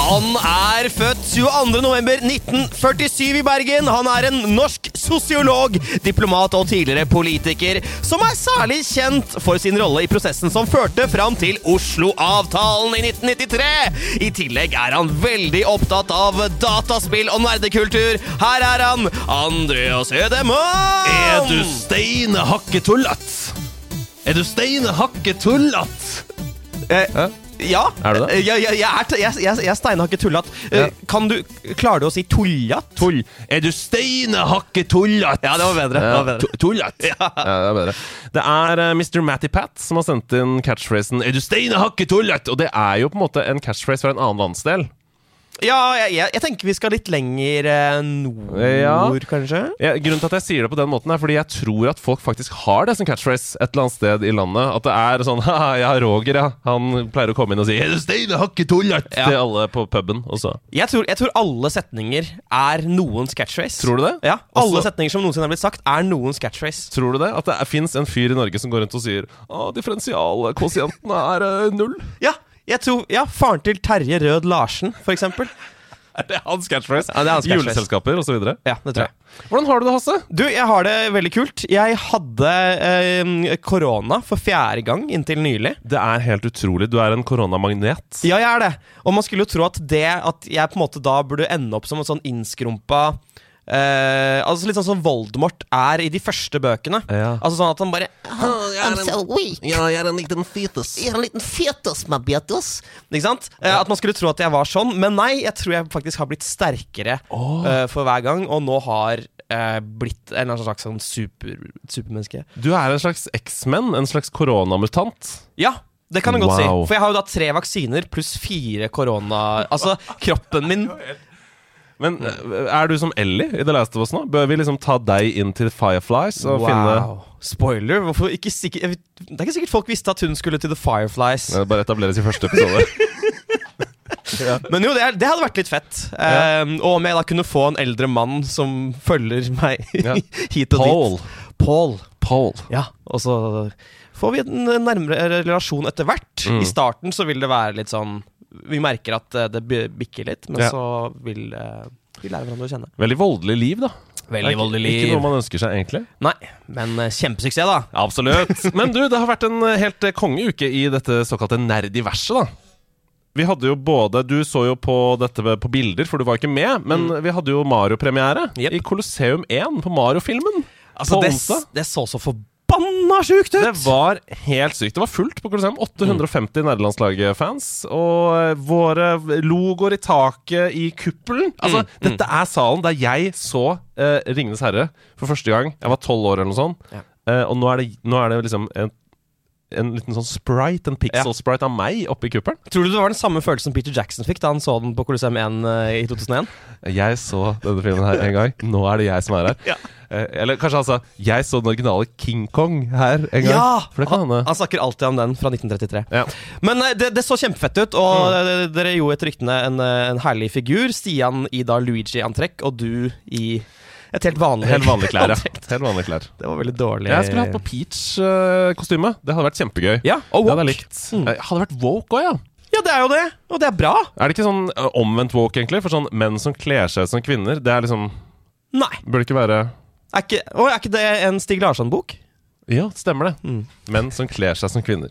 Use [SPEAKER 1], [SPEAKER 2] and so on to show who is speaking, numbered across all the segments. [SPEAKER 1] Han er født 22.11.1947 i Bergen. Han er en norsk sosiolog, diplomat og tidligere politiker, som er særlig kjent for sin rolle i prosessen som førte fram til Oslo-avtalen i 1993. I tillegg er han veldig opptatt av dataspill og nerdekultur. Her er han, Andreas Ødemann!
[SPEAKER 2] Er du steine hakke tullat? Er du steine hakke tullat?
[SPEAKER 1] Eh, ja.
[SPEAKER 2] Er du det?
[SPEAKER 1] Eh, Jeg, jeg, jeg, er, t- jeg, jeg, jeg er steinhakket tullat. Eh,
[SPEAKER 2] Ja.
[SPEAKER 1] Kan du Klarer du å si tullat?
[SPEAKER 2] Tull. Er du steine hakke tullat?
[SPEAKER 1] Ja, det var bedre. Det var bedre.
[SPEAKER 2] Tu- Tullat. Ja, det er bedre. Det er eh, Mr. Matty Pat som har sendt inn catchphrasen 'Er du steine hakke tullat?' Og det er jo på en måte en catchphrase fra en annen landsdel.
[SPEAKER 1] Ja, jeg, jeg, jeg tenker vi skal litt lenger eh, nord,
[SPEAKER 2] Ja.
[SPEAKER 1] kanskje.
[SPEAKER 2] Ja, grunnen til at jeg sier det på den måten er fordi jeg tror at folk faktisk har det som catchphrase et eller annet sted i landet. At det er sånn Haha, jeg har Roger, ja. Han pleier å komme inn og si 'Er du steine hakke tullat?'
[SPEAKER 1] Ja.
[SPEAKER 2] til alle på puben. Og så
[SPEAKER 1] Jeg tror, jeg tror alle setninger er noens catchphrase.
[SPEAKER 2] Tror du det?
[SPEAKER 1] Ja, Alle
[SPEAKER 2] Også-
[SPEAKER 1] setninger som noensinne er blitt sagt, er noens catchphrase.
[SPEAKER 2] Tror du det? At det fins en fyr i Norge som går rundt og sier Å, differensialkvotienten er eh, null.
[SPEAKER 1] Ja, jeg tror, ja, Faren til Terje Rød Larsen, for eksempel.
[SPEAKER 2] Er det hans catchphrase?
[SPEAKER 1] Ja, det er hans catchphrase.
[SPEAKER 2] Juleselskaper osv.
[SPEAKER 1] Ja, det tror jeg.
[SPEAKER 2] Hvordan har du det, Hasse?
[SPEAKER 1] Du, jeg har det veldig kult. Jeg hadde eh, korona for fjerde gang inntil nylig.
[SPEAKER 2] Det er helt utrolig. Du er en koronamagnet.
[SPEAKER 1] Ja, jeg er det. Og man skulle jo tro at det at jeg på en måte da burde ende opp som en sånn innskrumpa eh, Altså Litt sånn som Voldemort er i de første bøkene.
[SPEAKER 2] Ja.
[SPEAKER 1] Altså sånn at han bare
[SPEAKER 3] I'm so weak.
[SPEAKER 2] Ja, jeg er en liten fetus.
[SPEAKER 3] Jeg er en liten fetus, my betus.
[SPEAKER 1] Ikke sant? Eh, At man skulle tro at jeg var sånn, men nei. Jeg tror jeg faktisk har blitt sterkere eh, for hver gang, og nå har eh, blitt en eller annen slags sånn super, supermenneske.
[SPEAKER 2] Du er en slags X-Men, en slags koronamutant.
[SPEAKER 1] Ja, det kan jeg godt
[SPEAKER 2] Wow.
[SPEAKER 1] si. For jeg har jo da tre vaksiner pluss fire korona... Altså, kroppen min
[SPEAKER 2] Men
[SPEAKER 1] Mm.
[SPEAKER 2] eh, er du som Ellie i The Last of Us nå? Bør vi liksom ta deg inn til Fireflies og finne
[SPEAKER 1] Spoiler! Hvorfor ikke sikkert jeg vet- Det er ikke sikkert folk visste at hun skulle til The Fireflies.
[SPEAKER 2] Eh, Bare etableres i første episode.
[SPEAKER 1] Men jo, det, er, det hadde vært litt fett.
[SPEAKER 2] Ja.
[SPEAKER 1] Ehm, og om jeg da kunne få en eldre mann som følger meg
[SPEAKER 2] Ja.
[SPEAKER 1] hit og
[SPEAKER 2] Paul.
[SPEAKER 1] dit. Paul.
[SPEAKER 2] Paul.
[SPEAKER 1] Ja, og så får vi en nærmere relasjon etter hvert. I starten så vil det være litt sånn Vi merker at eh, det bi- bikker litt, men
[SPEAKER 2] Ja.
[SPEAKER 1] så vil eh, vi lære hverandre å kjenne.
[SPEAKER 2] Veldig voldelig liv, da.
[SPEAKER 1] Veldig
[SPEAKER 2] Ikke-
[SPEAKER 1] voldelig liv.
[SPEAKER 2] Ikke noe man ønsker seg, egentlig.
[SPEAKER 1] Nei, men eh, kjempesuksess, da.
[SPEAKER 2] Absolutt. Men du, det har vært en eh, helt eh, kongeuke i dette såkalte nerdiverset, da. Vi hadde jo både Du så jo på dette ved- på bilder, for du var ikke med, men vi hadde jo Mario-premiere
[SPEAKER 1] Mm. Jep.
[SPEAKER 2] i Colosseum 1 på Mario-filmen. på
[SPEAKER 1] Altså, det,
[SPEAKER 2] onsdag.
[SPEAKER 1] det så så forbanna sjukt ut!
[SPEAKER 2] Det var helt sykt. Det var fullt på Colosseum. 850 nederlandslaget-fans. Og eh, våre logoer i taket i kuppelen.
[SPEAKER 1] Mm,
[SPEAKER 2] Altså, dette er salen der jeg så eh, Ringenes herre for første gang. Jeg var tolv år eller noe sånt.
[SPEAKER 1] Ja.
[SPEAKER 2] Eh, og nå er, det, nå er det liksom en, en liten sånn sprite, en
[SPEAKER 1] Ja.
[SPEAKER 2] pixel-sprite av meg oppe i kuppelen.
[SPEAKER 1] Tror du det var den samme følelsen Peter Jackson fikk da han så den på Colosseum 1 eh, i 2001?
[SPEAKER 2] Jeg så denne filmen her en gang. Nå er det jeg som er her.
[SPEAKER 1] Ja.
[SPEAKER 2] Eh, eller kanskje altså Jeg så den originale King Kong her en gang. For det kan
[SPEAKER 1] han,
[SPEAKER 2] hende.
[SPEAKER 1] han snakker alltid om den fra 1933.
[SPEAKER 2] Ja.
[SPEAKER 1] Men eh, det, det så kjempefett ut,
[SPEAKER 2] Mm.
[SPEAKER 1] og eh, dere gjorde etter ryktene en, eh, en herlig figur. Stian i da Luigi-antrekk, og du i et helt vanlig
[SPEAKER 2] Helt vanlige klær, ja. Helt vanlige klær.
[SPEAKER 1] Det var veldig dårlig.
[SPEAKER 2] Jeg skulle hatt på Peach-kostyme. Det hadde vært kjempegøy.
[SPEAKER 1] Eh. Ja, og
[SPEAKER 2] Det hadde
[SPEAKER 1] woke.
[SPEAKER 2] jeg likt. Jeg hadde vært woke òg, ja.
[SPEAKER 1] Ja, det er jo det, og det er bra.
[SPEAKER 2] Er det ikke sånn eh, omvendt woke, egentlig? For sånn menn som kler seg som kvinner, det er liksom
[SPEAKER 1] Nei.
[SPEAKER 2] Burde ikke være
[SPEAKER 1] Er ikke, å, er ikke det en Stig Larsson-bok?
[SPEAKER 2] Ja, stemmer det.
[SPEAKER 1] Mm.
[SPEAKER 2] Menn som kler seg som kvinner.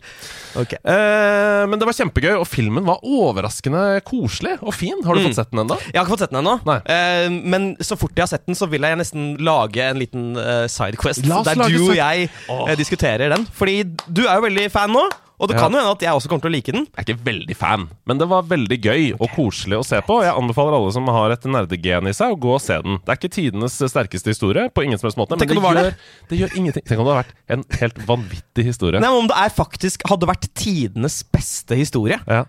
[SPEAKER 1] Ok.
[SPEAKER 2] Eh, men det var kjempegøy, og filmen var overraskende koselig og fin. Har du
[SPEAKER 1] Mm.
[SPEAKER 2] fått sett den ennå?
[SPEAKER 1] Jeg har ikke fått sett den ennå,
[SPEAKER 2] Nei.
[SPEAKER 1] eh, men så fort jeg har sett den, så vil jeg nesten lage en liten eh, sidequest
[SPEAKER 2] La oss
[SPEAKER 1] der
[SPEAKER 2] lage
[SPEAKER 1] du og
[SPEAKER 2] side-
[SPEAKER 1] jeg eh, diskuterer den. Fordi du er jo veldig fan nå, og det
[SPEAKER 2] Ja.
[SPEAKER 1] kan jo hende at jeg også kommer til å like den.
[SPEAKER 2] Jeg er ikke veldig fan, men det var veldig gøy og koselig å se på. og Jeg anbefaler alle som har et nerdegen i seg, å gå og se den. Det er ikke tidenes sterkeste historie, på ingen som helst måte, men
[SPEAKER 1] Tenk
[SPEAKER 2] det
[SPEAKER 1] om det var
[SPEAKER 2] gjør,
[SPEAKER 1] det.
[SPEAKER 2] det gjør ingenting. Tenk om det hadde vært en helt vanvittig historie.
[SPEAKER 1] Nei, men Om det er faktisk hadde vært tidenes beste historie.
[SPEAKER 2] Ja.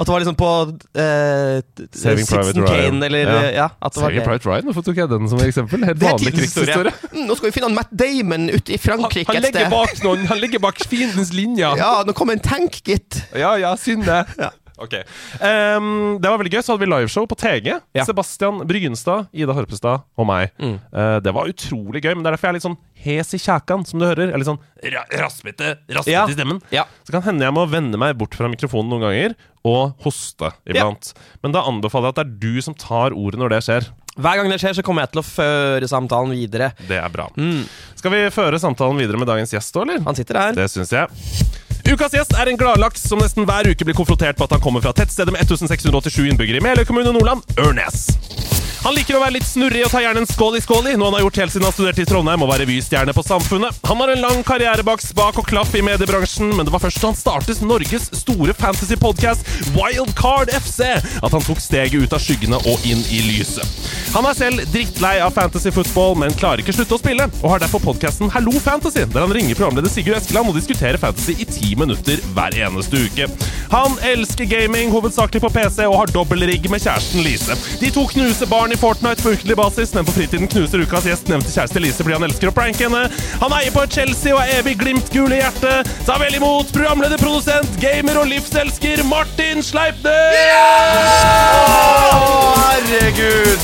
[SPEAKER 1] At det var liksom på eh, t-
[SPEAKER 2] Saving Private
[SPEAKER 1] Citizen
[SPEAKER 2] Ryan.
[SPEAKER 1] Kane, eller
[SPEAKER 2] Ja.
[SPEAKER 1] eh, ja, at det var
[SPEAKER 2] Saving
[SPEAKER 1] det.
[SPEAKER 2] Private Ryan, hvorfor tok jeg den som eksempel? Helt vanlig krigshistorie.
[SPEAKER 1] Mm, nå skal vi finne han Matt Damon ute i Frankrike et sted.
[SPEAKER 2] bak noen, han ligger bak fiendens linje.
[SPEAKER 1] Ja, nå kommer en tank, gitt.
[SPEAKER 2] Ja, ja, synd det. Ok. Ehm, det var veldig gøy. Så hadde vi liveshow på TG.
[SPEAKER 1] Ja. Mm.
[SPEAKER 2] Sebastian Brynstad, Ida Horpestad og meg. Eh, det var utrolig gøy, men det er derfor jeg er litt sånn hes i kjakan, som du hører. Eller sånn ra raspete, raspete
[SPEAKER 1] Ja.
[SPEAKER 2] i stemmen.
[SPEAKER 1] Ja.
[SPEAKER 2] Så kan hende jeg må vende meg bort fra mikrofonen noen ganger og hoste iblant. Men da anbefaler jeg at det er du som tar ordet når det skjer.
[SPEAKER 1] Hver gang det skjer, så kommer jeg til å føre samtalen videre.
[SPEAKER 2] Det er bra. Skal vi føre samtalen videre med dagens gjest da, eller?
[SPEAKER 1] Han sitter her.
[SPEAKER 2] Det syns jeg. Ukas gjest er en gladlaks som nesten hver uke blir konfrontert på at han kommer fra tettstedet med 1687 innbyggere i Meløy kommune, Nordland, Ørnes. Han liker å være litt snurrig og tar gjerne en skål i skål i, noe han har gjort helt siden han studerte i Trondheim og var revystjerne på Samfunnet. Han har en lang karriere bak spak og klaff i mediebransjen, men det var først da han startet Norges store fantasypodkast Wildcard FC at han tok steget ut av skyggene og inn i lyset. Han er selv drittlei av fantasy football, men klarer ikke slutte å spille, og har derfor podkasten Hallo Fantasy, der han ringer programleder Sigurd Eskeland og diskuterer fantasy i ti minutter hver eneste uke. Han elsker gaming, hovedsakelig på PC, og har dobbeltrigg med kjæresten Lise. De to knuser barn i Fortnite på ukentlig basis, men på fritiden knuser ukas gjest nevnte kjæreste Lise fordi han elsker å pranke henne. Han eier på et Chelsea og er evig Glimt-gul i hjertet. Ta vel imot programleder, produsent, gamer og livselsker Martin Sleipner!
[SPEAKER 4] Herregud!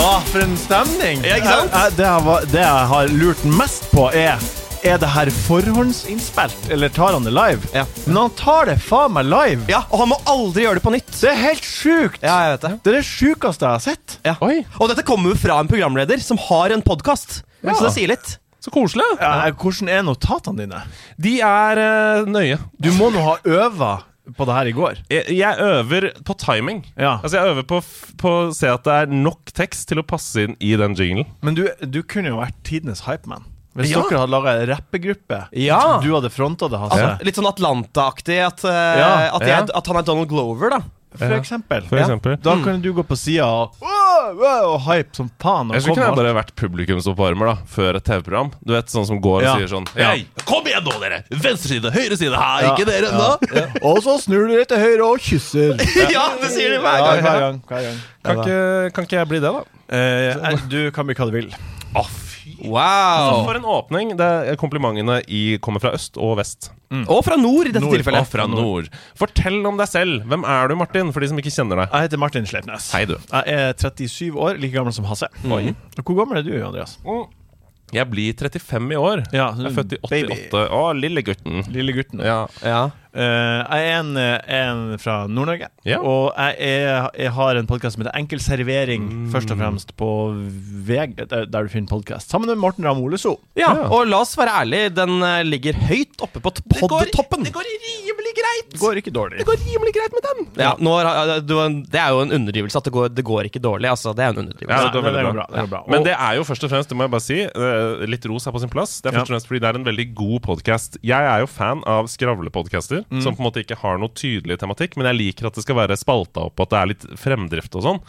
[SPEAKER 4] Å, for en stemning!
[SPEAKER 2] Ja, ikke sant?
[SPEAKER 4] Jeg, jeg, det, jeg var, det jeg har lurt mest på, er Er det her forhåndsinnspilt, eller tar han det live?
[SPEAKER 1] Ja.
[SPEAKER 4] Men han tar det faen meg live!
[SPEAKER 1] Ja, og han må aldri gjøre det på nytt.
[SPEAKER 4] Det er helt sjukt!
[SPEAKER 1] Ja, jeg vet det.
[SPEAKER 4] Det er det sjukeste jeg har sett.
[SPEAKER 1] Ja.
[SPEAKER 2] Oi.
[SPEAKER 1] Og dette kommer jo fra en programleder som har en podkast, så det sier litt.
[SPEAKER 2] Så koselig.
[SPEAKER 4] Eh, Hvordan er notatene dine?
[SPEAKER 2] De er eh, nøye.
[SPEAKER 4] Du må nå ha øva på det her i går.
[SPEAKER 2] Jeg, jeg øver på timing.
[SPEAKER 4] Ja.
[SPEAKER 2] Altså Jeg øver på, f- på å se at det er nok tekst til å passe inn i den jinglen.
[SPEAKER 4] Men du, du kunne jo vært tidenes hypeman. Hvis
[SPEAKER 2] Ja.
[SPEAKER 4] dere hadde laga ei rappegruppe,
[SPEAKER 1] Ja.
[SPEAKER 4] du hadde fronta det, Hasse.
[SPEAKER 1] Altså, Litt sånn Atlanta-aktig. At, eh,
[SPEAKER 4] Ja,
[SPEAKER 1] at, jeg-
[SPEAKER 2] ja.
[SPEAKER 1] at han er Donald Glover, da.
[SPEAKER 4] For eksempel.
[SPEAKER 2] For
[SPEAKER 1] Ja.
[SPEAKER 2] eksempel.
[SPEAKER 4] Da kan du gå på sida og, wow, wow, og hype som faen. Og
[SPEAKER 2] Jeg skulle
[SPEAKER 4] komme
[SPEAKER 2] kunne jeg
[SPEAKER 4] alt.
[SPEAKER 2] bare vært publikumsoppvarmer da før et TV-program. Du vet, Sånn som går og
[SPEAKER 4] Ja.
[SPEAKER 2] sier sånn
[SPEAKER 4] Ja.
[SPEAKER 2] «Hei, Kom igjen nå, dere! Venstre side, høyre side her!
[SPEAKER 4] Ja.
[SPEAKER 2] Ikke dere
[SPEAKER 4] Ja.
[SPEAKER 2] ennå!
[SPEAKER 4] Og så snur du deg til høyre og kysser.
[SPEAKER 1] ja, det sier de
[SPEAKER 4] Ja,
[SPEAKER 1] hver gang.
[SPEAKER 4] hver gang, hver gang.
[SPEAKER 2] Kan,
[SPEAKER 4] Ja, da.
[SPEAKER 2] ikke- kan ikke jeg bli det, da?
[SPEAKER 4] Eh, eh, du kan bli hva du vil.
[SPEAKER 2] Å, fy
[SPEAKER 1] Wow.
[SPEAKER 2] For en åpning. Det er komplimentene i kommer fra øst og vest.
[SPEAKER 1] Mm. Og fra nord, i dette
[SPEAKER 4] Nord.
[SPEAKER 2] Og
[SPEAKER 1] tilfellet.
[SPEAKER 2] fra nord. Fortell om deg selv. Hvem er du, Martin? For de som ikke kjenner deg.
[SPEAKER 4] Jeg heter Martin Sleipnes.
[SPEAKER 2] Hei, du.
[SPEAKER 4] Jeg er 37 år, like gammel som Hasse.
[SPEAKER 2] Oi.
[SPEAKER 4] Hvor gammel er du, Andreas?
[SPEAKER 2] Jeg blir 35 i år.
[SPEAKER 4] Ja,
[SPEAKER 2] Jeg er født i 88.
[SPEAKER 4] baby.
[SPEAKER 2] Å, lille gutten.
[SPEAKER 4] Lille gutten.
[SPEAKER 2] Ja.
[SPEAKER 1] Ja.
[SPEAKER 4] Eh, jeg er en, en fra Nord-Norge,
[SPEAKER 2] Ja.
[SPEAKER 4] og jeg, er, jeg har en podkast som heter Enkel servering, først og fremst på VG, der, der du finner podkast, sammen med Morten Ramm Oleso.
[SPEAKER 1] ja.
[SPEAKER 2] Ja.
[SPEAKER 1] Og la oss være ærlige, den eh, ligger høyt oppe på podtoppen.
[SPEAKER 2] går rimelig greit.
[SPEAKER 4] Det går ikke dårlig.
[SPEAKER 2] går rimelig greit med den.
[SPEAKER 1] Ja, nå, har- du, det er jo en underdrivelse at det går, det går ikke dårlig. Altså, det er en underdrivelse.
[SPEAKER 2] Ja, det
[SPEAKER 4] Nei,
[SPEAKER 2] går
[SPEAKER 4] men
[SPEAKER 2] veldig
[SPEAKER 4] det går
[SPEAKER 2] bra.
[SPEAKER 4] bra, det går bra.
[SPEAKER 2] Men
[SPEAKER 4] Og-
[SPEAKER 2] det er jo først og fremst, det må jeg bare si, eh, litt ros er på sin plass. Det er
[SPEAKER 4] Ja.
[SPEAKER 2] først og fremst fordi det er en veldig god podkast. Jeg er jo fan av skravlepodkaster,
[SPEAKER 4] Mm.
[SPEAKER 2] som på en måte ikke har noe tydelig tematikk, men jeg liker at det skal være spalta opp, og at det er litt fremdrift og sånn.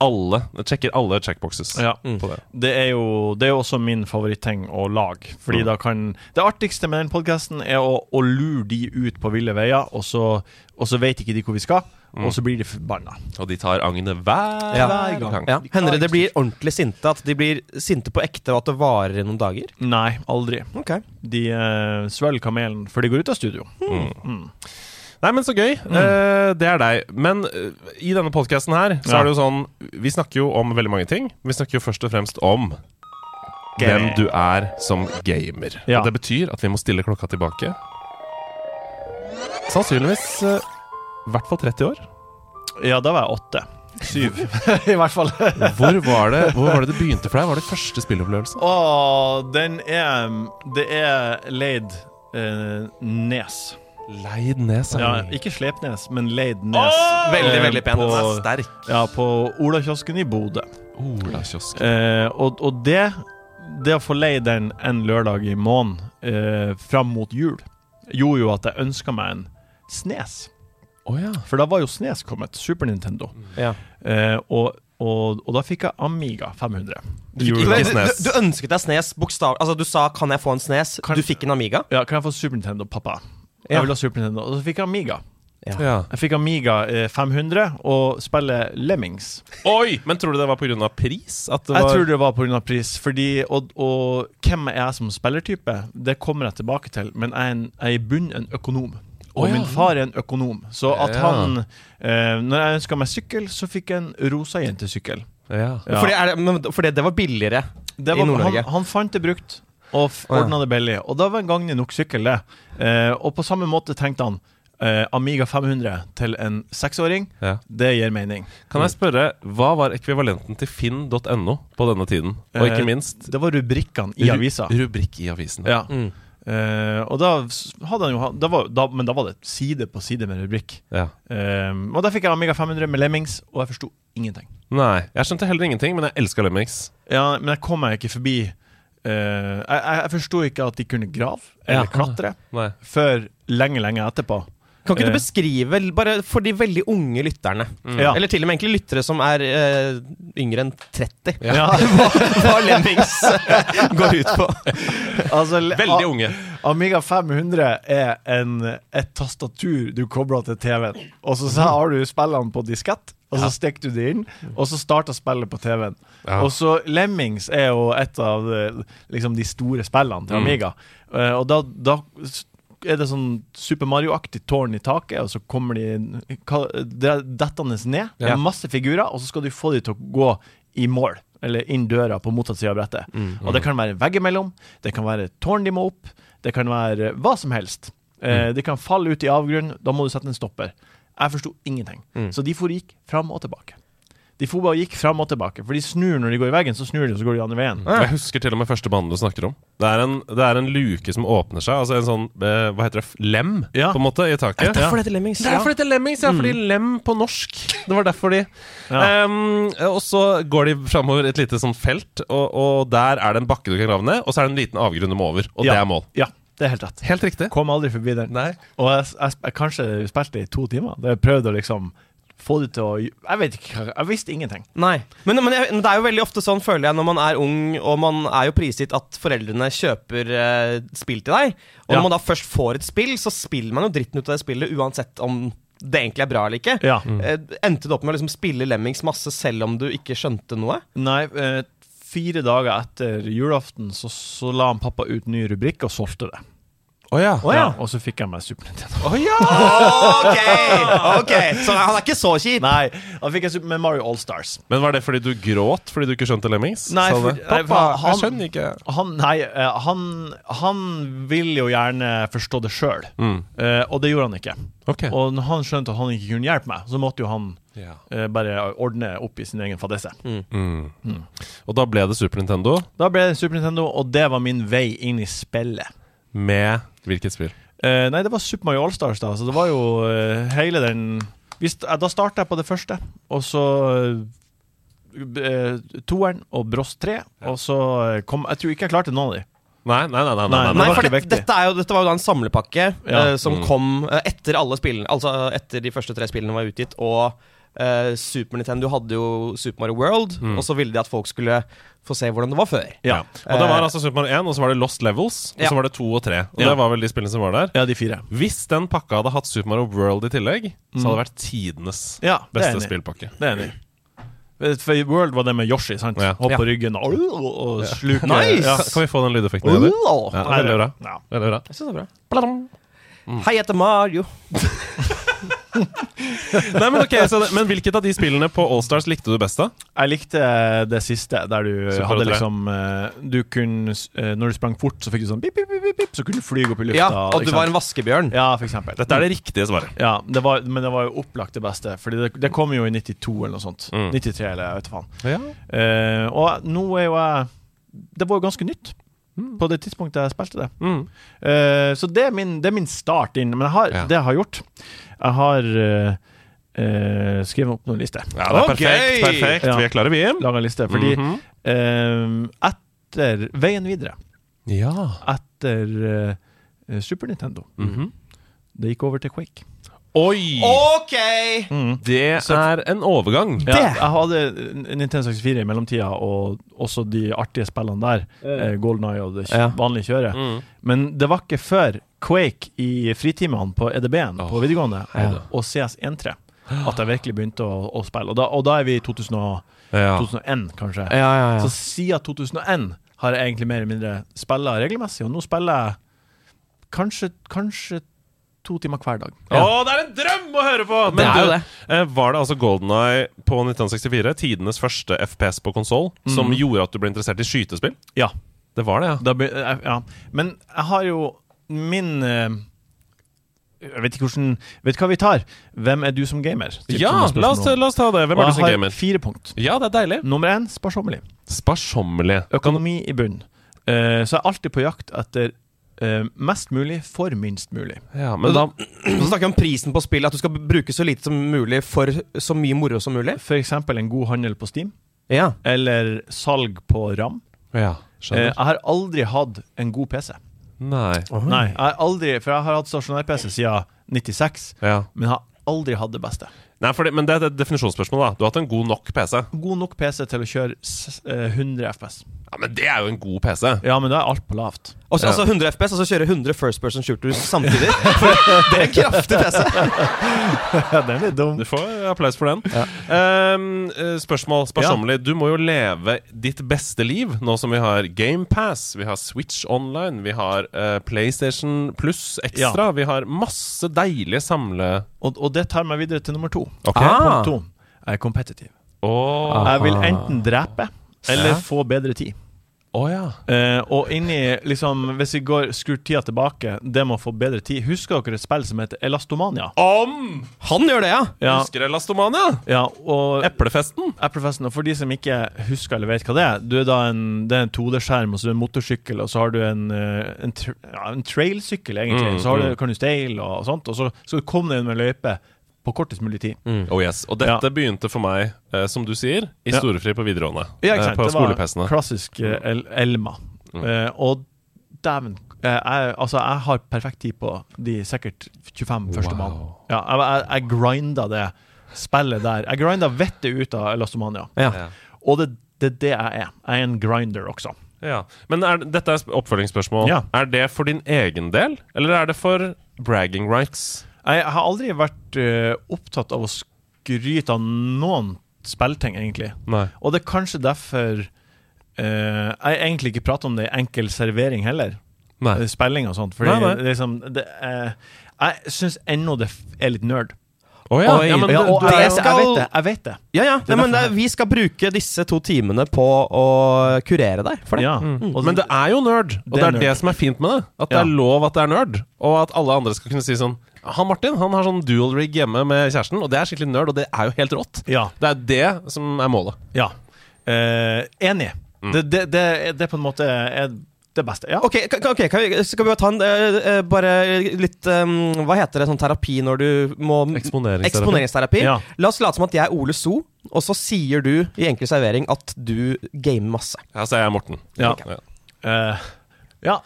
[SPEAKER 2] Alle jeg sjekker alle checkboxes
[SPEAKER 4] Ja.
[SPEAKER 1] Mm.
[SPEAKER 2] på det.
[SPEAKER 4] Det er, jo, det er jo også min favoritting å lage.
[SPEAKER 1] Mm.
[SPEAKER 4] Fordi da kan Det artigste med den podkasten er å, å lure de ut på ville veier, og så, og så vet ikke de hvor vi skal, og så blir de forbanna.
[SPEAKER 2] Og de tar agnet hver,
[SPEAKER 1] Mm. Ja.
[SPEAKER 4] Hver gang.
[SPEAKER 1] Ja. Hender det det blir ordentlig sinte? At de blir sinte på ekte, og at det varer i noen dager?
[SPEAKER 4] Nei, aldri.
[SPEAKER 1] Ok
[SPEAKER 4] De eh, svelger kamelen før de går ut av studio.
[SPEAKER 2] Mm.
[SPEAKER 4] Mm.
[SPEAKER 2] Nei, men så gøy. Eh, det er deg. Men eh, i denne podkasten her, så
[SPEAKER 4] Ja.
[SPEAKER 2] er det jo sånn Vi snakker jo om veldig mange ting. Vi snakker jo først og fremst om hvem du er som gamer.
[SPEAKER 4] Ja.
[SPEAKER 2] Og det betyr at vi må stille klokka tilbake. Sannsynligvis eh, i hvert fall 30 år.
[SPEAKER 4] Ja, da var jeg åtte. Syv, i hvert fall.
[SPEAKER 2] Hvor var, det, hvor var det det begynte for deg? Var det første spillopplevelse?
[SPEAKER 4] Og den er Det er leid eh, nes.
[SPEAKER 2] Leid nes. er
[SPEAKER 4] Ja,
[SPEAKER 2] det.
[SPEAKER 4] ikke Slepnes, men leid nes. eh,
[SPEAKER 1] Veldig, veldig pent.
[SPEAKER 4] På,
[SPEAKER 1] Den er
[SPEAKER 2] Sterk.
[SPEAKER 4] ja, på Olakiosken i Bodø.
[SPEAKER 2] Olakiosk.
[SPEAKER 4] Eh, og, og det Det å få leie den en lørdag i måneden eh, fram mot jul, gjorde jo at jeg ønska meg en Snes.
[SPEAKER 2] Å ja.
[SPEAKER 4] For da var jo Snes kommet. Super Nintendo.
[SPEAKER 1] Ja.
[SPEAKER 4] Eh, og, og, og da fikk jeg Amiga 500.
[SPEAKER 2] fikk
[SPEAKER 4] Jul-
[SPEAKER 2] ikke
[SPEAKER 1] Men,
[SPEAKER 2] Ikke
[SPEAKER 1] du,
[SPEAKER 2] Snes.
[SPEAKER 1] du ønsket deg Snes bokstav... Altså, du sa 'kan jeg få en Snes'?
[SPEAKER 4] Kan-
[SPEAKER 1] Du fikk en Amiga?
[SPEAKER 4] Ja, kan jeg få Super Nintendo, pappa?
[SPEAKER 1] Ja.
[SPEAKER 4] Jeg vil ha Super Nintendo. Og så fikk jeg Amiga.
[SPEAKER 2] Ja.
[SPEAKER 4] Jeg fikk Amiga eh, 500 og spiller Lemmings.
[SPEAKER 2] Oi! Men tror du det var pga. pris? At det
[SPEAKER 4] Jeg
[SPEAKER 2] var
[SPEAKER 4] tror det var pga. pris. Fordi, og, og hvem er jeg som spillertype? Det kommer jeg tilbake til, men jeg er, en, jeg er i bunnen en økonom. Og
[SPEAKER 2] Å, ja.
[SPEAKER 4] min far er en økonom, så at
[SPEAKER 2] Ja.
[SPEAKER 4] han eh, Når jeg ønska meg sykkel, så fikk jeg en rosa jentesykkel.
[SPEAKER 2] ja.
[SPEAKER 4] Ja.
[SPEAKER 1] Fordi, er det, men, fordi det var billigere
[SPEAKER 4] Det
[SPEAKER 1] i
[SPEAKER 4] var,
[SPEAKER 1] Nord-Norge.
[SPEAKER 4] han, han fant det brukt og f-
[SPEAKER 1] Å, ja.
[SPEAKER 4] ordna det billig. Og da var en gang det nok sykkel, det. Eh, og på samme måte tenkte han eh, Amiga 500 til en seksåring,
[SPEAKER 2] Ja.
[SPEAKER 4] det gir mening.
[SPEAKER 2] Kan jeg spørre, hva var ekvivalenten til finn.no på denne tiden? Og
[SPEAKER 4] Eh,
[SPEAKER 2] ikke minst
[SPEAKER 4] Det var rubrikkene i
[SPEAKER 2] ru-
[SPEAKER 4] avisa.
[SPEAKER 2] Rubrikk i avisen.
[SPEAKER 4] Ja.
[SPEAKER 1] Mm.
[SPEAKER 4] Eh, og da s- hadde han jo ha- da var, da, Men da var det side på side med rubrikk.
[SPEAKER 2] Ja.
[SPEAKER 4] Eh, og da fikk jeg Amiga 500 med Lemmings, og jeg forsto ingenting.
[SPEAKER 2] Nei, jeg skjønte heller ingenting, men jeg elska Lemmings.
[SPEAKER 4] Ja, men jeg kom meg ikke forbi eh, Jeg, jeg jeg forsto ikke at de kunne grave eller
[SPEAKER 2] Ja.
[SPEAKER 4] klatre
[SPEAKER 2] Nei.
[SPEAKER 4] før lenge, lenge etterpå.
[SPEAKER 1] Kan ikke
[SPEAKER 4] Eh.
[SPEAKER 1] du beskrive, bare for de veldig unge lytterne,
[SPEAKER 4] Ja.
[SPEAKER 1] eller til og med egentlig lyttere som er eh, yngre enn 30,
[SPEAKER 4] Ja.
[SPEAKER 1] hva Lemmings går ut på?
[SPEAKER 4] altså, le-
[SPEAKER 2] Veldig
[SPEAKER 4] A-
[SPEAKER 2] unge.
[SPEAKER 4] Amiga 500 er en, et tastatur du kobler til TV-en. Og så sa- har du spillene på diskett, og så stikker du det inn, og så starter spillet på TV-en.
[SPEAKER 2] Ja.
[SPEAKER 4] Og så Lemmings er jo et av de, liksom, de store spillene til
[SPEAKER 2] Mm.
[SPEAKER 4] Amiga. Eh, og da, da s- er det sånn Super Mario-aktig tårn i taket, og så kommer de hva- det er dettende ned. Det
[SPEAKER 2] Ja.
[SPEAKER 4] er masse figurer, og så skal du få de til å gå i mål. Eller inn døra på motsatt side av brettet. Og det kan være vegg imellom, det kan være tårn de må opp, det kan være hva som helst. Eh, det kan falle ut i avgrunnen, da må du sette en stopper. Jeg forsto ingenting. Så de for og gikk fram og tilbake. De for bare og gikk fram og tilbake, for de snur når de går i veggen, så snur de, og så går de andre veien.
[SPEAKER 2] Jeg husker til og med første banen du snakker om. Det er en, det er en luke som åpner seg. Altså en sånn eh, hva heter det, f- lem
[SPEAKER 4] Ja.
[SPEAKER 2] på en måte i taket. Mm.
[SPEAKER 1] Derfor det heter Lemmings.
[SPEAKER 2] Det er fordi det er lemmings, ja, fordi lem på norsk. Det var derfor de
[SPEAKER 4] Ja.
[SPEAKER 2] Ehm, Og så går de framover et lite sånn felt, og, og der er det en bakke du kan grave ned, og så er det en liten avgrunn du må over, og
[SPEAKER 4] Ja.
[SPEAKER 2] det er mål.
[SPEAKER 4] Ja, det er helt rett.
[SPEAKER 2] Helt riktig.
[SPEAKER 4] Kom aldri forbi den.
[SPEAKER 2] Nei.
[SPEAKER 4] Og jeg, jeg, jeg kanskje spilte i to timer. Da jeg prøvde å liksom få det til å Jeg vet ikke, hva- jeg visste ingenting.
[SPEAKER 1] Nei. Men, men, jeg, men det er jo veldig ofte sånn, føler jeg, når man er ung, og man er jo prisgitt at foreldrene kjøper eh, spill til deg. Og
[SPEAKER 4] Ja.
[SPEAKER 1] når man da først får et spill, så spiller man jo dritten ut av det spillet, uansett om det egentlig er bra eller ikke.
[SPEAKER 4] Ja.
[SPEAKER 1] Eh, endte du opp med å liksom spille Lemmings masse selv om du ikke skjønte noe?
[SPEAKER 4] Nei, eh, fire dager etter julaften så, så la han pappa ut ny rubrikk og solgte det.
[SPEAKER 2] Å ja.
[SPEAKER 4] ja. Og så fikk jeg meg Super Nintendo.
[SPEAKER 1] Ok! ok Så han er ikke så kjip.
[SPEAKER 4] Nei, da fikk jeg Super med Mario Allstars.
[SPEAKER 2] Men var det fordi du gråt fordi du ikke skjønte Lemmings?
[SPEAKER 4] Nei,
[SPEAKER 2] Sa du,
[SPEAKER 4] for- nei, for
[SPEAKER 2] Pappa, jeg
[SPEAKER 4] han-
[SPEAKER 2] skjønner ikke.
[SPEAKER 4] Han, nei, eh, han, han vil jo gjerne forstå det sjøl, eh, og det gjorde han ikke.
[SPEAKER 2] Mm, Ok.
[SPEAKER 4] Og når han skjønte at han ikke kunne hjelpe meg, så måtte jo han
[SPEAKER 2] Ja. Mm.
[SPEAKER 4] eh, bare ordne opp i sin egen fadese.
[SPEAKER 2] Og da ble det Super Nintendo
[SPEAKER 4] Da ble det Super Nintendo, og det var min vei inn i spillet.
[SPEAKER 2] med hvilket spill?
[SPEAKER 4] Eh, nei, det var Super Mario Allstars, da. Så det var jo eh, hele den Hvis- eh, Da starta jeg på det første, og så eh, eh, toeren og Bros 3, og så eh, kom Jeg tror ikke jeg klarte noen av de.
[SPEAKER 2] Nei, nei, nei. nei, nei,
[SPEAKER 4] Nei,
[SPEAKER 2] nei,
[SPEAKER 1] Nei,
[SPEAKER 4] var
[SPEAKER 1] for
[SPEAKER 4] ikke
[SPEAKER 1] det,
[SPEAKER 4] viktig.
[SPEAKER 1] dette, er jo, dette var jo da en samlepakke
[SPEAKER 4] Ja. Mm.
[SPEAKER 1] eh, som kom eh, etter alle spillene Altså eh, etter de første tre spillene var utgitt, og eh, Super Nintendo hadde jo Super Mario World, og så ville de at folk skulle få se hvordan det var før.
[SPEAKER 4] Mm. Ja,
[SPEAKER 2] Og da var altså Super Mario 1, og så var det Lost Levels, og
[SPEAKER 1] Ja.
[SPEAKER 2] så var det 2 og 3. Og
[SPEAKER 4] Ja.
[SPEAKER 2] det var vel de spillene som var der.
[SPEAKER 4] ja de fire.
[SPEAKER 2] Hvis den pakka hadde hatt Super Mario World i tillegg, så hadde det vært tidenes
[SPEAKER 4] Ja, det er
[SPEAKER 2] beste
[SPEAKER 4] enig.
[SPEAKER 2] spillpakke.
[SPEAKER 4] Det er jeg enig. i. For i World var det med Yoshi, sant?
[SPEAKER 2] Ja.
[SPEAKER 4] Hopp på
[SPEAKER 1] Ja.
[SPEAKER 4] ryggen og, og sluke
[SPEAKER 1] Nice!
[SPEAKER 4] ja.
[SPEAKER 2] Kan vi få den lydeffekten igjen? eller? Ja, veldig bra.
[SPEAKER 4] Ja.
[SPEAKER 2] Veldig bra.
[SPEAKER 1] Jeg synes det er bra. Mm. Hei, jeg heter Mario.
[SPEAKER 2] Nei, men, ok, så det, men hvilket av de spillene på Allstars likte du best, da?
[SPEAKER 4] Jeg likte det siste, der du
[SPEAKER 2] Super
[SPEAKER 4] hadde
[SPEAKER 2] tre.
[SPEAKER 4] liksom eh, Du kunne s- eh, Når du sprang fort, så fikk du sånn bip, bip, bip, bip, bip, så kunne du fly opp i lufta.
[SPEAKER 1] Ja, og
[SPEAKER 4] ikke
[SPEAKER 1] du
[SPEAKER 4] sant?
[SPEAKER 1] var en vaskebjørn.
[SPEAKER 4] Ja, for eksempel.
[SPEAKER 2] Dette er det riktige svaret.
[SPEAKER 4] Ja, det var, men det var jo opplagt det beste, Fordi det, det kom jo i 92 eller noe sånt.
[SPEAKER 2] Mm.
[SPEAKER 4] 93 eller jeg vet faen.
[SPEAKER 2] Ja.
[SPEAKER 4] Eh, og nå er jo jeg Det var jo ganske nytt på det tidspunktet jeg spilte det.
[SPEAKER 2] Mm.
[SPEAKER 4] Eh, så det er, min, det er min start inn. Men jeg har,
[SPEAKER 2] Ja.
[SPEAKER 4] det jeg har gjort Jeg har eh, eh, skrevet opp noen lister.
[SPEAKER 2] Ja, det er perfekt.
[SPEAKER 1] Ok.
[SPEAKER 2] perfekt
[SPEAKER 4] Ja.
[SPEAKER 2] Vi er klare, vi.
[SPEAKER 4] Laga liste. Fordi
[SPEAKER 2] Mhm.
[SPEAKER 4] eh, etter Veien videre,
[SPEAKER 2] Ja.
[SPEAKER 4] etter eh, Super Nintendo,
[SPEAKER 2] Mhm.
[SPEAKER 4] det gikk over til Quake.
[SPEAKER 2] Oi!
[SPEAKER 1] Ok!
[SPEAKER 4] Mm.
[SPEAKER 2] Det er en overgang.
[SPEAKER 4] Ja, jeg hadde Nintendo 64 i mellomtida, og også de artige spillene der. Eh, Golden Eye og det kj-
[SPEAKER 1] Ja.
[SPEAKER 4] vanlige kjøret.
[SPEAKER 2] Mm.
[SPEAKER 4] Men det var ikke før Quake i fritimene på EDB-en på videregående,
[SPEAKER 2] hei da.
[SPEAKER 4] og, og CS13. At jeg virkelig begynte å, å spille. Og da, og da er vi i 2000 og,
[SPEAKER 2] Ja.
[SPEAKER 4] 2001, kanskje.
[SPEAKER 1] Ja, ja, ja.
[SPEAKER 4] Så siden 2001 har jeg egentlig mer eller mindre spilla regelmessig, og nå spiller jeg kanskje, kanskje to timer hver dag.
[SPEAKER 2] Å, det er en drøm å høre på! Men
[SPEAKER 1] Det er jo
[SPEAKER 2] du,
[SPEAKER 1] det.
[SPEAKER 2] eh, var det altså Golden Eye på 1964, tidenes første FPS på konsoll, som gjorde at du ble interessert i skytespill?
[SPEAKER 4] Ja.
[SPEAKER 2] Det var det, ja.
[SPEAKER 4] Da, be- jeg- ja. Men jeg har jo min eh, Jeg vet ikke hvordan Vet du hva vi tar? Hvem er du som gamer? Typ
[SPEAKER 2] Ja,
[SPEAKER 4] sånne spørsmål.
[SPEAKER 2] la oss, la oss ta det. Hvem
[SPEAKER 4] Og
[SPEAKER 2] er du
[SPEAKER 4] jeg
[SPEAKER 2] som
[SPEAKER 4] har
[SPEAKER 2] gamer?
[SPEAKER 4] Fire punkt.
[SPEAKER 2] Ja, det er deilig.
[SPEAKER 4] Nummer én sparsommelig.
[SPEAKER 2] Sparsommelig.
[SPEAKER 4] Økonomi i bunn. Eh, så jeg er alltid på jakt etter eh, mest mulig for minst mulig.
[SPEAKER 2] Ja, men da
[SPEAKER 4] Mm.
[SPEAKER 1] Så snakker vi om prisen på spillet, at du skal bruke så lite som mulig for så mye moro som mulig.
[SPEAKER 4] F.eks. en god handel på Steam,
[SPEAKER 1] Ja.
[SPEAKER 4] eller salg på RAM.
[SPEAKER 2] Ja,
[SPEAKER 4] Eh,
[SPEAKER 2] skjønner.
[SPEAKER 4] jeg har aldri hatt en god PC.
[SPEAKER 2] Nei.
[SPEAKER 4] Nei, jeg har aldri, For jeg har hatt stasjonær-PC siden 96,
[SPEAKER 2] Ja.
[SPEAKER 4] men jeg har aldri hatt det beste.
[SPEAKER 2] Nei, fordi- men det er et definisjonsspørsmål, da. Du har hatt en god nok PC.
[SPEAKER 4] God nok PC til å kjøre s- eh, 100 FPS.
[SPEAKER 2] Ja, Men det er jo en god PC.
[SPEAKER 4] Ja, men da er alt på lavt.
[SPEAKER 1] Og så- altså 100 FPS, altså kjøre 100 first person shooters samtidig. For det er en kraftig PC.
[SPEAKER 4] Ja, den er dum.
[SPEAKER 2] Du får applaus for den. Ehm, eh, spørsmål sparsommelig. Du må jo leve ditt beste liv nå som vi har GamePass, vi har Switch Online, vi har eh, PlayStation Pluss ekstra. Vi har masse deilige samle...
[SPEAKER 4] Og, og det tar meg videre til nummer to.
[SPEAKER 2] Ok.
[SPEAKER 1] Ah.
[SPEAKER 4] Punkt to. Jeg er kompetitiv.
[SPEAKER 2] Å
[SPEAKER 4] Jeg vil enten drepe
[SPEAKER 2] Ja.
[SPEAKER 4] eller få bedre tid.
[SPEAKER 2] Å, ja.
[SPEAKER 4] Eh, og inni, liksom, hvis vi går, skrur tida tilbake, det med å få bedre tid Husker dere et spill som heter Elastomania?
[SPEAKER 2] Om!
[SPEAKER 1] Han gjør det, ja.
[SPEAKER 4] Ja,
[SPEAKER 2] Husker du Elastomania?
[SPEAKER 4] ja og
[SPEAKER 2] Eplefesten?
[SPEAKER 4] Apple-festen, og for de som ikke husker eller vet hva det er, du er da en, det er en 2D-skjerm, og så er det en motorsykkel, og så har du en, eh, en, tr- ja, en trail-sykkel, egentlig.
[SPEAKER 2] Mm,
[SPEAKER 4] så har du,
[SPEAKER 2] mm.
[SPEAKER 4] kan du steile og, sånt, og så skal du komme deg gjennom en løype på kortest mulig tid.
[SPEAKER 2] Oh yes, Og dette begynte for meg, eh, som du sier, i
[SPEAKER 4] Mm. Ja.
[SPEAKER 2] storefri på videregående.
[SPEAKER 4] Ja, ikke
[SPEAKER 2] Eh,
[SPEAKER 4] sant?
[SPEAKER 2] på Mm.
[SPEAKER 4] Det var
[SPEAKER 2] skolepessene.
[SPEAKER 4] Klassisk eh, el Elma.
[SPEAKER 2] Mm.
[SPEAKER 4] Eh, og dæven eh, jeg, altså, jeg har perfekt tid på de sikkert 25 første
[SPEAKER 2] Wow.
[SPEAKER 4] månedene. Ja, jeg, jeg, jeg grinda det spillet der. Jeg grinda vettet ut av Elastomania.
[SPEAKER 2] Ja.
[SPEAKER 4] Og det det er det jeg er. Jeg er en grinder også.
[SPEAKER 2] Ja. Men er, dette er sp- oppfølgingsspørsmål.
[SPEAKER 4] Ja.
[SPEAKER 2] Er det for din egen del, eller er det for bragging rights?
[SPEAKER 4] Jeg har aldri vært eh, opptatt av å skryte av noen spillting, egentlig.
[SPEAKER 2] Nei.
[SPEAKER 4] Og det er kanskje derfor eh, jeg egentlig ikke prater om det i enkel servering heller. Eh,
[SPEAKER 2] Nei.
[SPEAKER 4] Spilling og sånt. Fordi
[SPEAKER 2] Nei, nei.
[SPEAKER 4] liksom det, er- Jeg syns ennå det f- er litt nerd.
[SPEAKER 2] Å ja.
[SPEAKER 1] Oi.
[SPEAKER 2] ja, men
[SPEAKER 4] ja,
[SPEAKER 2] du,
[SPEAKER 4] og
[SPEAKER 2] du
[SPEAKER 1] er
[SPEAKER 4] jeg,
[SPEAKER 2] er
[SPEAKER 1] jo-
[SPEAKER 2] jo
[SPEAKER 4] jeg vet det. Jeg vet det.
[SPEAKER 1] Ja, ja.
[SPEAKER 4] er
[SPEAKER 1] Nei, men
[SPEAKER 4] derfor
[SPEAKER 1] det, er- vi skal bruke disse to timene på å kurere deg for det.
[SPEAKER 4] Ja. Og
[SPEAKER 2] Men det Mm. er jo nerd, og det
[SPEAKER 4] Det er
[SPEAKER 2] er det som er fint med det. At det
[SPEAKER 4] Ja.
[SPEAKER 2] er lov at det er nerd, og at alle andre skal kunne si sånn Han Martin han har sånn dual rig hjemme med kjæresten, og det er skikkelig nerd, og det er jo helt rått.
[SPEAKER 4] Ja.
[SPEAKER 2] Det er det som er målet.
[SPEAKER 4] ja. Eh, enig.
[SPEAKER 2] Mm.
[SPEAKER 4] Det, det, det, er- det er på en måte er det beste. Ja.
[SPEAKER 1] Ok, ka- ka- ok, kan vi, Skal vi bare ta en eh, eh, bare litt eh, Hva heter det sånn terapi når du må
[SPEAKER 2] Eksponeringsterapi.
[SPEAKER 1] Eksponeringsterapi.
[SPEAKER 4] Ja.
[SPEAKER 1] La oss late som at jeg er Ole So, og så sier du i Enkel servering at du gamer masse.
[SPEAKER 2] Ja, så er jeg Morten.
[SPEAKER 4] Ja. Eh, ja.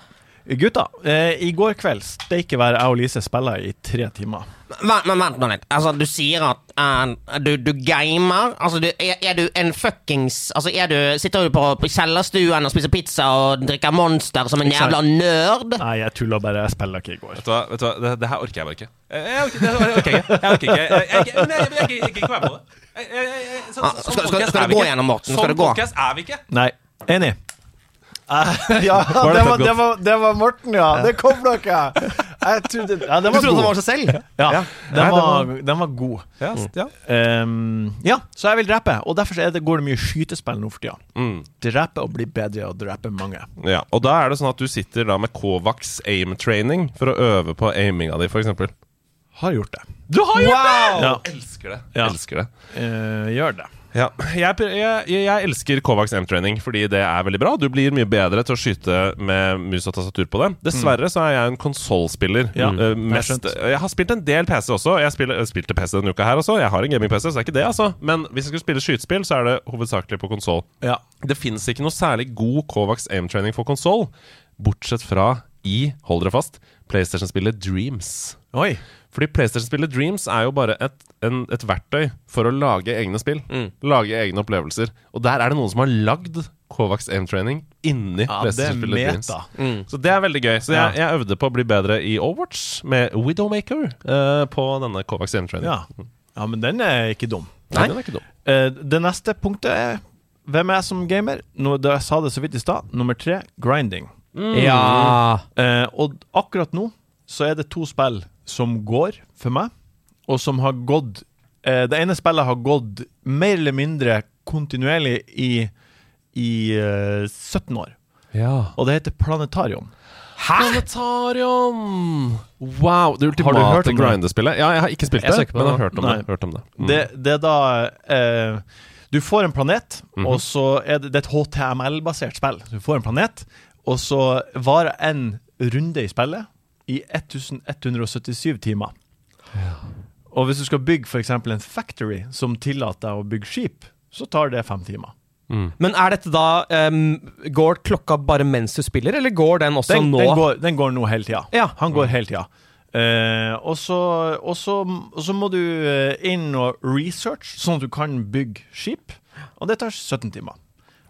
[SPEAKER 4] Gutta, eh, i går kveld steike være jeg og Lise spilla i tre timer.
[SPEAKER 3] Vent, men vent nå litt. Altså, du sier at eh, du, du gamer. Altså, du, er, er du en fuckings Altså, er du, sitter du på, på kjellerstuen og spiser pizza og drikker Monster som en
[SPEAKER 4] sant.
[SPEAKER 3] jævla nerd?
[SPEAKER 4] Nei, jeg tulla bare. Jeg spilla ikke i går.
[SPEAKER 2] Vet du hva, vet du hva? Det, det her orker jeg bare ikke. Jeg jeg orker, det her orker jeg ikke. Jeg orker ikke. Jeg, jeg, jeg, jeg, jeg, jeg, jeg gidder ikke være på det. Jeg- jeg- jeg- jeg- så-
[SPEAKER 3] Ah,
[SPEAKER 2] sånn
[SPEAKER 3] skal- skal-
[SPEAKER 2] podcast
[SPEAKER 3] skal
[SPEAKER 2] er
[SPEAKER 3] du
[SPEAKER 2] vi
[SPEAKER 3] gå
[SPEAKER 2] ikke.
[SPEAKER 3] gjennom, Morten? Skal du
[SPEAKER 2] Sånn
[SPEAKER 3] gå?
[SPEAKER 2] podcast er vi ikke.
[SPEAKER 4] Nei. Enig. Eh, ja, det
[SPEAKER 2] det for
[SPEAKER 4] var,
[SPEAKER 2] godt?
[SPEAKER 4] det, var, det var Morten, ja. Det kom dere! Jeg trodde ja, den
[SPEAKER 1] Du
[SPEAKER 4] var
[SPEAKER 1] trodde han
[SPEAKER 4] god.
[SPEAKER 1] var seg selv?
[SPEAKER 4] Ja,
[SPEAKER 2] Nei,
[SPEAKER 4] den
[SPEAKER 2] det
[SPEAKER 4] var, den var god.
[SPEAKER 2] Ja, ja.
[SPEAKER 4] Ehm, ja, så jeg vil drepe, og derfor så er det, går det mye skytespill nå for tida. Drepe og bli bedre og drepe mange.
[SPEAKER 2] ja. Og da er det sånn at du sitter da med Kovacs aim training for å øve på aiminga di, f.eks.
[SPEAKER 4] Har gjort det.
[SPEAKER 2] Du har gjort det!
[SPEAKER 4] Ja.
[SPEAKER 2] Elsker det.
[SPEAKER 4] Ja.
[SPEAKER 2] Elsker det.
[SPEAKER 4] Eh, gjør det.
[SPEAKER 2] Ja, jeg, jeg, jeg elsker Kovacs M-training fordi det er veldig bra. Du blir mye bedre til å skyte med mus og tastatur på det. Dessverre så er jeg en konsollspiller.
[SPEAKER 4] Ja,
[SPEAKER 2] eh,
[SPEAKER 4] jeg
[SPEAKER 2] mest-
[SPEAKER 4] skjønte.
[SPEAKER 2] jeg har spilt en del PC også. Jeg spiller, jeg spilte PC denne uka her også. Jeg har en gaming-PC, så det er ikke det, altså. Men hvis jeg skulle spille skytespill, så er det hovedsakelig på konsoll.
[SPEAKER 4] Ja.
[SPEAKER 2] Det fins ikke noe særlig god Kovacs aim-training for konsoll, bortsett fra i, hold dere fast, PlayStation-spillet Dreams.
[SPEAKER 4] Oi.
[SPEAKER 2] Fordi PlayStation-spillet Dreams er jo bare et, en,
[SPEAKER 4] Mm.
[SPEAKER 2] et verktøy for å lage egne spill. Lage egne opplevelser. Og der er det noen som har lagd Kovacs aim-training inni
[SPEAKER 4] Ja, det er
[SPEAKER 2] PlayStation-spillet
[SPEAKER 4] meta. Mm.
[SPEAKER 2] Dreams. Så det er veldig gøy. Så jeg, jeg øvde på å bli bedre i Overwatch med Widowmaker eh, på denne Kovacs aim-training.
[SPEAKER 4] Ja. ja, men den er ikke dum.
[SPEAKER 2] Nei, den er ikke dum.
[SPEAKER 4] Eh, det neste punktet er Hvem er jeg som gamer? Nå, da jeg sa det så vidt i stad. Nummer tre grinding.
[SPEAKER 1] Ja.
[SPEAKER 4] Eh, og akkurat nå så er det to spill som går for meg, og som har gått eh, Det ene spillet har gått mer eller mindre kontinuerlig i, i eh, 17 år,
[SPEAKER 2] Ja.
[SPEAKER 4] og det heter Planetarium.
[SPEAKER 2] Planetarium! Wow, det ultimate
[SPEAKER 4] Har du hørt om det?
[SPEAKER 2] grindespillet. Ja, jeg har ikke spilt
[SPEAKER 4] Jeg
[SPEAKER 2] det,
[SPEAKER 4] så ikke på
[SPEAKER 2] men
[SPEAKER 4] det.
[SPEAKER 2] jeg har hørt om
[SPEAKER 4] Nei.
[SPEAKER 2] det. Hørt om det. Mm.
[SPEAKER 4] Det, det er da eh, Du får en planet,
[SPEAKER 1] Mhm.
[SPEAKER 4] og så er det, det er et HTML-basert spill. Du får en planet, og så varer en runde i spillet i 1177 timer. Og hvis du skal bygge f.eks. en factory som tillater deg å bygge skip, så tar det fem timer.
[SPEAKER 2] Mm.
[SPEAKER 1] Men er dette da em, Går klokka bare mens du spiller, eller går den også
[SPEAKER 4] Den,
[SPEAKER 1] nå?
[SPEAKER 4] den, går, den går nå hele tida.
[SPEAKER 1] Ja. Mm.
[SPEAKER 4] Han går hele tida. Eh, og, så, og, så, og så må du eh, inn og research, sånn at du kan bygge skip. Og det tar 17 timer.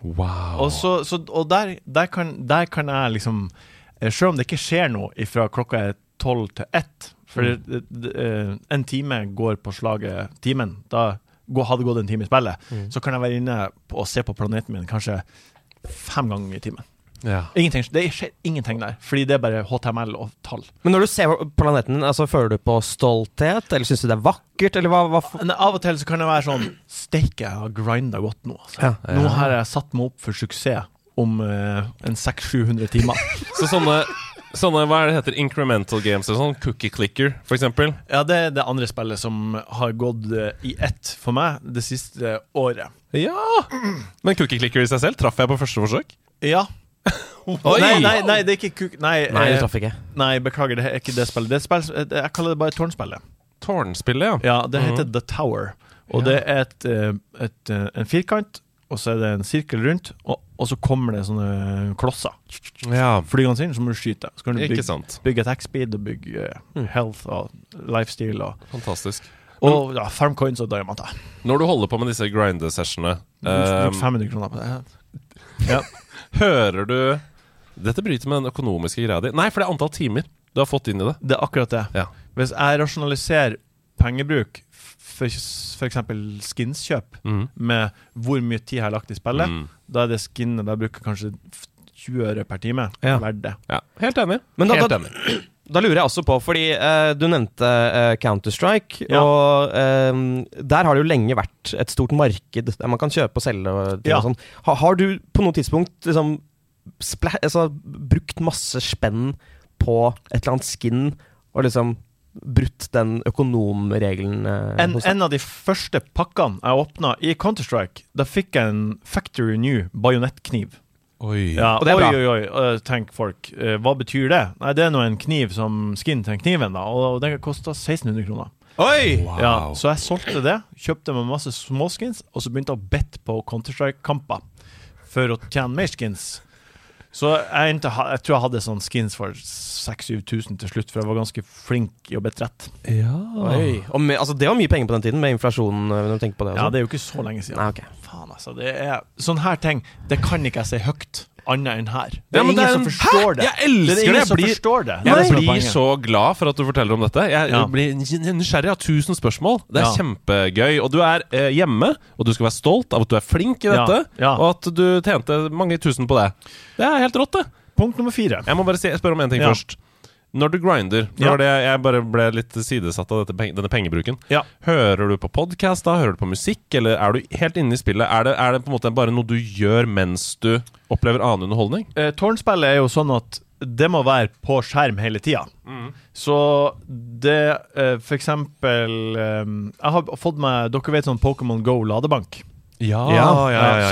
[SPEAKER 2] Wow.
[SPEAKER 4] Og, så, så, og der, der, kan, der kan jeg liksom eh, Selv om det ikke skjer noe fra klokka er tolv til ett For
[SPEAKER 1] Mm.
[SPEAKER 4] det- det- eh, en time går på slaget timen. Da gå- hadde det gått en time i spillet.
[SPEAKER 1] Mm.
[SPEAKER 4] Så kan jeg være inne på, og se på planeten min kanskje fem ganger i timen.
[SPEAKER 2] Ja.
[SPEAKER 4] Ingenting, det skjer ingenting der, fordi det er bare HTML og tall.
[SPEAKER 1] Men når du ser planeten, altså, føler du på stolthet, eller syns du det er vakkert, eller hva, hva f-
[SPEAKER 4] Men av og til så kan det være sånn Steike, jeg har grinda godt nå. Altså.
[SPEAKER 1] Ja.
[SPEAKER 4] Nå har jeg satt meg opp for suksess om eh, en 600-700 timer.
[SPEAKER 2] Så sånne, sånne hva er det heter, incremental games eller sånn, cookie clicker for eksempel.
[SPEAKER 4] Ja, det er det andre spillet som har gått eh, i ett for meg det siste året.
[SPEAKER 2] Ja! Men cookie clicker i seg selv traff jeg på første forsøk.
[SPEAKER 4] Ja.
[SPEAKER 2] Oi!
[SPEAKER 4] Nei, nei, nei, det er ikke kuk... Nei,
[SPEAKER 1] Nei,
[SPEAKER 4] eh,
[SPEAKER 1] du traff ikke.
[SPEAKER 4] nei, beklager, det er ikke det spillet. Det er et spill, som- eh, jeg kaller det bare Tårnspillet. Mhm.
[SPEAKER 2] Tårnspillet, ja.
[SPEAKER 4] Ja, det heter The Tower. Og det er et, eh, et, eh, en firkant, og så er det en sirkel rundt, og, og så kommer det sånne klosser
[SPEAKER 2] ja.
[SPEAKER 4] flygende inn, så må du skyte. Så kan du
[SPEAKER 2] Ikke
[SPEAKER 4] bygge,
[SPEAKER 2] sant.
[SPEAKER 4] bygge attack speed og bygge eh, health og lifestyle og,
[SPEAKER 2] Fantastisk.
[SPEAKER 4] og ja, farm coins og diamanter.
[SPEAKER 2] Når du holder på med disse grindesessionene,
[SPEAKER 4] Mm, Bruk
[SPEAKER 2] ehm,
[SPEAKER 4] 500 kroner på det. Ja.
[SPEAKER 2] hører du Dette bryter med den økonomiske greia di. Nei, for det er antall timer du har fått inn i det.
[SPEAKER 4] Det er akkurat det.
[SPEAKER 2] Ja.
[SPEAKER 4] Hvis jeg rasjonaliserer pengebruk, f.eks. skinskjøp,
[SPEAKER 2] Mhm.
[SPEAKER 4] med hvor mye tid jeg har lagt i spillet,
[SPEAKER 1] Mm.
[SPEAKER 4] da er det skinnet jeg bruker kanskje f- 20 øre per time,
[SPEAKER 1] Ja.
[SPEAKER 4] verdt det.
[SPEAKER 2] ja. Helt enig.
[SPEAKER 1] Men da-
[SPEAKER 2] Helt
[SPEAKER 1] da-
[SPEAKER 2] enig.
[SPEAKER 1] Da lurer jeg også på, fordi eh, du nevnte eh, Counter-Strike.
[SPEAKER 4] Ja.
[SPEAKER 1] Og eh, der har det jo lenge vært et stort marked der man kan kjøpe og selge og, ting
[SPEAKER 4] Ja.
[SPEAKER 1] og sånn. Ha, har du på noe tidspunkt liksom spla- altså, brukt masse spenn på et eller annet skin og liksom brutt den økonomregelen eh,
[SPEAKER 4] En,
[SPEAKER 1] hos deg?
[SPEAKER 4] en av de første pakkene jeg åpna i Counter-Strike, da fikk jeg en Factory New bajonettkniv.
[SPEAKER 2] Oi.
[SPEAKER 4] Ja,
[SPEAKER 1] Og det er
[SPEAKER 4] oi,
[SPEAKER 1] bra.
[SPEAKER 4] oi, oi, øh, tenk folk. øh, hva betyr det? Nei, det er nå en kniv som skin til den kniven, da, og den kosta 1600 kroner.
[SPEAKER 1] Oi!
[SPEAKER 2] Wow.
[SPEAKER 4] Ja, så jeg solgte det, kjøpte meg masse småskins, og så begynte jeg å bette på Counter-Strike-kamper for å tjene mer skins. Så jeg, endte, ha- jeg tror jeg hadde sånn skins for 6000-7000 til slutt, for jeg var ganske flink i å bette rett.
[SPEAKER 1] Oi. Og med, altså, det var mye penger på den tiden, med inflasjonen. eh, Når du tenker på det, og
[SPEAKER 4] Ja,
[SPEAKER 1] sånn.
[SPEAKER 4] det er jo ikke så lenge siden.
[SPEAKER 1] Nei, ok.
[SPEAKER 4] Faen, altså. Det er sånne her ting, det kan ikke jeg si høyt, annet enn her. Det er
[SPEAKER 2] Ja, men
[SPEAKER 4] ingen
[SPEAKER 2] det er
[SPEAKER 4] som
[SPEAKER 2] en-
[SPEAKER 4] forstår
[SPEAKER 2] Hæ?
[SPEAKER 4] det.
[SPEAKER 2] Jeg elsker
[SPEAKER 4] det. Er ingen
[SPEAKER 2] det. Jeg
[SPEAKER 4] som
[SPEAKER 2] blir-
[SPEAKER 4] forstår det. Det er det
[SPEAKER 2] Jeg
[SPEAKER 4] som er
[SPEAKER 2] blir
[SPEAKER 4] poenget.
[SPEAKER 2] så glad for at du forteller om dette. Jeg
[SPEAKER 4] Ja.
[SPEAKER 2] blir nysgjerrig, jeg har tusen spørsmål. Det er
[SPEAKER 4] Ja.
[SPEAKER 2] kjempegøy. Og du er eh, hjemme, og du skal være stolt av at du er flink i
[SPEAKER 4] Ja.
[SPEAKER 2] dette,
[SPEAKER 4] Ja.
[SPEAKER 2] og at du tjente mange tusen på det. Det er helt rått, det.
[SPEAKER 4] Punkt nummer fire.
[SPEAKER 2] Jeg må bare si, spørre om én ting
[SPEAKER 4] Ja.
[SPEAKER 2] først. Når du grinder for
[SPEAKER 4] Ja.
[SPEAKER 2] det var det jeg- Jeg bare ble litt sidesatt av dette, peng- denne pengebruken.
[SPEAKER 4] Ja.
[SPEAKER 2] Hører du på podkast da? Hører du på musikk? Eller er du helt inne i spillet? Er det, er det på en måte bare noe du gjør mens du opplever annen underholdning?
[SPEAKER 4] Eh, tårnspillet er jo sånn at det må være på skjerm hele tida.
[SPEAKER 2] Mm.
[SPEAKER 4] Så det eh, For eksempel eh, Jeg har fått meg Dere vet sånn Pokémon Go ladebank?
[SPEAKER 2] Ah, Ja,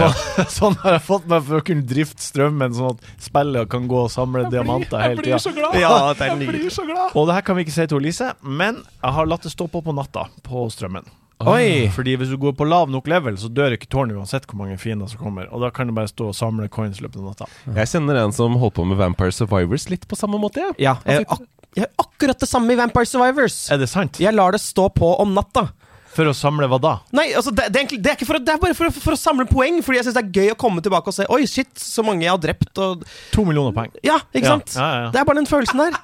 [SPEAKER 4] Så, sånn har jeg fått meg for å kunne drifte strømmen, sånn at spillet kan gå og samle diamanter hele tida.
[SPEAKER 1] Ja, det er nydelig.
[SPEAKER 2] så glad!
[SPEAKER 4] Og det her kan vi ikke si til Elise, men jeg har latt det stå på på natta på strømmen.
[SPEAKER 1] Oi.
[SPEAKER 4] Fordi hvis du går på lav nok level, så dør ikke tårnet uansett hvor mange fiender som kommer. Og da kan du bare stå og samle coins i løpet av natta.
[SPEAKER 2] Jeg kjenner en som holdt på med Vampire Survivors litt på samme måte. jeg.
[SPEAKER 1] Ja, jeg, ak jeg gjør akkurat det samme i Vampire Survivors.
[SPEAKER 4] Er det sant?
[SPEAKER 1] Jeg lar det stå på om natta.
[SPEAKER 4] For å samle hva da?
[SPEAKER 1] Nei, altså, det, det, er egentlig, det er ikke for å, det er bare for å, for å samle poeng, fordi jeg syns det er gøy å komme tilbake og se Oi, shit, så mange jeg har drept, og
[SPEAKER 4] To millioner poeng.
[SPEAKER 1] Ja, ikke
[SPEAKER 4] Ja,
[SPEAKER 1] sant?
[SPEAKER 4] ja, ja.
[SPEAKER 1] Det er bare den følelsen der.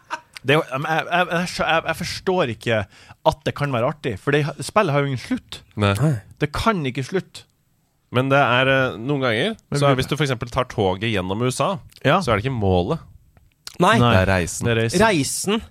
[SPEAKER 4] Det, er jo- jeg, jeg, jeg, jeg, jeg forstår ikke at det kan være artig, for det, spillet har jo ingen slutt.
[SPEAKER 2] Nei.
[SPEAKER 4] Det kan ikke slutte.
[SPEAKER 2] Men det er eh, noen ganger
[SPEAKER 4] Men
[SPEAKER 2] så
[SPEAKER 4] blir-
[SPEAKER 2] er, Hvis du f.eks. tar toget gjennom USA,
[SPEAKER 4] Ja.
[SPEAKER 2] så er det ikke målet.
[SPEAKER 1] Nei.
[SPEAKER 4] Nei.
[SPEAKER 2] Det er reisen.
[SPEAKER 4] Det er reisen.
[SPEAKER 1] Reisen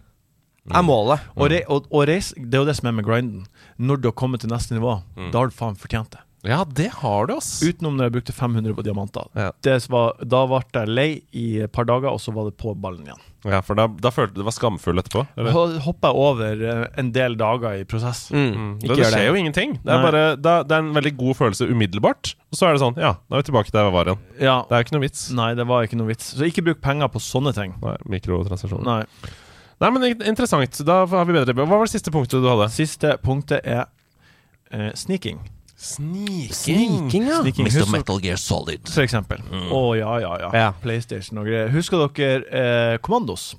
[SPEAKER 1] er målet.
[SPEAKER 4] Og, re, og, og reis, det er jo det som er med grinden. Når du har kommet til neste nivå,
[SPEAKER 2] Mm.
[SPEAKER 4] da har du faen fortjent det.
[SPEAKER 2] Ja, det har du, ass.
[SPEAKER 4] Utenom når jeg brukte 500 på diamanter.
[SPEAKER 2] Ja.
[SPEAKER 4] Det var, da ble jeg lei i et par dager, og så var det på ballen igjen.
[SPEAKER 2] Ja, for da, da følte du det var skamfull etterpå. Eller?
[SPEAKER 4] Da hoppa jeg over eh, en del dager i prosess.
[SPEAKER 1] Mm,
[SPEAKER 2] Det, det skjer jo ingenting. Det er,
[SPEAKER 4] Nei.
[SPEAKER 2] bare, da, det er en veldig god følelse umiddelbart. Og så er det sånn Ja, da er vi tilbake der vi var igjen.
[SPEAKER 4] Ja.
[SPEAKER 2] Det er jo ikke noe vits.
[SPEAKER 4] Nei, det var ikke noe vits. Så ikke bruk penger på sånne ting.
[SPEAKER 2] Nei, mikrotransaksjoner.
[SPEAKER 4] Nei.
[SPEAKER 2] Nei, men in- interessant. Da har vi bedre Hva var det siste punktet du hadde?
[SPEAKER 4] Siste punktet er eh, sneaking,
[SPEAKER 2] Sniking.
[SPEAKER 1] ja.
[SPEAKER 4] Sneaking. Husk-
[SPEAKER 3] Metal Gear Solid.
[SPEAKER 4] for eksempel. Å ja, ja, ja,
[SPEAKER 1] Ja.
[SPEAKER 4] PlayStation og greier. Husker dere eh, Commandos?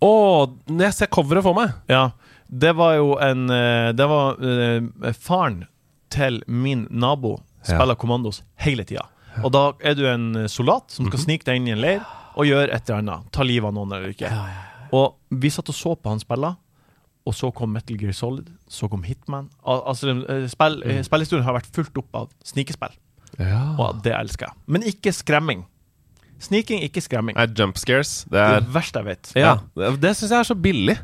[SPEAKER 2] Å, jeg ser coveret for meg.
[SPEAKER 4] Ja, det var jo en eh, Det var eh, faren til min nabo spiller kommandos hele tida. Og da er du en soldat som skal snike deg inn i en leir og gjøre et eller annet. Ta livet av noen eller ikke. Og vi satt og så på han spille, og så kom Metal Gear Solid, så kom Hitman. Al altså, eh, spill, eh, Spillhistorien har vært fulgt opp av snikespill, og det elsker jeg. Men ikke skremming. Sniking, ikke skremming.
[SPEAKER 2] Nei, jump scares. Det
[SPEAKER 4] Det er
[SPEAKER 2] er
[SPEAKER 4] det verste jeg vet.
[SPEAKER 2] Ja. Det, det syns jeg er så billig.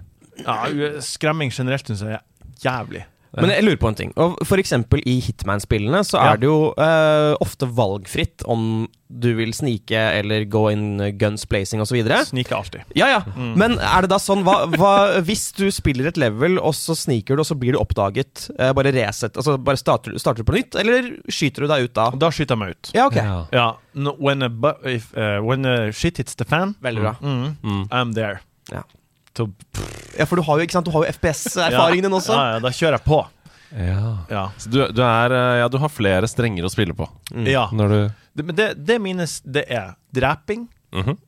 [SPEAKER 4] Ja, skremming generelt syns jeg er jævlig.
[SPEAKER 1] Men jeg lurer på en ting. Og for eksempel i Hitman-spillene så
[SPEAKER 4] Ja.
[SPEAKER 1] er det jo eh, ofte valgfritt om du vil snike eller gå inn guns blazing osv.
[SPEAKER 4] Snike alltid.
[SPEAKER 1] Ja, ja.
[SPEAKER 4] Mm.
[SPEAKER 1] Men er det da sånn hva, hva, Hvis du spiller et level, og så sniker du, og så blir du oppdaget eh, Bare reset, altså bare starter, starter du på nytt, eller skyter du deg ut da?
[SPEAKER 4] Og Da skyter jeg meg ut.
[SPEAKER 1] Ja, ok.
[SPEAKER 4] Ja. No, when, a bu if, eh, when a shit hits the fan,
[SPEAKER 1] Veldig bra.
[SPEAKER 4] mm, I'm there.
[SPEAKER 1] Ja.
[SPEAKER 4] To-
[SPEAKER 1] Ja, for du har jo ikke sant, du har jo FPS-erfaringen din også.
[SPEAKER 4] Ja, ja, da kjører jeg på. Ja.
[SPEAKER 2] Så du, du er eh, Ja, du har flere strenger å spille på
[SPEAKER 1] Mm.
[SPEAKER 4] ja.
[SPEAKER 2] når du
[SPEAKER 4] Det, men det, det minus det er dreping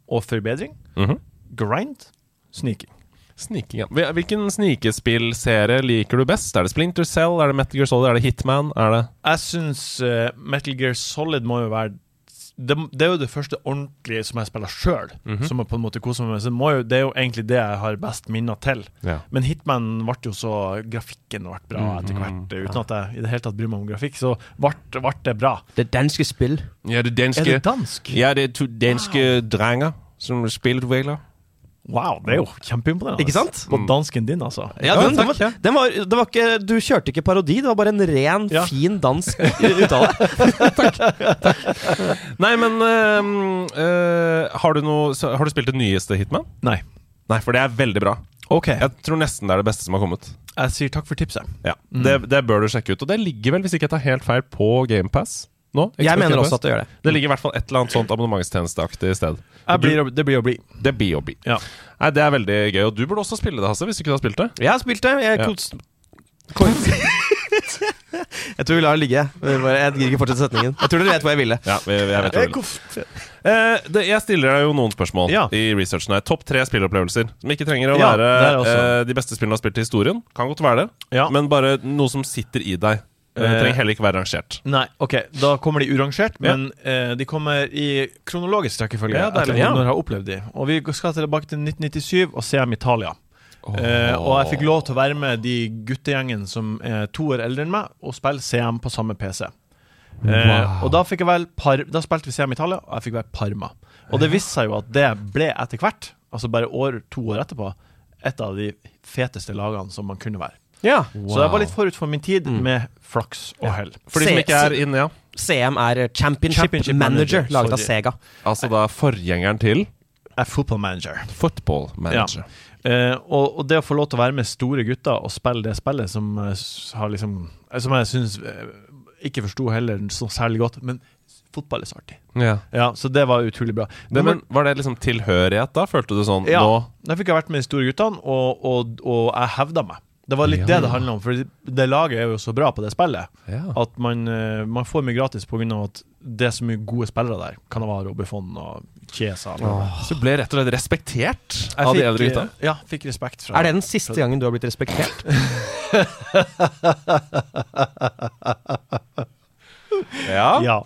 [SPEAKER 4] og forbedring.
[SPEAKER 2] Mhm.
[SPEAKER 4] Grind. Sniking.
[SPEAKER 2] Sniking, ja. Hvil- Hvilken snikespillserie liker du best? Er det Splinter Cell? Er det Metal Gear Solid? Er det Hitman? Er det
[SPEAKER 4] Jeg syns eh, Metal Gear Solid må jo være det, det er jo det første ordentlige som jeg spiller sjøl.
[SPEAKER 1] Mhm.
[SPEAKER 4] Som jeg på en måte koser meg med. Så det må jo, det er jo egentlig det jeg har best minner til.
[SPEAKER 2] Ja.
[SPEAKER 4] Men Hitman ble jo så Grafikken ble
[SPEAKER 1] Mhm.
[SPEAKER 4] bra etter hvert. Uten at jeg i det hele tatt bryr meg om grafikk, så ble, ble det bra.
[SPEAKER 1] Det danske spill.
[SPEAKER 2] Ja, det danske
[SPEAKER 4] Er det dansk?
[SPEAKER 2] Ja, det er to danske drenger som spillutvikler.
[SPEAKER 4] Wow, det er jo kjempeimponerende.
[SPEAKER 1] Ikke sant?
[SPEAKER 4] På dansken din, altså.
[SPEAKER 1] Ja,
[SPEAKER 2] Ja,
[SPEAKER 1] den, den,
[SPEAKER 2] takk, ja.
[SPEAKER 1] var, den var, det var ikke, du kjørte ikke parodi, det var bare en ren,
[SPEAKER 4] Ja.
[SPEAKER 1] fin dansk uttale.
[SPEAKER 2] Nei, men øhm, øh, har, du noe, så- har du spilt det nyeste Hitman?
[SPEAKER 4] Nei.
[SPEAKER 2] Nei, for det er veldig bra.
[SPEAKER 4] OK. Jeg,
[SPEAKER 2] Jeg tror nesten det er det beste som har kommet.
[SPEAKER 4] sier takk for tipset.
[SPEAKER 2] Ja, det, det bør du sjekke ut. Og det ligger vel, hvis ikke jeg tar helt feil, på GamePass nå?
[SPEAKER 1] Jeg mener også at det gjør det.
[SPEAKER 2] Det ligger i hvert fall et eller annet sånt abonnementstjenesteaktig sted.
[SPEAKER 4] Jeg blir, å- det blir å bli.
[SPEAKER 2] Det er BOB.
[SPEAKER 4] Ja.
[SPEAKER 2] Nei, det er veldig gøy. Og du burde også spille det, Hasse, hvis du ikke har spilt det.
[SPEAKER 1] Jeg har spilt det. Jeg,
[SPEAKER 2] Ja.
[SPEAKER 1] kos- kos- jeg tror vi lar det ligge. Jeg bare- jeg gidder ikke fortsette setningen. Jeg tror dere vet hva jeg ville.
[SPEAKER 2] Ja, vi- vi- jeg vet hva du vil.
[SPEAKER 4] Koff.
[SPEAKER 2] Eh, det, jeg stiller deg jo noen spørsmål
[SPEAKER 4] Ja.
[SPEAKER 2] i researchen her. Topp tre spillopplevelser. Som ikke trenger å
[SPEAKER 4] Ja,
[SPEAKER 2] være
[SPEAKER 4] det er også.
[SPEAKER 2] eh, de beste spillene du har spilt i historien. Kan godt være det,
[SPEAKER 4] Ja.
[SPEAKER 2] men bare noe som sitter i deg. Eh,
[SPEAKER 4] Eh,
[SPEAKER 2] trenger heller ikke være rangert.
[SPEAKER 4] Nei, OK, da kommer de urangert,
[SPEAKER 2] Ja.
[SPEAKER 4] men eh, de kommer i kronologisk rekkefølge.
[SPEAKER 2] Ja, deilig.
[SPEAKER 4] etter
[SPEAKER 2] Ja.
[SPEAKER 4] når jeg har opplevd de. Og vi skal tilbake til 1997 og se om Italia. Eh, og jeg fikk lov til å være med de guttegjengen som er to år eldre enn meg, og spille CM på samme PC. Eh, og da, fikk jeg vel par, da spilte vi CM Italia, og jeg fikk være Parma. Og det viste seg jo at det ble etter hvert, altså bare år, to år etterpå, et av de feteste lagene som man kunne være.
[SPEAKER 1] Ja.
[SPEAKER 4] Så jeg var litt forut for min tid,
[SPEAKER 2] Mm.
[SPEAKER 4] med flaks og hell.
[SPEAKER 2] For de som
[SPEAKER 1] Se-
[SPEAKER 2] ikke er inne, ja.
[SPEAKER 1] CM er Championship,
[SPEAKER 4] Championship
[SPEAKER 1] Manager,
[SPEAKER 4] Manager,
[SPEAKER 1] laget av
[SPEAKER 4] sorry.
[SPEAKER 1] Sega.
[SPEAKER 2] Altså da forgjengeren til
[SPEAKER 4] Jeg er football manager.
[SPEAKER 2] football manager.
[SPEAKER 4] Eh, og, og det å få lov til å være med store gutter og spille det spillet som, eh, s- har liksom, eh, som jeg syns ikke forsto heller så særlig godt, men s- fotball er så artig.
[SPEAKER 2] Ja.
[SPEAKER 4] Ja, så det var utrolig bra.
[SPEAKER 2] Det, men var det liksom tilhørighet da? Følte du sånn
[SPEAKER 4] ja,
[SPEAKER 2] nå
[SPEAKER 4] Da fikk jeg vært med de store guttene, og, og, og jeg hevda meg. Det var litt
[SPEAKER 2] Ja.
[SPEAKER 4] det det handla om, for det laget er jo så bra på det spillet
[SPEAKER 2] Ja.
[SPEAKER 4] at man, eh, man får mye gratis pga. at det er så mye gode spillere der. Canavaro, Buffon og Chiesa.
[SPEAKER 2] Så ble rett og slett respektert
[SPEAKER 4] Jeg
[SPEAKER 2] av de
[SPEAKER 4] fikk,
[SPEAKER 2] eldre gutta.
[SPEAKER 4] eh, Ja, fikk respekt fra
[SPEAKER 1] Er det den siste gangen du har blitt respektert?
[SPEAKER 2] Ja,
[SPEAKER 4] Ja.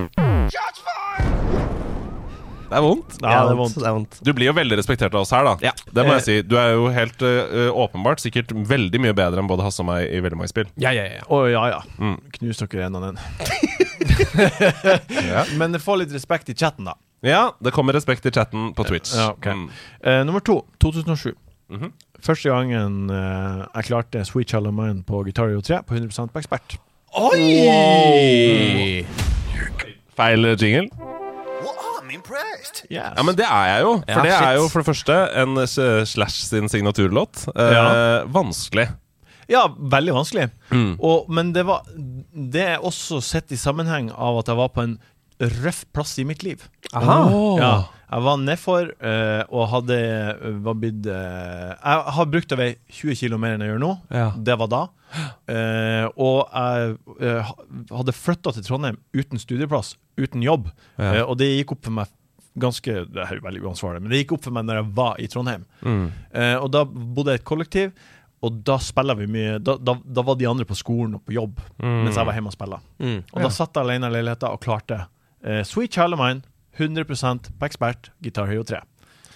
[SPEAKER 2] det er vondt.
[SPEAKER 4] ja, det er vondt.
[SPEAKER 1] Det er vondt.
[SPEAKER 2] Du blir jo veldig respektert av oss her, da.
[SPEAKER 1] Ja.
[SPEAKER 2] Det må jeg si. Du er jo helt eh, åpenbart sikkert veldig mye bedre enn både Hasse og meg i veldig mange spill.
[SPEAKER 1] Ja, ja, ja.
[SPEAKER 4] Å ja, ja.
[SPEAKER 2] Mm.
[SPEAKER 4] Knus dere en og en.
[SPEAKER 2] Ja.
[SPEAKER 4] Men få litt respekt i chatten, da.
[SPEAKER 2] ja, det kommer respekt i chatten på Twitch.
[SPEAKER 4] Ja, ok.
[SPEAKER 2] Mm.
[SPEAKER 4] Eh, nummer to, 2007.
[SPEAKER 2] Mhm.
[SPEAKER 4] Første gangen eh, jeg klarte Sweet Child of Mine på Guitar Hero 3 på 100 på ekspert.
[SPEAKER 1] Oi!
[SPEAKER 2] Feil jingle. Ja, men det er jeg jo. For
[SPEAKER 1] Ja,
[SPEAKER 2] det er
[SPEAKER 1] shit.
[SPEAKER 2] jo for det første en eh, Slash sin signaturlåt. Eh,
[SPEAKER 4] Ja.
[SPEAKER 2] Vanskelig.
[SPEAKER 4] Ja, veldig vanskelig.
[SPEAKER 2] Mm.
[SPEAKER 4] Og, men det, var, det er også sett i sammenheng av at jeg var på en røff plass i mitt liv.
[SPEAKER 2] Åh.
[SPEAKER 4] Ja, jeg var nedfor eh, og hadde var blitt eh, Jeg har brukt over 20 kilo mer enn jeg gjør nå.
[SPEAKER 2] Ja.
[SPEAKER 4] Det var da. Eh, og jeg eh, ha- hadde flytta til Trondheim uten studieplass, uten jobb.
[SPEAKER 2] Ja.
[SPEAKER 4] Eh, og det gikk opp for meg ganske Det er jo veldig uansvarlig, men det gikk opp for meg når jeg var i Trondheim.
[SPEAKER 2] Mm.
[SPEAKER 4] Eh, og da bodde jeg i et kollektiv, og da spiller vi mye Da, da, da var de andre på skolen og på jobb, mens jeg var hjemme og spilla. Og da satt jeg alene i leiligheta og klarte eh, Sweet Child of Mine, 100 på ekspert, Guitar Hero 3.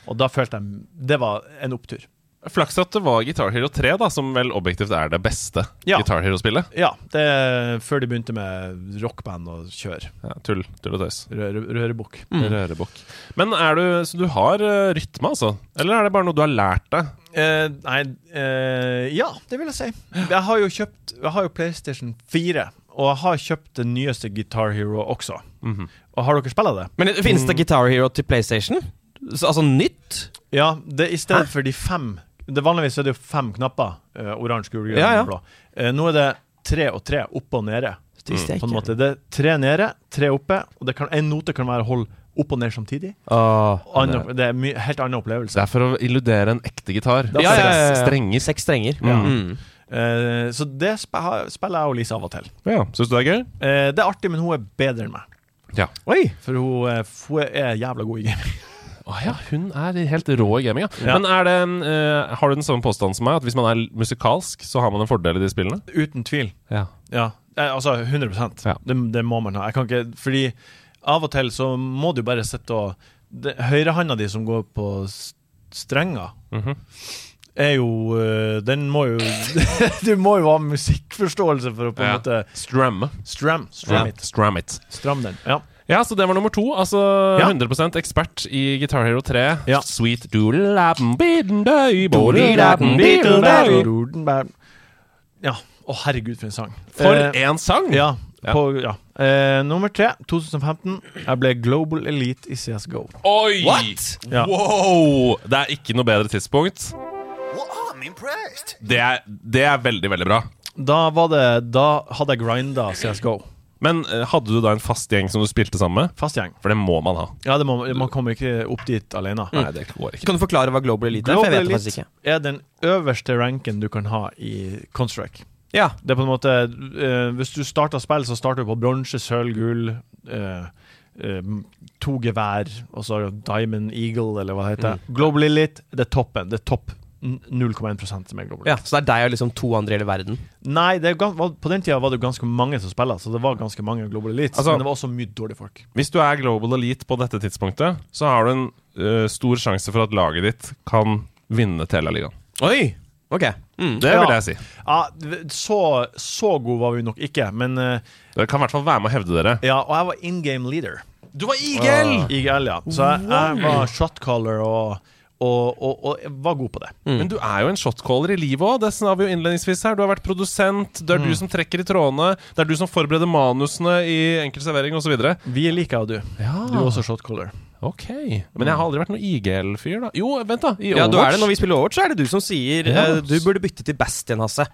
[SPEAKER 4] Og da følte jeg Det var en opptur.
[SPEAKER 2] Flaks at det var Guitar Hero 3, da, som vel objektivt er det beste
[SPEAKER 4] Ja.
[SPEAKER 2] Guitar Hero-spillet.
[SPEAKER 4] Ja, det er før de begynte med rockband og kjør.
[SPEAKER 2] Ja, tull, tull og tøys.
[SPEAKER 4] Røre, rørebukk.
[SPEAKER 2] Mm. Rørebukk. Men er du Så du har eh, rytme, altså? Eller er det bare noe du har lært deg?
[SPEAKER 4] Eh, nei eh, Ja, det vil jeg si. Jeg har jo kjøpt Jeg har jo PlayStation 4, og jeg har kjøpt det nyeste Guitar Hero også.
[SPEAKER 2] Mhm.
[SPEAKER 4] Og Har dere spilla det?
[SPEAKER 1] Men det- finnes det Guitar Hero til PlayStation? Så, altså nytt?
[SPEAKER 4] Ja, det, i stedet for de fem det Vanligvis er det jo fem knapper. eh, Oransje, gul, grønn
[SPEAKER 1] Ja, ja.
[SPEAKER 4] og blå. Eh, nå er det tre og tre oppe og nede.
[SPEAKER 1] Siste
[SPEAKER 4] På en måte. Det er tre nede, tre oppe, og det kan, en note kan være hold opp og ned samtidig.
[SPEAKER 1] Ah,
[SPEAKER 4] Andre, det er en helt annen opplevelse.
[SPEAKER 2] Det er for å illudere en ekte gitar.
[SPEAKER 4] er
[SPEAKER 2] Seks
[SPEAKER 1] ja, ja, ja.
[SPEAKER 2] Strenger.
[SPEAKER 1] Seks strenger.
[SPEAKER 2] Ja.
[SPEAKER 1] Mm.
[SPEAKER 4] Eh, så det sp har- spiller jeg og Lise av og til.
[SPEAKER 2] Ja, Syns du det er gøy?
[SPEAKER 4] Eh, det er artig, men hun er bedre enn meg.
[SPEAKER 2] Ja.
[SPEAKER 1] Oi!
[SPEAKER 4] For hun, eh, hun er jævla god i gaming.
[SPEAKER 2] Å ja, hun er helt rå i gaminga.
[SPEAKER 4] Ja.
[SPEAKER 2] Men er det, eh, har du den samme påstanden som meg, at hvis man er musikalsk, så har man en fordel i de spillene?
[SPEAKER 4] Uten tvil.
[SPEAKER 2] Ja.
[SPEAKER 4] Ja, eh, altså 100
[SPEAKER 2] Ja.
[SPEAKER 4] det, det må man ha. Jeg kan ikke, fordi av og til så må du bare sitte og det- Høyrehånda di som går på s- strenger,
[SPEAKER 2] Mhm.
[SPEAKER 4] er jo eh, Den må jo Du må jo ha musikkforståelse for å på en
[SPEAKER 2] Ja.
[SPEAKER 4] måte
[SPEAKER 2] Stramme.
[SPEAKER 4] stram, stram it.
[SPEAKER 2] Stram it.
[SPEAKER 4] Stram den. Ja.
[SPEAKER 2] Ja, så det var nummer to. Altså
[SPEAKER 4] Ja.
[SPEAKER 2] 100 ekspert i Guitar Hero 3.
[SPEAKER 4] Ja.
[SPEAKER 2] Sweet doodle-lappen, bidden-døy,
[SPEAKER 1] Doodle-lappen,
[SPEAKER 2] bidden-døy.
[SPEAKER 4] Ja. Å, herregud, for en sang.
[SPEAKER 2] For
[SPEAKER 4] Eh,
[SPEAKER 2] en sang!
[SPEAKER 4] ja,
[SPEAKER 2] Ja.
[SPEAKER 4] på, ja. Eh, nummer tre, 2015. Jeg ble Global Elite i CSGO.
[SPEAKER 2] Oi!
[SPEAKER 4] Ja.
[SPEAKER 2] Wow! Det er ikke noe bedre tidspunkt. Det er, det er veldig, veldig bra.
[SPEAKER 4] Da, var det, da hadde jeg grinda CSGO.
[SPEAKER 2] Men eh, hadde du da en fast gjeng som du spilte sammen med?
[SPEAKER 4] Fast gjeng.
[SPEAKER 2] For det må man ha.
[SPEAKER 4] Ja, det må, man kommer ikke opp dit alene.
[SPEAKER 2] Nei, det går ikke.
[SPEAKER 1] Kan du forklare hva Global Elite er? For jeg vet det faktisk ikke.
[SPEAKER 4] er den øverste ranken du kan ha i Construct.
[SPEAKER 1] Ja.
[SPEAKER 4] Det er på en måte eh, Hvis du starter spill, så starter du på bronse, sølv, gull. eh, eh, to gevær, og så Diamond Eagle, eller hva det heter.
[SPEAKER 1] Mm.
[SPEAKER 4] Global Elite, det er toppen. Det er topp n- 0,1 som er Global
[SPEAKER 1] ja.
[SPEAKER 4] Elite.
[SPEAKER 1] Så det er deg og liksom to andre i hele verden?
[SPEAKER 4] Nei, det er, gans- var- på den tida var det jo ganske mange som spilte, så det var ganske mange Global Elites.
[SPEAKER 2] Altså-
[SPEAKER 4] men det var også mye dårlige folk.
[SPEAKER 2] Hvis du er global elite på dette tidspunktet, så har du en eh, stor sjanse for at laget ditt kan vinne Telialigaen.
[SPEAKER 1] Oi! Ok. Mm.
[SPEAKER 2] Det
[SPEAKER 4] Ja.
[SPEAKER 2] vil jeg si.
[SPEAKER 4] Ja, så, så god var vi nok ikke, men eh,
[SPEAKER 2] Dere kan i hvert fall være med å hevde dere.
[SPEAKER 4] Ja, og jeg var in game leader.
[SPEAKER 2] Du var igel!
[SPEAKER 4] IGL, ja. Så jeg, jeg var shotcaller og, og, og, og jeg var god på det.
[SPEAKER 2] Men du er jo en shotcaller i livet òg. Det sa vi jo innledningsvis her. Du har vært produsent. Det er du som trekker i trådene. Det er du som forbereder manusene i enkel servering osv.
[SPEAKER 4] Vi er like, jeg og du.
[SPEAKER 2] Ja.
[SPEAKER 4] Du er også shotcaller.
[SPEAKER 2] Ok. Men jeg har aldri vært noen IGL-fyr, da. Jo, vent, da. I
[SPEAKER 1] Ja, du er det
[SPEAKER 2] Overwatch.
[SPEAKER 1] Når vi spiller Overwatch, så er det du som sier
[SPEAKER 2] Ja.
[SPEAKER 1] eh, du burde bytte til Bastian, Hasse.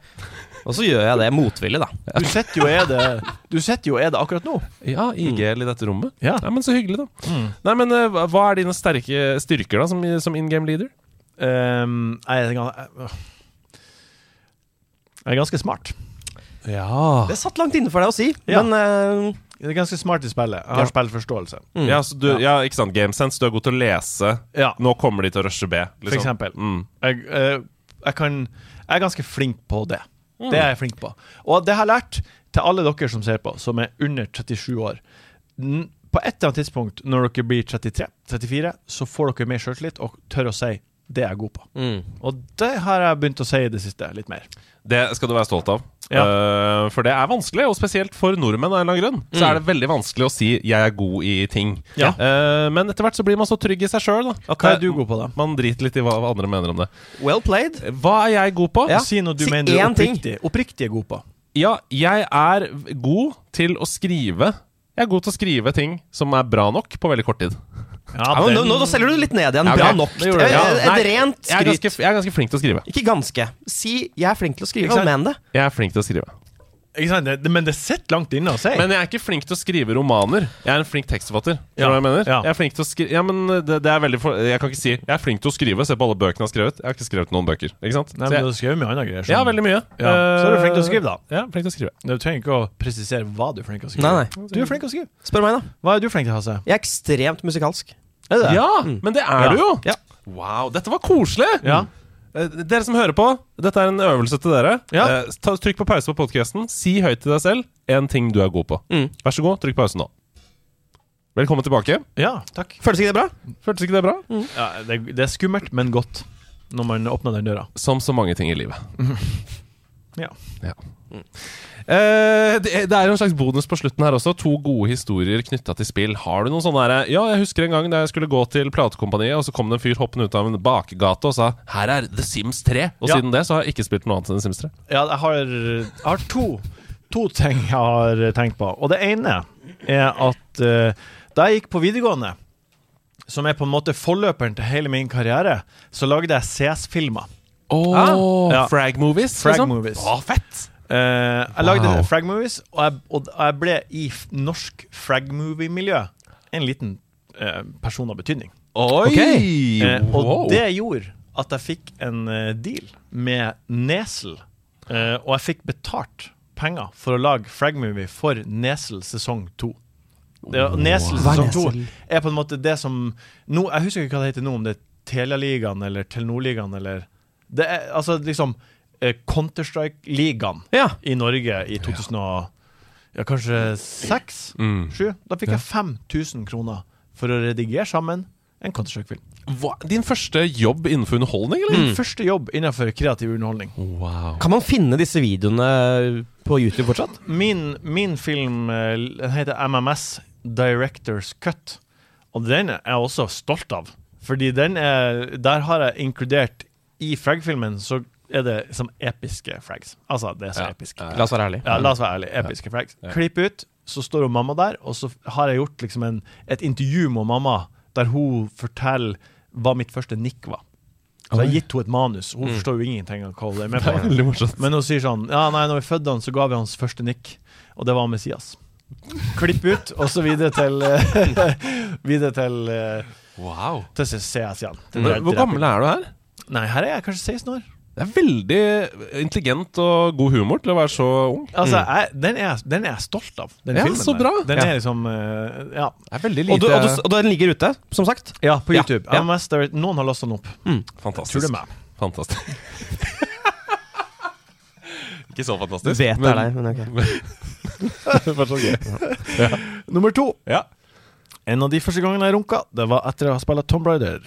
[SPEAKER 1] Og så gjør jeg det motvillig, da.
[SPEAKER 4] Du sitter jo og er det Du sitter jo og er det akkurat nå.
[SPEAKER 2] Ja, IGL i dette rommet.
[SPEAKER 4] Ja.
[SPEAKER 2] men Så hyggelig, da. Mm. Nei, men eh, hva- Hva er dine sterke styrker da som, som in game leader?
[SPEAKER 4] Ehm, øh. jeg, er en gang- jeg, Det er ganske smart.
[SPEAKER 2] Ja.
[SPEAKER 1] Det satt langt inne for deg å si,
[SPEAKER 4] Ja.
[SPEAKER 1] men eh,
[SPEAKER 4] Det er ganske smart i spillet. Jeg har spillforståelse.
[SPEAKER 2] Ja, så du, ja, ikke sant. Gamesense, du er god til å lese.
[SPEAKER 4] Ja,
[SPEAKER 2] Nå kommer de til å rushe B. liksom.
[SPEAKER 4] for eksempel.
[SPEAKER 2] Mm.
[SPEAKER 4] Jeg, eh, jeg, kan, jeg er ganske flink på det.
[SPEAKER 1] Mm.
[SPEAKER 4] Det er jeg flink på. Og det jeg har lært til alle dere som ser på, som er under 37 år n- På et eller annet tidspunkt når dere blir 33-34, så får dere mer sjøltillit og tør å si 'det er jeg god på'.
[SPEAKER 1] Mm.
[SPEAKER 4] Og det har jeg begynt å si i det siste, litt mer.
[SPEAKER 2] Det skal du være stolt av. Eh, for det er vanskelig, og spesielt for nordmenn. av en eller annen grunn Så er det veldig vanskelig å si 'jeg er god i ting'.
[SPEAKER 4] Ja.
[SPEAKER 2] Eh, men etter hvert så blir man så trygg i seg sjøl.
[SPEAKER 4] Hva er du god på, da?
[SPEAKER 2] Man driter litt i hva andre mener om det.
[SPEAKER 1] well played.
[SPEAKER 2] Hva er jeg god på?
[SPEAKER 1] Ja.
[SPEAKER 4] Si noe du
[SPEAKER 1] Si
[SPEAKER 4] mener du er
[SPEAKER 1] én ting.
[SPEAKER 4] oppriktig, oppriktig er god på.
[SPEAKER 2] Ja, jeg er god til å skrive. Jeg er god til å skrive ting som er bra nok på veldig kort tid.
[SPEAKER 1] Ja, men nå, nå, nå selger du litt ned igjen.
[SPEAKER 2] Ja, ok.
[SPEAKER 1] Bra nok.
[SPEAKER 2] Det gjorde du.
[SPEAKER 1] Eh,
[SPEAKER 2] Ja, nei,
[SPEAKER 1] Et rent
[SPEAKER 2] Jeg er, ganske,
[SPEAKER 1] skryt.
[SPEAKER 2] jeg er ganske flink til å skrive.
[SPEAKER 1] Ikke ganske. Si 'jeg er flink til å skrive',
[SPEAKER 4] Ikke sant?
[SPEAKER 1] men men det.
[SPEAKER 2] Jeg er flink til å skrive
[SPEAKER 4] Ikke sant? Det, det- men det sitter langt inne å si.
[SPEAKER 2] Men jeg er ikke flink til å skrive romaner. Jeg er en flink tekstforfatter. Skjønner du
[SPEAKER 4] Ja.
[SPEAKER 2] hva Jeg mener
[SPEAKER 4] Ja.
[SPEAKER 2] Jeg er flink til å skrive Ja, men eh, det, det er veldig for, Jeg kan ikke si Jeg er flink til å skrive. Se på alle bøkene jeg har skrevet. Jeg har ikke skrevet noen bøker. Ikke sant?
[SPEAKER 4] Nei,
[SPEAKER 2] Så
[SPEAKER 4] men du
[SPEAKER 2] jeg,
[SPEAKER 4] har skrevet mye andre greier.
[SPEAKER 2] ja,
[SPEAKER 4] skjønner du.
[SPEAKER 2] veldig mye.
[SPEAKER 4] Ja,
[SPEAKER 1] Eh,
[SPEAKER 4] så er du flink til å skrive, da.
[SPEAKER 2] Ja, flink til å skrive.
[SPEAKER 4] Du trenger ikke å presisere hva du er flink til å skrive.
[SPEAKER 1] Nei,
[SPEAKER 4] Du er flink til å skrive.
[SPEAKER 1] Spør meg, da.
[SPEAKER 4] Hva er du flink til, Hasse?
[SPEAKER 1] Jeg er ekstremt musikalsk.
[SPEAKER 4] Er det? Mm.
[SPEAKER 2] Ja, men det er
[SPEAKER 4] Ja.
[SPEAKER 2] du jo!
[SPEAKER 1] Ja.
[SPEAKER 2] Wow, dette var koselig!
[SPEAKER 4] Ja.
[SPEAKER 2] Eh, Dere som hører på, dette er en øvelse til dere. Eh,
[SPEAKER 4] Ja.
[SPEAKER 2] ta, trykk på pause på podkasten. Si høyt til deg selv én ting du er god på.
[SPEAKER 1] Mm.
[SPEAKER 2] Vær så god, trykk pause nå. Velkommen tilbake.
[SPEAKER 4] ja takk.
[SPEAKER 1] Føles ikke det bra?
[SPEAKER 2] Føltes ikke det bra?
[SPEAKER 1] Mm.
[SPEAKER 4] Ja, det, det er skummelt, men godt når man åpner den døra.
[SPEAKER 2] Som så mange ting i livet.
[SPEAKER 4] Ja.
[SPEAKER 2] Ja. Eh, det, det er jo en slags bonus på slutten her også. To gode historier knytta til spill. Har du noen sånne her, Ja, jeg husker en gang da jeg skulle gå til platekompaniet, og så kom det en fyr hoppende ut av en bakgate og sa 'Her er The Sims 3'. Og
[SPEAKER 4] Ja.
[SPEAKER 2] siden det så har jeg ikke spilt noe annet enn The Sims 3.
[SPEAKER 4] ja jeg, har, jeg har to, to ting jeg har tenkt på. Og det ene er at eh, da jeg gikk på videregående, som er på en måte forløperen til hele min karriere, så lagde jeg CS-filmer.
[SPEAKER 2] Oh,
[SPEAKER 4] Ja.
[SPEAKER 2] Frag Movies,
[SPEAKER 4] Frag
[SPEAKER 2] liksom?
[SPEAKER 4] Movies.
[SPEAKER 2] Å, fett!
[SPEAKER 4] Eh, jeg lagde
[SPEAKER 2] Wow.
[SPEAKER 4] frag movies, og jeg, og jeg ble i f norsk frag movie-miljø en liten eh, person av betydning.
[SPEAKER 2] Oi!
[SPEAKER 4] Eh, og
[SPEAKER 2] wow.
[SPEAKER 4] det gjorde at jeg fikk en eh, deal med Nesel, eh, og jeg fikk betalt penger for å lage frag movie for Nesel sesong to. Det, Nesel
[SPEAKER 1] Hva er
[SPEAKER 4] sesong to
[SPEAKER 1] Nesel?
[SPEAKER 4] er på en måte det som nå, Jeg husker ikke hva det heter nå, om det er Telialigaen eller Telenor-ligaen eller Det er altså liksom eh, Counter-Strike-ligaen
[SPEAKER 1] Ja.
[SPEAKER 4] i Norge i 2000 og ja, kanskje seks,
[SPEAKER 2] Mm.
[SPEAKER 4] sju. Da fikk jeg 5000 kroner for å redigere sammen en Counter-Strike-film.
[SPEAKER 2] Hva, din første jobb innenfor underholdning, eller?
[SPEAKER 4] Min første jobb innenfor kreativ underholdning.
[SPEAKER 2] Mm. Wow.
[SPEAKER 1] Kan man finne disse videoene på YouTube fortsatt?
[SPEAKER 4] Min, min film eh, den heter MMS Directors Cut, og den er jeg også stolt av. Fordi den er, der har jeg inkludert I frag-filmen så er det som episke frags. Altså, det er så
[SPEAKER 2] Ja.
[SPEAKER 4] episk.
[SPEAKER 2] Ja.
[SPEAKER 1] La oss være ærlige.
[SPEAKER 4] Ja, la oss være ærlige. Episke frags. Klipp ut, så står hun mamma der, og så har jeg gjort liksom en, et intervju med mamma der hun forteller hva mitt første nikk var. Så jeg har gitt henne et manus. Hun forstår jo ingenting av hva det er med
[SPEAKER 2] Mm. Det er
[SPEAKER 4] på.
[SPEAKER 2] veldig morsomt.
[SPEAKER 4] Men hun sier sånn Ja, nei, når vi fødte han, så ga vi hans første nikk, og det var Messias. Klipp ut, og så videre til Videre til eh,
[SPEAKER 2] Wow.
[SPEAKER 4] Til CS igjen. Til
[SPEAKER 2] Men,
[SPEAKER 4] drept-
[SPEAKER 2] hvor gammel er du her?
[SPEAKER 4] Nei, her er jeg kanskje 16 år.
[SPEAKER 2] Det er veldig intelligent og god humor til å være så ung. Mm.
[SPEAKER 4] Altså, jeg, den, er, jeg- den er jeg stolt av, den
[SPEAKER 2] Ja,
[SPEAKER 4] filmen.
[SPEAKER 2] så
[SPEAKER 4] der.
[SPEAKER 2] bra.
[SPEAKER 4] Den
[SPEAKER 2] Ja.
[SPEAKER 4] er liksom eh, Ja.
[SPEAKER 2] Det er veldig
[SPEAKER 1] Og, du, og, du, og den ligger ute, som sagt?
[SPEAKER 4] Ja, på
[SPEAKER 1] Ja,
[SPEAKER 4] YouTube.
[SPEAKER 1] ja.
[SPEAKER 4] MMS Direct. Noen har lasta den opp.
[SPEAKER 2] fantastisk.
[SPEAKER 4] Tror det er meg.
[SPEAKER 2] Fantastisk. Ikke så
[SPEAKER 1] Du
[SPEAKER 2] fantastisk.
[SPEAKER 1] vet det er deg, men ok.
[SPEAKER 2] fortsatt gøy.
[SPEAKER 4] Nummer to.
[SPEAKER 2] Ja.
[SPEAKER 4] En av de første gangene jeg runka, det var etter å ha spilt Tomb Raider.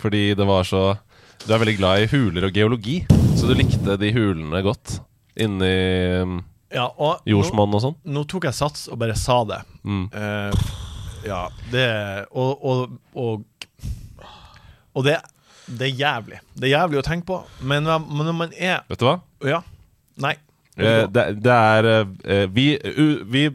[SPEAKER 2] Fordi det var så Du er veldig glad i huler og geologi, så du likte de hulene godt. Inni mm,
[SPEAKER 4] Ja, og nå,
[SPEAKER 2] jordsmonn og sånn.
[SPEAKER 4] nå tok jeg sats og bare sa det.
[SPEAKER 2] Mm.
[SPEAKER 4] Eh, ja, det Og Og, og, og det, det er jævlig. Det er jævlig å tenke på, men når man- når man er
[SPEAKER 2] Vet du hva?
[SPEAKER 4] Ja. Nei.
[SPEAKER 2] Eh, det, det er eh, vi, u, vi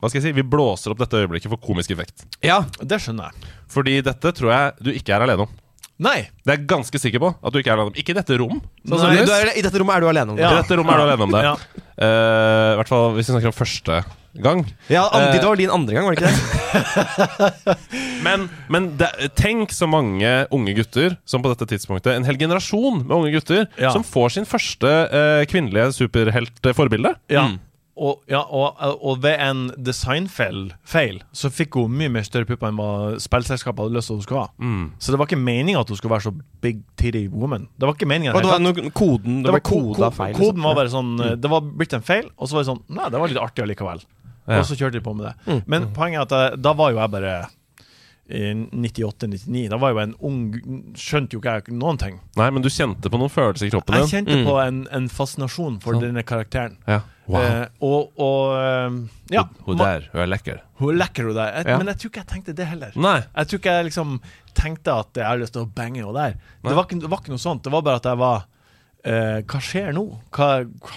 [SPEAKER 2] Hva skal jeg si? Vi blåser opp dette øyeblikket for komisk effekt.
[SPEAKER 1] Ja,
[SPEAKER 4] Det skjønner jeg.
[SPEAKER 2] Fordi dette tror jeg du ikke er alene om.
[SPEAKER 4] Nei!
[SPEAKER 2] Det er jeg ganske sikker på at du ikke er alene om. Ikke i dette rom.
[SPEAKER 1] Sånn som-
[SPEAKER 4] Nei.
[SPEAKER 1] du er, I dette rommet er du alene om det.
[SPEAKER 4] Ja.
[SPEAKER 2] I dette rommet er du alene om det.
[SPEAKER 4] Ja.
[SPEAKER 2] Eh, I hvert fall hvis vi snakker om første gang.
[SPEAKER 1] Ja, an- det var din andre gang, var det ikke det?
[SPEAKER 2] Men, men det, tenk så mange unge gutter som på dette tidspunktet En hel generasjon med unge gutter
[SPEAKER 4] Ja.
[SPEAKER 2] som får sin første eh, kvinnelige eh, superheltforbilde.
[SPEAKER 4] Ja.
[SPEAKER 1] Mm.
[SPEAKER 4] Og, ja, og, og ved en designfeil feil, så fikk hun mye mer større pupper enn hva spillselskapet hadde lyst til at hun skulle ha.
[SPEAKER 1] Mm.
[SPEAKER 4] Så det var ikke meninga at hun skulle være så big titty woman. Det var ikke meningen, i
[SPEAKER 1] Og
[SPEAKER 4] det
[SPEAKER 1] det
[SPEAKER 4] hele
[SPEAKER 1] var
[SPEAKER 4] tatt.
[SPEAKER 1] noe, koden det var
[SPEAKER 4] ko-
[SPEAKER 1] koda
[SPEAKER 4] ko-
[SPEAKER 1] feil. liksom.
[SPEAKER 4] Koden var bare sånn eh, Det var blitt en feil, og så var det sånn Nei, det var litt artig allikevel.
[SPEAKER 2] Ja.
[SPEAKER 4] Og så kjørte de på med det.
[SPEAKER 1] Mm.
[SPEAKER 4] Men poenget er at eh, da var jo jeg bare i 98-99, da var jo jeg en ung Skjønte jo ikke jeg noen ting.
[SPEAKER 2] Nei, men du kjente på noen følelser i kroppen
[SPEAKER 4] Jeg
[SPEAKER 2] din.
[SPEAKER 1] Mm.
[SPEAKER 4] kjente på en, en fascinasjon
[SPEAKER 1] Sånn.
[SPEAKER 4] for denne karakteren.
[SPEAKER 2] Ja. Wow.
[SPEAKER 4] Eh, og, og eh, ja,
[SPEAKER 2] Hun
[SPEAKER 4] ma-
[SPEAKER 2] der, hun er lekker.
[SPEAKER 4] hun er lekker, hun der. Jeg,
[SPEAKER 2] Ja.
[SPEAKER 4] Men jeg tror ikke jeg tenkte det heller.
[SPEAKER 2] Nei.
[SPEAKER 4] Jeg tror ikke jeg liksom tenkte at jeg har lyst til å bange henne der. Det var, ikke, det var ikke noe sånt. Det var bare at jeg var eh, Hva skjer nå? Hva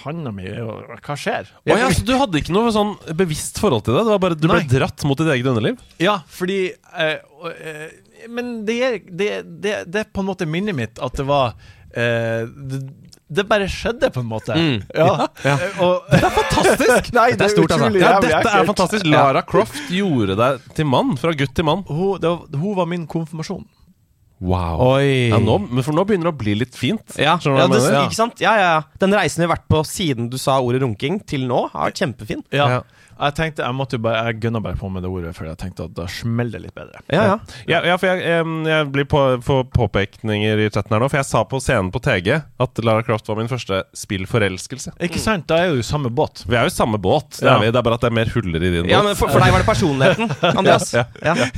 [SPEAKER 4] handa mi er jo- Hva skjer?
[SPEAKER 2] Å ja, så du hadde ikke noe sånn bevisst forhold til det? Det var bare Du ble
[SPEAKER 4] Nei.
[SPEAKER 2] dratt mot ditt eget underliv?
[SPEAKER 4] Ja, fordi eh, og, eh, Men det er, det, det, det er på en måte minnet mitt at det var eh, det, det bare skjedde, på en måte.
[SPEAKER 2] Mm.
[SPEAKER 4] Ja. Eh, Og, det er fantastisk! Nei,
[SPEAKER 1] Dette er stort, altså.
[SPEAKER 4] utrolig
[SPEAKER 2] Ja,
[SPEAKER 4] jævlig
[SPEAKER 2] dette er
[SPEAKER 4] ekkelt.
[SPEAKER 2] fantastisk. Lara Croft gjorde deg til mann. Fra gutt til mann.
[SPEAKER 4] Hun, det var, hun var min konfirmasjon.
[SPEAKER 2] Wow.
[SPEAKER 1] Oi.
[SPEAKER 2] Ja, nå, men for nå begynner det å bli litt fint.
[SPEAKER 1] Ja,
[SPEAKER 2] Skjønner du
[SPEAKER 1] ja,
[SPEAKER 2] hva
[SPEAKER 1] det,
[SPEAKER 2] jeg mener?
[SPEAKER 1] ikke sant? Ja, ja, ja. Den reisen vi har vært på siden du sa ordet runking, til nå, har vært kjempefin.
[SPEAKER 4] Ja.
[SPEAKER 2] Ja.
[SPEAKER 4] Jeg tenkte, jeg måtte jo bare Jeg gønna bare på med det ordet, Fordi jeg tenkte at da smeller det litt bedre.
[SPEAKER 1] Ja, ja.
[SPEAKER 2] Ja, ja, for jeg, em, jeg blir på, får påpekninger i chatten her nå, for jeg sa på scenen på TG at Lara Croft var min første spillforelskelse.
[SPEAKER 4] Ikke sant? Da er jo du i samme båt.
[SPEAKER 2] Vi er jo i samme båt, det,
[SPEAKER 4] Ja.
[SPEAKER 2] er vi, det er bare at det er mer huller i din
[SPEAKER 1] Ja,
[SPEAKER 2] båt.
[SPEAKER 1] men for, for deg var det personligheten, Andreas. Ja, ja.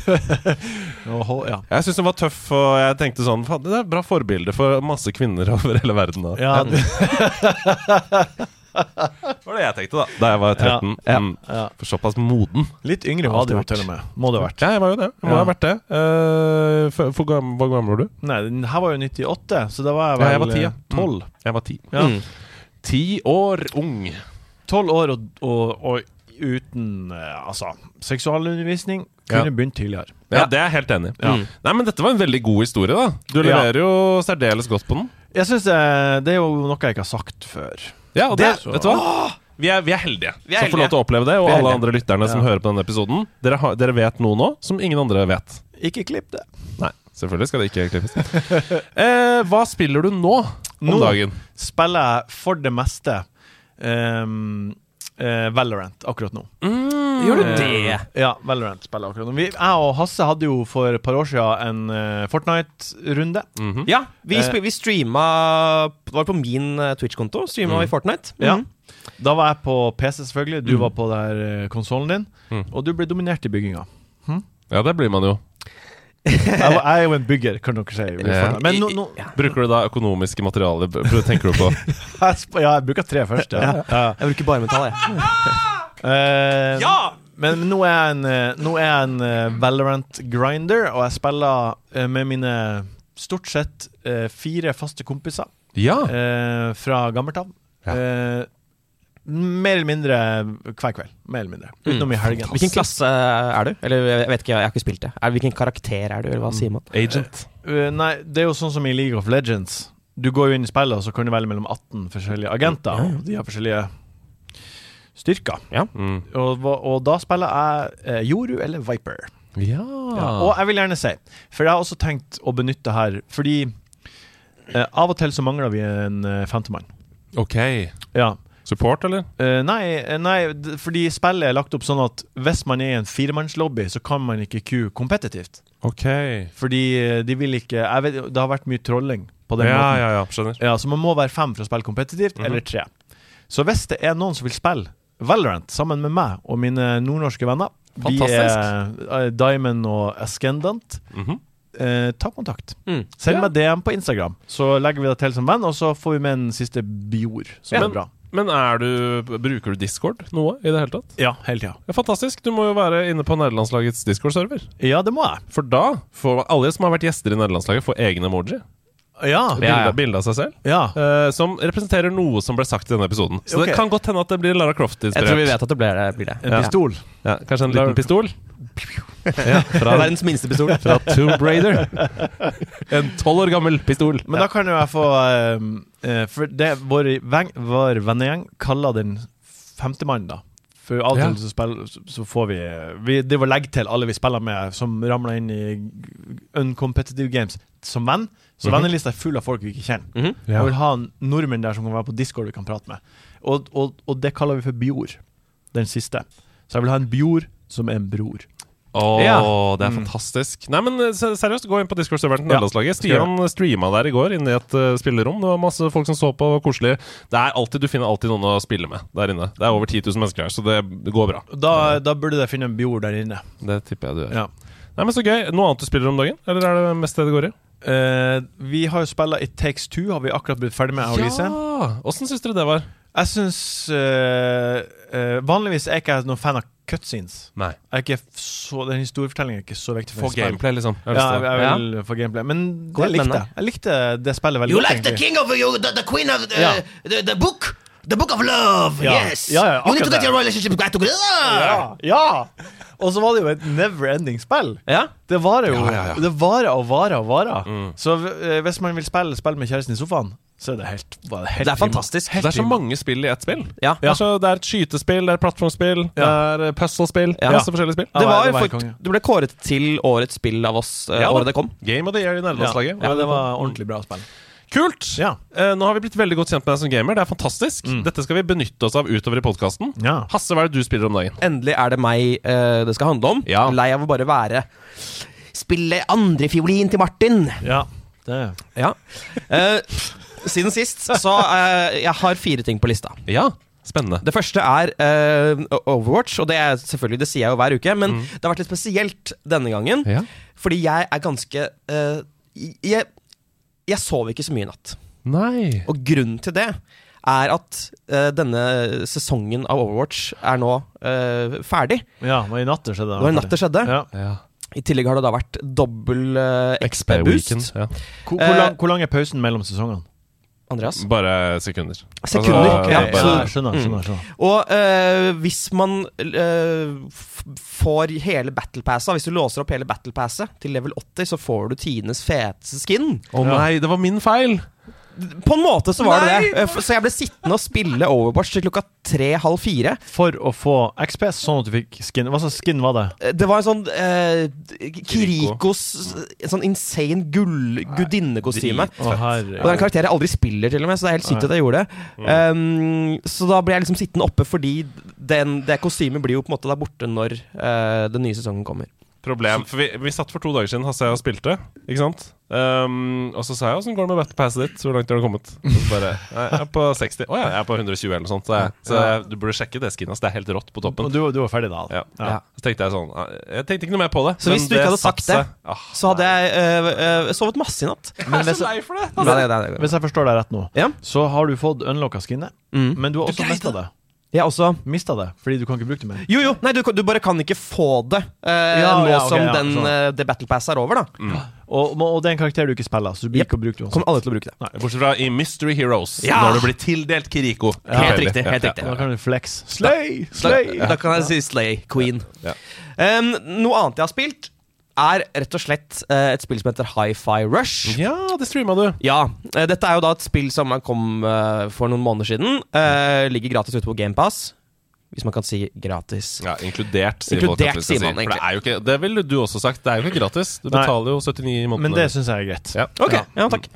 [SPEAKER 4] Åhå, ja.
[SPEAKER 2] Jeg syns hun var tøff, og jeg tenkte sånn Faen, det er et bra forbilde for masse kvinner over hele verden. Da.
[SPEAKER 4] Ja, du-
[SPEAKER 2] Det var det jeg tenkte, da. Da jeg var 13.
[SPEAKER 1] Ja.
[SPEAKER 2] Mm,
[SPEAKER 4] Ja.
[SPEAKER 2] For såpass moden.
[SPEAKER 4] litt yngre var du jo til og med. Må det ha vært.
[SPEAKER 2] Ja, jeg var jo det. Jeg må
[SPEAKER 4] Ja.
[SPEAKER 2] ha vært det. Eh, for, for, gam- hvor gammel var du? mm.
[SPEAKER 4] Nei, den her var jo 98, så da var jeg
[SPEAKER 2] Ja,
[SPEAKER 4] vel
[SPEAKER 2] jeg var ti, ja.
[SPEAKER 4] eh,
[SPEAKER 2] Tolv. Jeg var ti.
[SPEAKER 4] Ja.
[SPEAKER 1] Mm.
[SPEAKER 2] Ti år ung. Mm.
[SPEAKER 4] Tolv år og, og, og uten eh, altså seksualundervisning.
[SPEAKER 2] Ja.
[SPEAKER 4] Kunne begynt tidligere.
[SPEAKER 2] Ja, Det er jeg helt enig i. Mm.
[SPEAKER 1] Ja.
[SPEAKER 2] Nei, men dette var en veldig god historie, da. Du
[SPEAKER 4] Ja.
[SPEAKER 2] leverer jo særdeles godt på den.
[SPEAKER 4] Jeg syns eh, det er jo noe jeg ikke har sagt før.
[SPEAKER 2] Ja, og det,
[SPEAKER 4] Det-
[SPEAKER 2] vet du hva? Vi er, vi er heldige
[SPEAKER 1] Vi er
[SPEAKER 2] som får lov
[SPEAKER 1] heldige.
[SPEAKER 2] til å oppleve det, og
[SPEAKER 1] Vi er
[SPEAKER 2] alle
[SPEAKER 1] heldige.
[SPEAKER 2] andre lytterne som
[SPEAKER 4] Ja.
[SPEAKER 2] hører på denne episoden. Dere, har, dere vet noe nå som ingen andre vet.
[SPEAKER 4] Ikke klipp det.
[SPEAKER 2] Nei, selvfølgelig skal det ikke klippes. eh, hva spiller du nå om
[SPEAKER 4] Nå?
[SPEAKER 2] dagen?
[SPEAKER 4] Spiller jeg for det meste ehm, eh, Valorant akkurat nå.
[SPEAKER 1] Gjorde du
[SPEAKER 4] Eh,
[SPEAKER 1] det?
[SPEAKER 4] Ja, Valorant spiller akkurat nå. Vi, jeg og Hasse hadde jo for et par år siden en eh, Fortnite-runde.
[SPEAKER 1] Mhm. Ja, vi, sp- vi streama Det var på min eh, Twitch-konto. Streama vi Fortnite.
[SPEAKER 4] Ja.
[SPEAKER 1] Mhm.
[SPEAKER 4] Da var jeg på PC, selvfølgelig. Du var på der konsollen din. Og du ble dominert i bygginga.
[SPEAKER 2] Ja, det blir man jo.
[SPEAKER 4] Jeg, var- jeg er jo en bygger, kan dere si. i
[SPEAKER 2] Ja.
[SPEAKER 4] Fortnite. Men nå, nå
[SPEAKER 2] Bruker du da økonomiske materialer? b- b- Tenker du på
[SPEAKER 4] jeg, sp- Ja, jeg bruker tre først. Ja. Ja.
[SPEAKER 1] Jeg bruker bare metall, jeg.
[SPEAKER 4] Eh,
[SPEAKER 1] Ja!
[SPEAKER 4] Men nå er jeg en, eh, nå er jeg en eh, Valorant-grinder, og jeg spiller eh, med mine stort sett eh, fire faste kompiser.
[SPEAKER 2] Ja!
[SPEAKER 4] eh, fra gammelt av.
[SPEAKER 2] Ja.
[SPEAKER 4] Eh, mer eller mindre hver kveld. Mer eller mindre. Utenom i helgen.
[SPEAKER 1] Hvilken klasse er du? Eller jeg vet ikke, jeg har ikke spilt det. Er, hvilken karakter er du, eller hva sier man?
[SPEAKER 2] Agent.
[SPEAKER 4] Eh, nei, det er jo sånn som i League of Legends. Du går jo inn i spillet, og så kan du velge mellom 18 forskjellige agenter. Og de har forskjellige styrker.
[SPEAKER 2] Mm.
[SPEAKER 4] Og, hva- og da spiller jeg eh, Joru eller Viper.
[SPEAKER 2] Ja.
[SPEAKER 4] Ja. Og jeg vil gjerne si, for jeg har også tenkt å benytte her Fordi eh, av og til så mangler vi en eh, femtemann.
[SPEAKER 2] Ok.
[SPEAKER 4] Ja.
[SPEAKER 2] Support, eller?
[SPEAKER 4] Eh, nei, eh, nei, d- fordi spillet er lagt opp sånn at hvis man er i en firemannslobby, så kan man ikke queue kompetitivt.
[SPEAKER 2] Ok.
[SPEAKER 4] Fordi eh, de vil ikke jeg vet, Det har vært mye trolling på den
[SPEAKER 2] Ja,
[SPEAKER 4] måten.
[SPEAKER 2] ja, ja. Skjønner.
[SPEAKER 4] Ja, så man må være fem for å spille kompetitivt, eller tre. Så hvis det er noen som vil spille Valorant sammen med meg og mine nordnorske venner Vi er eh, Diamond og Escendant.
[SPEAKER 2] Mhm.
[SPEAKER 4] Eh, ta kontakt.
[SPEAKER 1] Mm.
[SPEAKER 4] Send
[SPEAKER 2] Ja.
[SPEAKER 4] meg DM på Instagram, så legger vi det til som venn, og så får vi med en siste biord, som
[SPEAKER 2] Ja.
[SPEAKER 4] er bra.
[SPEAKER 2] Men er du, bruker du Discord noe i det hele tatt?
[SPEAKER 4] Ja, hele tida.
[SPEAKER 2] Ja, fantastisk. Du må jo være inne på nederlandslagets Discord-server.
[SPEAKER 4] Ja, det må jeg.
[SPEAKER 2] For da får alle som har vært gjester i nederlandslaget, får egen emoji.
[SPEAKER 4] Ja.
[SPEAKER 2] Bilde,
[SPEAKER 1] ja.
[SPEAKER 2] bilde av seg selv.
[SPEAKER 4] Ja.
[SPEAKER 2] eh, som representerer noe som ble sagt i denne episoden. Så
[SPEAKER 4] Ok.
[SPEAKER 2] det kan godt hende at det blir Lara
[SPEAKER 1] Jeg tror vi
[SPEAKER 2] Croft-inspirert.
[SPEAKER 1] vet at det blir det. Blir det.
[SPEAKER 4] En pistol.
[SPEAKER 2] Ja, kanskje en liten pistol? ja, fra,
[SPEAKER 1] Verdens minste pistol.
[SPEAKER 2] fra Tomb Raider. En tolv år gammel pistol.
[SPEAKER 4] Men da kan jo jeg få ehm, eh, eh, For det vår, veng, vår vennegjeng kaller den femtemannen, da. For av og
[SPEAKER 2] Ja.
[SPEAKER 4] til så, spill- så- så får vi Vi driver og legger til alle vi spiller med, som ramler inn i g- uncompetitive games som venn. Så vennelista er full av folk vi ikke kjenner.
[SPEAKER 2] Mhm.
[SPEAKER 1] Mhm.
[SPEAKER 2] Ja.
[SPEAKER 4] Og vil ha en nordmenn der som kan være på Discord vi kan prate med. Og, og, og det kaller vi for Bjord. Den siste. Så jeg vil ha en Bjord som er en bror.
[SPEAKER 2] Åh,
[SPEAKER 4] Ja.
[SPEAKER 2] det er fantastisk. Nei, men eh, se- seriøst, gå inn på Discord-serveren til
[SPEAKER 4] Ja,
[SPEAKER 2] Nederlandslaget.
[SPEAKER 4] skal gjøre
[SPEAKER 2] Stian streama der i går inne i et eh, spillerom. Det var masse folk som så på, og koselig. Det er alltid, Du finner alltid noen å spille med der inne. Det er over 10 000 mennesker her, så det går bra.
[SPEAKER 4] Og Da, da burde jeg finne en Bjord der inne.
[SPEAKER 2] Det tipper jeg du gjør.
[SPEAKER 4] Ja.
[SPEAKER 2] Nei, men Så gøy. Noe annet du spiller om dagen? Eller er det mest det det går i?
[SPEAKER 4] Eh, vi har jo spilla It Takes Two, har vi akkurat blitt ferdig med. jeg og Lise.
[SPEAKER 2] Åssen syns dere det var?
[SPEAKER 4] Jeg syns Vanligvis er ikke jeg noen fan av cutscenes.
[SPEAKER 2] Nei.
[SPEAKER 4] Jeg er ikke f- så, den historiefortellingen er ikke så viktig for
[SPEAKER 2] Få
[SPEAKER 4] meg.
[SPEAKER 2] gameplay, liksom. Jeg har
[SPEAKER 4] Ja,
[SPEAKER 2] lyst til
[SPEAKER 4] jeg,
[SPEAKER 2] det.
[SPEAKER 4] jeg vil få gameplay. Men det
[SPEAKER 1] Godt,
[SPEAKER 4] likte
[SPEAKER 1] men
[SPEAKER 4] jeg. Jeg likte det spillet veldig
[SPEAKER 3] You
[SPEAKER 4] godt.
[SPEAKER 3] like the
[SPEAKER 4] egentlig.
[SPEAKER 3] king of you, the, the queen of the,
[SPEAKER 4] Ja.
[SPEAKER 3] the, the book. The book of love,
[SPEAKER 4] Ja.
[SPEAKER 3] yes.
[SPEAKER 4] Ja, ja,
[SPEAKER 3] you need to
[SPEAKER 4] akkurat
[SPEAKER 3] get
[SPEAKER 4] det.
[SPEAKER 3] your relationship back together.
[SPEAKER 4] Ja! ja. Og så var det jo et never ending spill.
[SPEAKER 3] Ja.
[SPEAKER 4] Det varer jo
[SPEAKER 2] Ja, ja, Mm. ja.
[SPEAKER 4] Det varer og varer og varer. Så eh, hvis man vil spille spill med kjæresten i sofaen, så er det helt, var det helt
[SPEAKER 1] Det er
[SPEAKER 4] prima.
[SPEAKER 1] fantastisk.
[SPEAKER 2] Det er så mange spill i ett spill.
[SPEAKER 1] Ja.
[SPEAKER 2] Det, er så, det er et skytespill, det er et plattformspill, det er eh, puzzlespill.
[SPEAKER 1] Ja.
[SPEAKER 2] Masse forskjellige spill.
[SPEAKER 4] Ja,
[SPEAKER 1] Det var,
[SPEAKER 4] det var
[SPEAKER 1] fakt-
[SPEAKER 4] konge.
[SPEAKER 1] du ble kåret til årets spill av oss eh,
[SPEAKER 2] Ja, da.
[SPEAKER 1] året det kom.
[SPEAKER 2] Game of the year i
[SPEAKER 4] Ja.
[SPEAKER 2] nederlandslaget.
[SPEAKER 4] ja, det var ordentlig bra spill.
[SPEAKER 2] Kult!
[SPEAKER 4] Ja.
[SPEAKER 2] Eh, nå har vi blitt veldig godt kjent med deg som gamer. Det er fantastisk. Dette skal vi benytte oss av utover i podkasten.
[SPEAKER 4] Ja.
[SPEAKER 2] Hasse, hva er det du spiller om dagen?
[SPEAKER 1] Endelig er det meg eh, det skal handle om.
[SPEAKER 2] Ja.
[SPEAKER 1] Lei av å bare være Spille andrefiolin til Martin.
[SPEAKER 4] Ja, det
[SPEAKER 1] Ja. Eh, siden sist, så eh, Jeg har fire ting på lista.
[SPEAKER 2] Ja, spennende.
[SPEAKER 1] Det første er eh, Overwatch, og det er selvfølgelig, det sier jeg jo hver uke, men det har vært litt spesielt denne gangen.
[SPEAKER 2] Ja.
[SPEAKER 1] Fordi jeg er ganske eh, jeg, jeg sov ikke så mye i natt.
[SPEAKER 2] Nei
[SPEAKER 1] Og grunnen til det er at eh, denne sesongen av Overwatch er nå eh, ferdig.
[SPEAKER 4] Ja, det var i natt det skjedde.
[SPEAKER 1] Det var i natt det skjedde.
[SPEAKER 4] Ja.
[SPEAKER 2] ja.
[SPEAKER 1] I tillegg har det da vært dobbel eh,
[SPEAKER 2] Weekend,
[SPEAKER 1] XP-boost.
[SPEAKER 2] ja.
[SPEAKER 1] Eh,
[SPEAKER 4] Hvor, hvor, lang, hvor lang er pausen mellom sesongene?
[SPEAKER 1] Andreas?
[SPEAKER 2] Bare sekunder.
[SPEAKER 1] Sekunder,
[SPEAKER 2] Altså,
[SPEAKER 1] ok.
[SPEAKER 2] det
[SPEAKER 4] Ja,
[SPEAKER 2] er bare,
[SPEAKER 4] ja,
[SPEAKER 1] Mm.
[SPEAKER 4] skjønner, skjønner, skjønner.
[SPEAKER 1] Og eh, hvis man eh, f- får hele battlepassa, hvis du låser opp hele battlepasset til level 80, så får du tidenes feteste skin.
[SPEAKER 2] Å nei, det var min feil!
[SPEAKER 1] På en måte så var
[SPEAKER 2] Nei!
[SPEAKER 1] det det. Eh, f- Så jeg ble sittende og spille Overwatch til klokka tre-halv fire.
[SPEAKER 4] For å få XP, sånn at du fikk skin. Hva slags skin var det?
[SPEAKER 1] Eh, Det var en sånn eh,
[SPEAKER 2] Kiriko.
[SPEAKER 1] Kirikos en sånn insane gull gudinnekostyme.
[SPEAKER 4] Å,
[SPEAKER 1] Og
[SPEAKER 4] herre.
[SPEAKER 1] det er en karakter jeg aldri spiller, til og med, så det er helt sykt at jeg gjorde det. Um, så da ble jeg liksom sittende oppe, fordi den, det kostymet blir jo på en måte der borte når eh, den nye sesongen kommer.
[SPEAKER 2] Problem. For vi, vi satt for to dager siden, Hasse og jeg og spilte. Ikke sant? Um, og så sa jeg 'åssen går det med battle passet ditt', hvor langt har du kommet? Og så bare, nei, jeg er på 60. Å ja, jeg er på 120 eller noe sånt. Så, jeg, så jeg, du burde sjekke det skinnet. ass. Det er helt rått på toppen.
[SPEAKER 4] Og du, du var ferdig da?
[SPEAKER 2] Ja.
[SPEAKER 1] Ja.
[SPEAKER 2] Så tenkte jeg sånn Jeg tenkte ikke noe mer på det.
[SPEAKER 1] Så hvis
[SPEAKER 2] men
[SPEAKER 1] du ikke hadde sagt
[SPEAKER 2] satt
[SPEAKER 1] det,
[SPEAKER 2] seg. Ah,
[SPEAKER 1] Så hadde jeg eh, eh, sovet masse i natt.
[SPEAKER 2] jeg er
[SPEAKER 4] hvis-
[SPEAKER 2] så lei for det!
[SPEAKER 1] Nei, nei, nei, nei.
[SPEAKER 4] Hvis jeg forstår deg rett nå,
[SPEAKER 1] Ja.
[SPEAKER 4] så har du fått unlocka skinnet,
[SPEAKER 1] Mm.
[SPEAKER 4] men du har også
[SPEAKER 2] greide
[SPEAKER 4] mista det.
[SPEAKER 1] Jeg også
[SPEAKER 4] Mista det fordi du kan ikke bruke det mer.
[SPEAKER 1] Jo, jo! Nei, du, kan- du bare kan ikke få det eh,
[SPEAKER 4] Ja,
[SPEAKER 1] nå
[SPEAKER 4] ja, ok,
[SPEAKER 1] som
[SPEAKER 4] ja,
[SPEAKER 1] den,
[SPEAKER 4] sånn.
[SPEAKER 1] eh, det Battle Pass er over, da.
[SPEAKER 4] Og, og det er en karakter du ikke spiller, så du blir
[SPEAKER 1] Jep.
[SPEAKER 4] ikke å bruke det.
[SPEAKER 1] Kommer alle til å bruke det.
[SPEAKER 2] Bortsett fra i Mystery Heroes,
[SPEAKER 1] Ja!
[SPEAKER 2] når du blir tildelt Kiriko.
[SPEAKER 1] Helt riktig, helt
[SPEAKER 2] Ja,
[SPEAKER 1] riktig.
[SPEAKER 2] ja,
[SPEAKER 4] Da
[SPEAKER 2] ja.
[SPEAKER 4] kan du flex. Slay! Slay!
[SPEAKER 1] Da, da kan jeg si Slay Queen.
[SPEAKER 2] Ja.
[SPEAKER 1] Um, noe annet jeg har spilt, er rett og slett eh, et spill som heter Hi-Fi Rush.
[SPEAKER 2] Ja, det streama du.
[SPEAKER 1] Ja, eh, dette er jo da et spill som kom eh, for noen måneder siden. Eh, ligger gratis ute på GamePass. Hvis man kan si gratis.
[SPEAKER 2] Ja, Inkludert, sier
[SPEAKER 1] Inkludert,
[SPEAKER 2] folk. at vi skal
[SPEAKER 1] sier man
[SPEAKER 2] si.
[SPEAKER 1] egentlig.
[SPEAKER 2] For det, er jo ikke, det ville du også sagt. Det er jo ikke gratis. Du
[SPEAKER 4] Nei.
[SPEAKER 2] betaler jo 79 i måneden.
[SPEAKER 4] Men det syns jeg er greit.
[SPEAKER 2] ja.
[SPEAKER 1] Ok, ja, takk.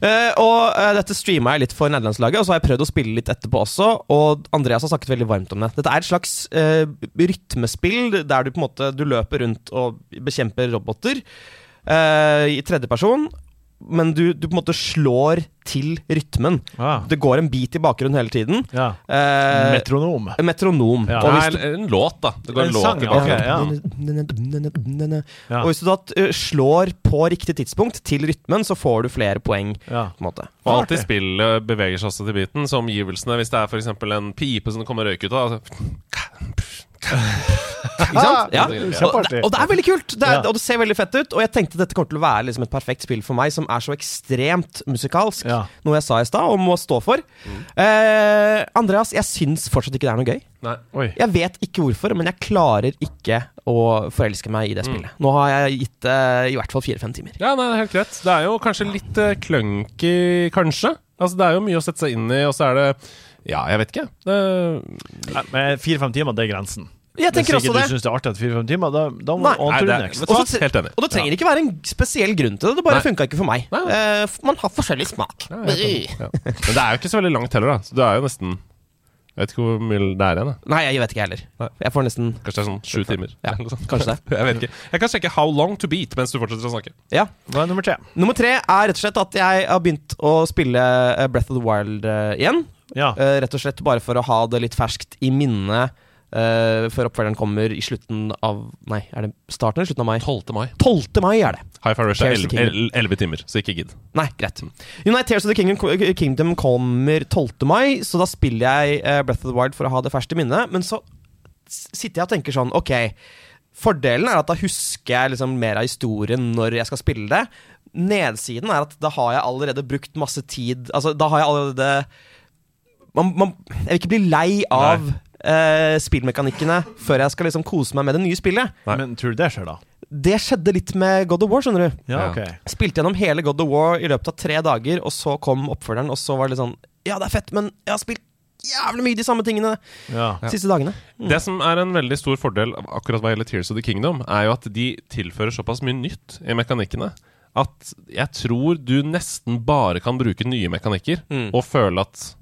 [SPEAKER 1] Eh, og eh, dette streama jeg litt for nederlandslaget, og så har jeg prøvd å spille litt etterpå også. Og Andreas har snakket veldig varmt om det. Dette er et slags eh, rytmespill der du på en måte du løper rundt og bekjemper roboter eh, i tredjeperson. Men du, du på en måte slår til rytmen.
[SPEAKER 4] Ah.
[SPEAKER 1] Det går en bit i bakgrunnen hele tiden.
[SPEAKER 4] Ja.
[SPEAKER 1] Eh,
[SPEAKER 4] Metronom.
[SPEAKER 1] En Metronom.
[SPEAKER 4] Ja.
[SPEAKER 1] Og,
[SPEAKER 2] Nei,
[SPEAKER 1] hvis du,
[SPEAKER 2] en, en låt, da. Det går
[SPEAKER 4] En
[SPEAKER 2] en låt
[SPEAKER 4] sang,
[SPEAKER 2] i
[SPEAKER 4] ja.
[SPEAKER 2] bakgrunnen.
[SPEAKER 4] Ja.
[SPEAKER 1] og hvis du da eh, slår på riktig tidspunkt til rytmen, så får du flere poeng.
[SPEAKER 4] Ja.
[SPEAKER 1] På en måte.
[SPEAKER 2] Og alt i spillet beveger seg også til biten, så omgivelsene Hvis det er f.eks. en pipe som det kommer røyk ut av altså,
[SPEAKER 1] Ikke sant? Ja. Og,
[SPEAKER 4] Kjempeartig.
[SPEAKER 1] og det er veldig kult, det er,
[SPEAKER 4] Ja.
[SPEAKER 1] og det ser veldig fett ut. Og jeg tenkte dette kommer til å være liksom et perfekt spill for meg, som er så ekstremt musikalsk.
[SPEAKER 4] Ja.
[SPEAKER 1] Noe jeg sa i stad, og må stå for. Eh, Andreas, jeg syns fortsatt ikke det er noe gøy.
[SPEAKER 2] Nei.
[SPEAKER 4] Oi.
[SPEAKER 1] Jeg vet ikke hvorfor, men jeg klarer ikke å forelske meg i det spillet. Nå har jeg gitt det i hvert fall fire-fem timer.
[SPEAKER 2] Ja, nei, det er helt greit. Det er jo kanskje litt eh, clunky, kanskje. Altså, det er jo mye å sette seg inn i, og så er det Ja, jeg vet ikke. Det,
[SPEAKER 4] Nei, Men fire-fem timer, det er grensen.
[SPEAKER 1] Jeg tenker
[SPEAKER 4] Hvis
[SPEAKER 1] også
[SPEAKER 4] ikke du
[SPEAKER 1] det.
[SPEAKER 4] syns det er artig etter fire-fem timer, da, da må
[SPEAKER 1] Nei,
[SPEAKER 4] du on
[SPEAKER 2] nei, det
[SPEAKER 4] to the
[SPEAKER 2] er-
[SPEAKER 4] next.
[SPEAKER 2] Vet du hva? Helt enig.
[SPEAKER 1] Og det trenger ikke være en spesiell grunn til det. Det bare
[SPEAKER 2] Nei.
[SPEAKER 1] funka ikke for meg.
[SPEAKER 2] Nei,
[SPEAKER 1] Eh, f- man har forskjellig smak.
[SPEAKER 2] ja, jeg vet ikke. ja. Men det er jo ikke så veldig langt heller, da. Så det er jo nesten Jeg vet ikke hvor mye det er igjen. da.
[SPEAKER 1] Nei, jeg vet ikke heller.
[SPEAKER 2] Nei.
[SPEAKER 1] Jeg får nesten
[SPEAKER 2] Kanskje det er sånn sju timer.
[SPEAKER 1] Ja,
[SPEAKER 2] eller noe sånt.
[SPEAKER 1] kanskje det.
[SPEAKER 2] Jeg vet ikke. Jeg kan sjekke How Long To Beat mens du fortsetter å snakke.
[SPEAKER 1] Ja.
[SPEAKER 4] Hva er nummer tre?
[SPEAKER 1] Nummer tre er rett og slett at jeg har begynt å spille eh, Breath of the Wild eh, igjen.
[SPEAKER 4] Ja.
[SPEAKER 1] Eh, rett og slett bare for å ha det litt ferskt i minnet eh, før oppfølgeren kommer i slutten av Nei, er det starten eller slutten av mai?
[SPEAKER 2] 12. mai.
[SPEAKER 1] 12. mai er det.
[SPEAKER 2] High Five Rush er
[SPEAKER 1] Tears of the Kingdom.
[SPEAKER 2] 11, 11 timer, så ikke gidd.
[SPEAKER 1] Nei, greit. United Tears of the Kingdom, Kingdom kommer 12. mai, så da spiller jeg eh, Breath of the Wild for å ha det ferskt i minnet. Men så s- sitter jeg og tenker sånn, ok Fordelen er at da husker jeg liksom mer av historien når jeg skal spille det. Nedsiden er at da har jeg allerede brukt masse tid Altså, da har jeg allerede man, man, Jeg vil ikke bli lei av eh, spillmekanikkene før jeg skal liksom kose meg med det nye spillet.
[SPEAKER 2] Nei.
[SPEAKER 4] Men tror du det skjer, da?
[SPEAKER 1] Det skjedde litt med God of War, skjønner du.
[SPEAKER 4] Ja,
[SPEAKER 2] Ja.
[SPEAKER 4] ok.
[SPEAKER 1] Spilte gjennom hele God of War i løpet av tre dager, og så kom oppfølgeren, og så var det litt sånn Ja, det er fett, men jeg har spilt jævlig mye de samme tingene
[SPEAKER 4] Ja.
[SPEAKER 1] de siste dagene.
[SPEAKER 2] Det som er en veldig stor fordel av akkurat hva gjelder Tears of the Kingdom, er jo at de tilfører såpass mye nytt i mekanikkene at jeg tror du nesten bare kan bruke nye mekanikker og føle at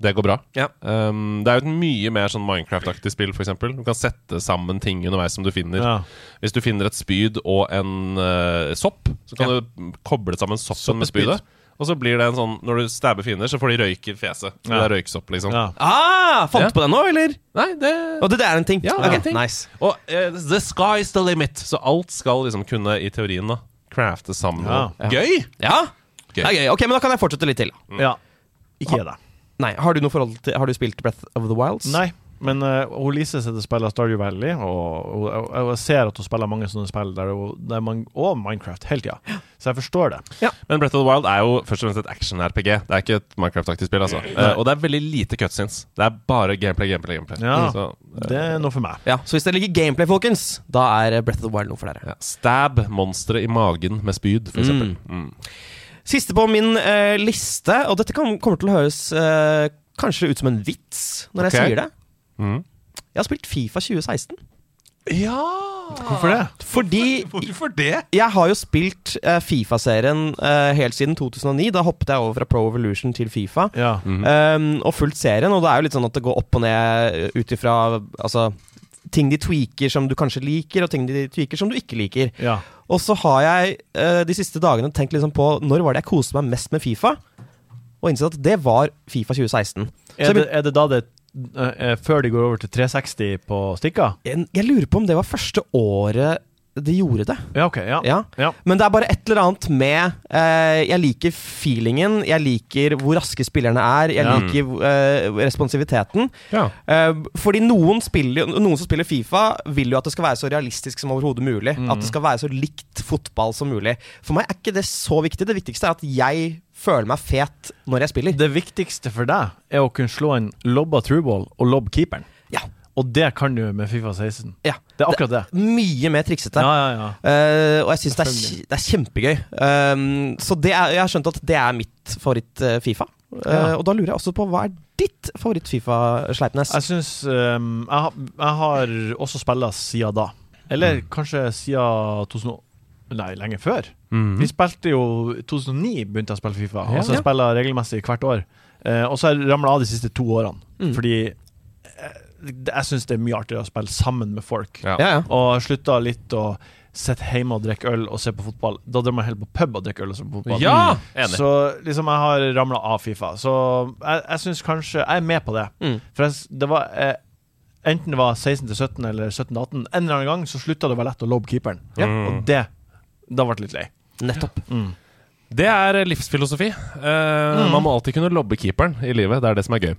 [SPEAKER 2] det går bra.
[SPEAKER 1] Mm. Ja.
[SPEAKER 2] Um, det er jo et mye mer sånn Minecraft-aktig spill, f.eks. Du kan sette sammen ting underveis som du finner.
[SPEAKER 4] Ja.
[SPEAKER 2] Hvis du finner et spyd og en eh, sopp, så kan
[SPEAKER 1] Ja.
[SPEAKER 2] du koble sammen soppen
[SPEAKER 4] Sopp og
[SPEAKER 2] med spydet. Og så blir det en sånn Når du stabber fiender, så får de røyk i fjeset. Så Det
[SPEAKER 4] Ja.
[SPEAKER 2] er røyksopp, liksom.
[SPEAKER 4] Ja.
[SPEAKER 1] Ah, fant
[SPEAKER 2] Ja.
[SPEAKER 1] du på den nå, eller?
[SPEAKER 2] Nei, det
[SPEAKER 1] Og det, det er en ting?
[SPEAKER 2] Ja, det er
[SPEAKER 1] Ok,
[SPEAKER 2] en ting.
[SPEAKER 1] Nice.
[SPEAKER 2] Og eh, the sky's the limit. Så alt skal liksom kunne, i teorien, da crafte sammen.
[SPEAKER 4] Ja.
[SPEAKER 2] Gøy!
[SPEAKER 1] Ja?
[SPEAKER 2] Gøy.
[SPEAKER 1] Det er gøy. Ok, men da kan jeg fortsette litt til.
[SPEAKER 4] ja. Ikke gi deg.
[SPEAKER 1] Nei, Har du noe forhold til Har du spilt Breath of the Wilds?
[SPEAKER 4] Nei. Men eh, hun Lise sitter og spiller Stardew Valley, og hun- jeg- jeg ser at hun spiller mange sånne spill der, hun- der man, og Minecraft hele tida, så jeg forstår det.
[SPEAKER 2] Men Brett of the Wild er jo først og fremst et action-RPG. Det er ikke et Minecraft-aktig spill, altså. Eh, og det er veldig lite cutscenes. Det er bare gameplay, gameplay, gameplay.
[SPEAKER 4] Ja.
[SPEAKER 2] Så, eh,
[SPEAKER 4] Det er noe for meg.
[SPEAKER 1] Mm, Ja, Så hvis det ligger gameplay, folkens, da er Breath of the Wild noe for dere.
[SPEAKER 2] ja. Stab monsteret i magen med spyd, for eksempel. Mm.
[SPEAKER 1] Siste på min eh, liste, og dette kan, kommer til å høres eh, kanskje ut som en vits når jeg
[SPEAKER 2] Ok.
[SPEAKER 1] sier det.
[SPEAKER 2] Mm.
[SPEAKER 1] Jeg har spilt Fifa 2016.
[SPEAKER 2] Ja!
[SPEAKER 4] Hvorfor det?
[SPEAKER 1] Fordi
[SPEAKER 2] Hvorfor det?
[SPEAKER 1] jeg har jo spilt eh, Fifa-serien eh, helt siden 2009. Da hoppet jeg over fra Pro Evolution til Fifa.
[SPEAKER 4] Ja.
[SPEAKER 2] Mm.
[SPEAKER 1] Um, og fulgt serien, og det er jo litt sånn at det går opp og ned ut ifra altså, ting de tweaker som du kanskje liker, og ting de tweaker som du ikke liker.
[SPEAKER 4] ja.
[SPEAKER 1] Og så har jeg eh, de siste dagene tenkt liksom på når var det jeg koste meg mest med Fifa, og innsett at det var Fifa 2016. Så
[SPEAKER 4] Er,
[SPEAKER 1] jeg,
[SPEAKER 4] det, er det da det eh, eh, Før de går over til 360 på stikka?
[SPEAKER 1] begyn- jeg lurer på om det var første året de gjorde det.
[SPEAKER 4] Ja, OK. Ja.
[SPEAKER 1] Ja.
[SPEAKER 4] Ja.
[SPEAKER 1] Men det er bare et eller annet med eh, Jeg liker feelingen, jeg liker hvor raske spillerne er, jeg
[SPEAKER 4] Ja.
[SPEAKER 1] liker eh, responsiviteten.
[SPEAKER 2] Ja.
[SPEAKER 1] Eh, fordi noen, spiller, noen som spiller Fifa, vil jo at det skal være så realistisk som overhodet mulig.
[SPEAKER 4] Mm.
[SPEAKER 1] At det skal være så likt fotball som mulig. For meg er ikke det så viktig. Det viktigste er at jeg føler meg fet når jeg spiller.
[SPEAKER 4] Det viktigste for deg er å kunne slå en lobba trueball og lobbe keeperen.
[SPEAKER 1] Ja.
[SPEAKER 4] Og det kan du med Fifa 16.
[SPEAKER 1] Ja.
[SPEAKER 4] Det er akkurat det.
[SPEAKER 1] Mye mer triksete.
[SPEAKER 4] Ja, ja, ja.
[SPEAKER 1] Eh, og jeg syns det, er kj- det er kjempegøy. Um, så det er, jeg har skjønt at det er mitt favoritt-Fifa.
[SPEAKER 4] Ja.
[SPEAKER 1] Eh, Og da lurer jeg også på hva er ditt favoritt-Fifa, Sleipnes?
[SPEAKER 4] Jeg syns ehm, jeg, har- jeg har også spilla siden da.
[SPEAKER 2] Mm.
[SPEAKER 4] Eller kanskje siden 2000 Nei, lenge før. Vi spilte jo i 2009 begynte jeg å spille Fifa. Og så
[SPEAKER 2] Mm-hmm. Ja.
[SPEAKER 4] jeg spiller regelmessig hvert år. Eh, og så har jeg ramla av de siste to årene.
[SPEAKER 1] Mm.
[SPEAKER 4] Fordi eh, det- jeg syns det er mye artigere å spille sammen med folk.
[SPEAKER 2] Ja.
[SPEAKER 1] Ja, ja.
[SPEAKER 4] Og slutta litt å sitte hjemme og drikke øl og se på fotball. Da drømmer jeg heller på pub og drikke øl og se på fotball.
[SPEAKER 2] Ja,
[SPEAKER 4] Mm.
[SPEAKER 2] enig.
[SPEAKER 4] Så liksom jeg har ramla av Fifa. Så jeg, jeg syns kanskje Jeg er med på det.
[SPEAKER 1] Mm.
[SPEAKER 4] For jeg, s- det var eh, Enten det var 16 til 17 eller 17 til 18, en eller annen gang så slutta det å være lett å lobbe keeperen.
[SPEAKER 2] Ja.
[SPEAKER 4] Og det Da ble jeg litt lei.
[SPEAKER 1] Nettopp.
[SPEAKER 2] Det er livsfilosofi. Eh, Man må alltid kunne lobbe keeperen i livet. Det er det som er gøy.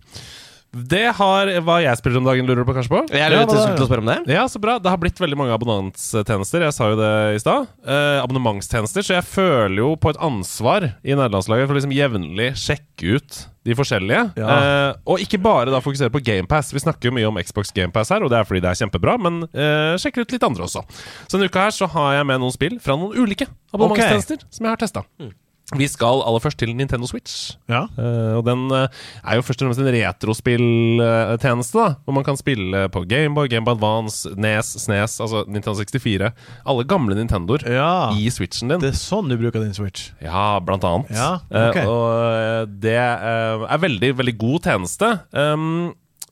[SPEAKER 2] Det har hva jeg spiller om dagen, lurer du på kanskje på?
[SPEAKER 1] Jeg
[SPEAKER 4] Ja,
[SPEAKER 1] lurer
[SPEAKER 4] hva da?
[SPEAKER 1] til til å spørre om det.
[SPEAKER 2] Ja, så bra. Det har blitt veldig mange abonnementstjenester. Jeg sa jo det i stad. Eh, abonnementstjenester. Så jeg føler jo på et ansvar i nederlandslaget for å liksom jevnlig sjekke ut de forskjellige.
[SPEAKER 4] Ja.
[SPEAKER 2] Eh, og ikke bare da fokusere på GamePass. Vi snakker jo mye om Xbox GamePass her, og det er fordi det er kjempebra, men eh, sjekk ut litt andre også. Så denne uka her så har jeg med noen spill fra noen ulike abonnementstjenester som jeg har testa. Vi skal aller først til Nintendo Switch.
[SPEAKER 4] Ja.
[SPEAKER 2] Eh, og den eh, er jo først og fremst en retrospilltjeneste, da. Hvor man kan spille på Gameboy, Gameboy Advance, Nes, Snes, altså Nintendo 64. Alle gamle Nintendoer
[SPEAKER 4] Ja.
[SPEAKER 2] i Switchen din.
[SPEAKER 4] Det er sånn du bruker din Switch.
[SPEAKER 2] Ja, blant annet.
[SPEAKER 4] Ja, ok.
[SPEAKER 2] Eh, og eh, det eh, er veldig, veldig god tjeneste. Um,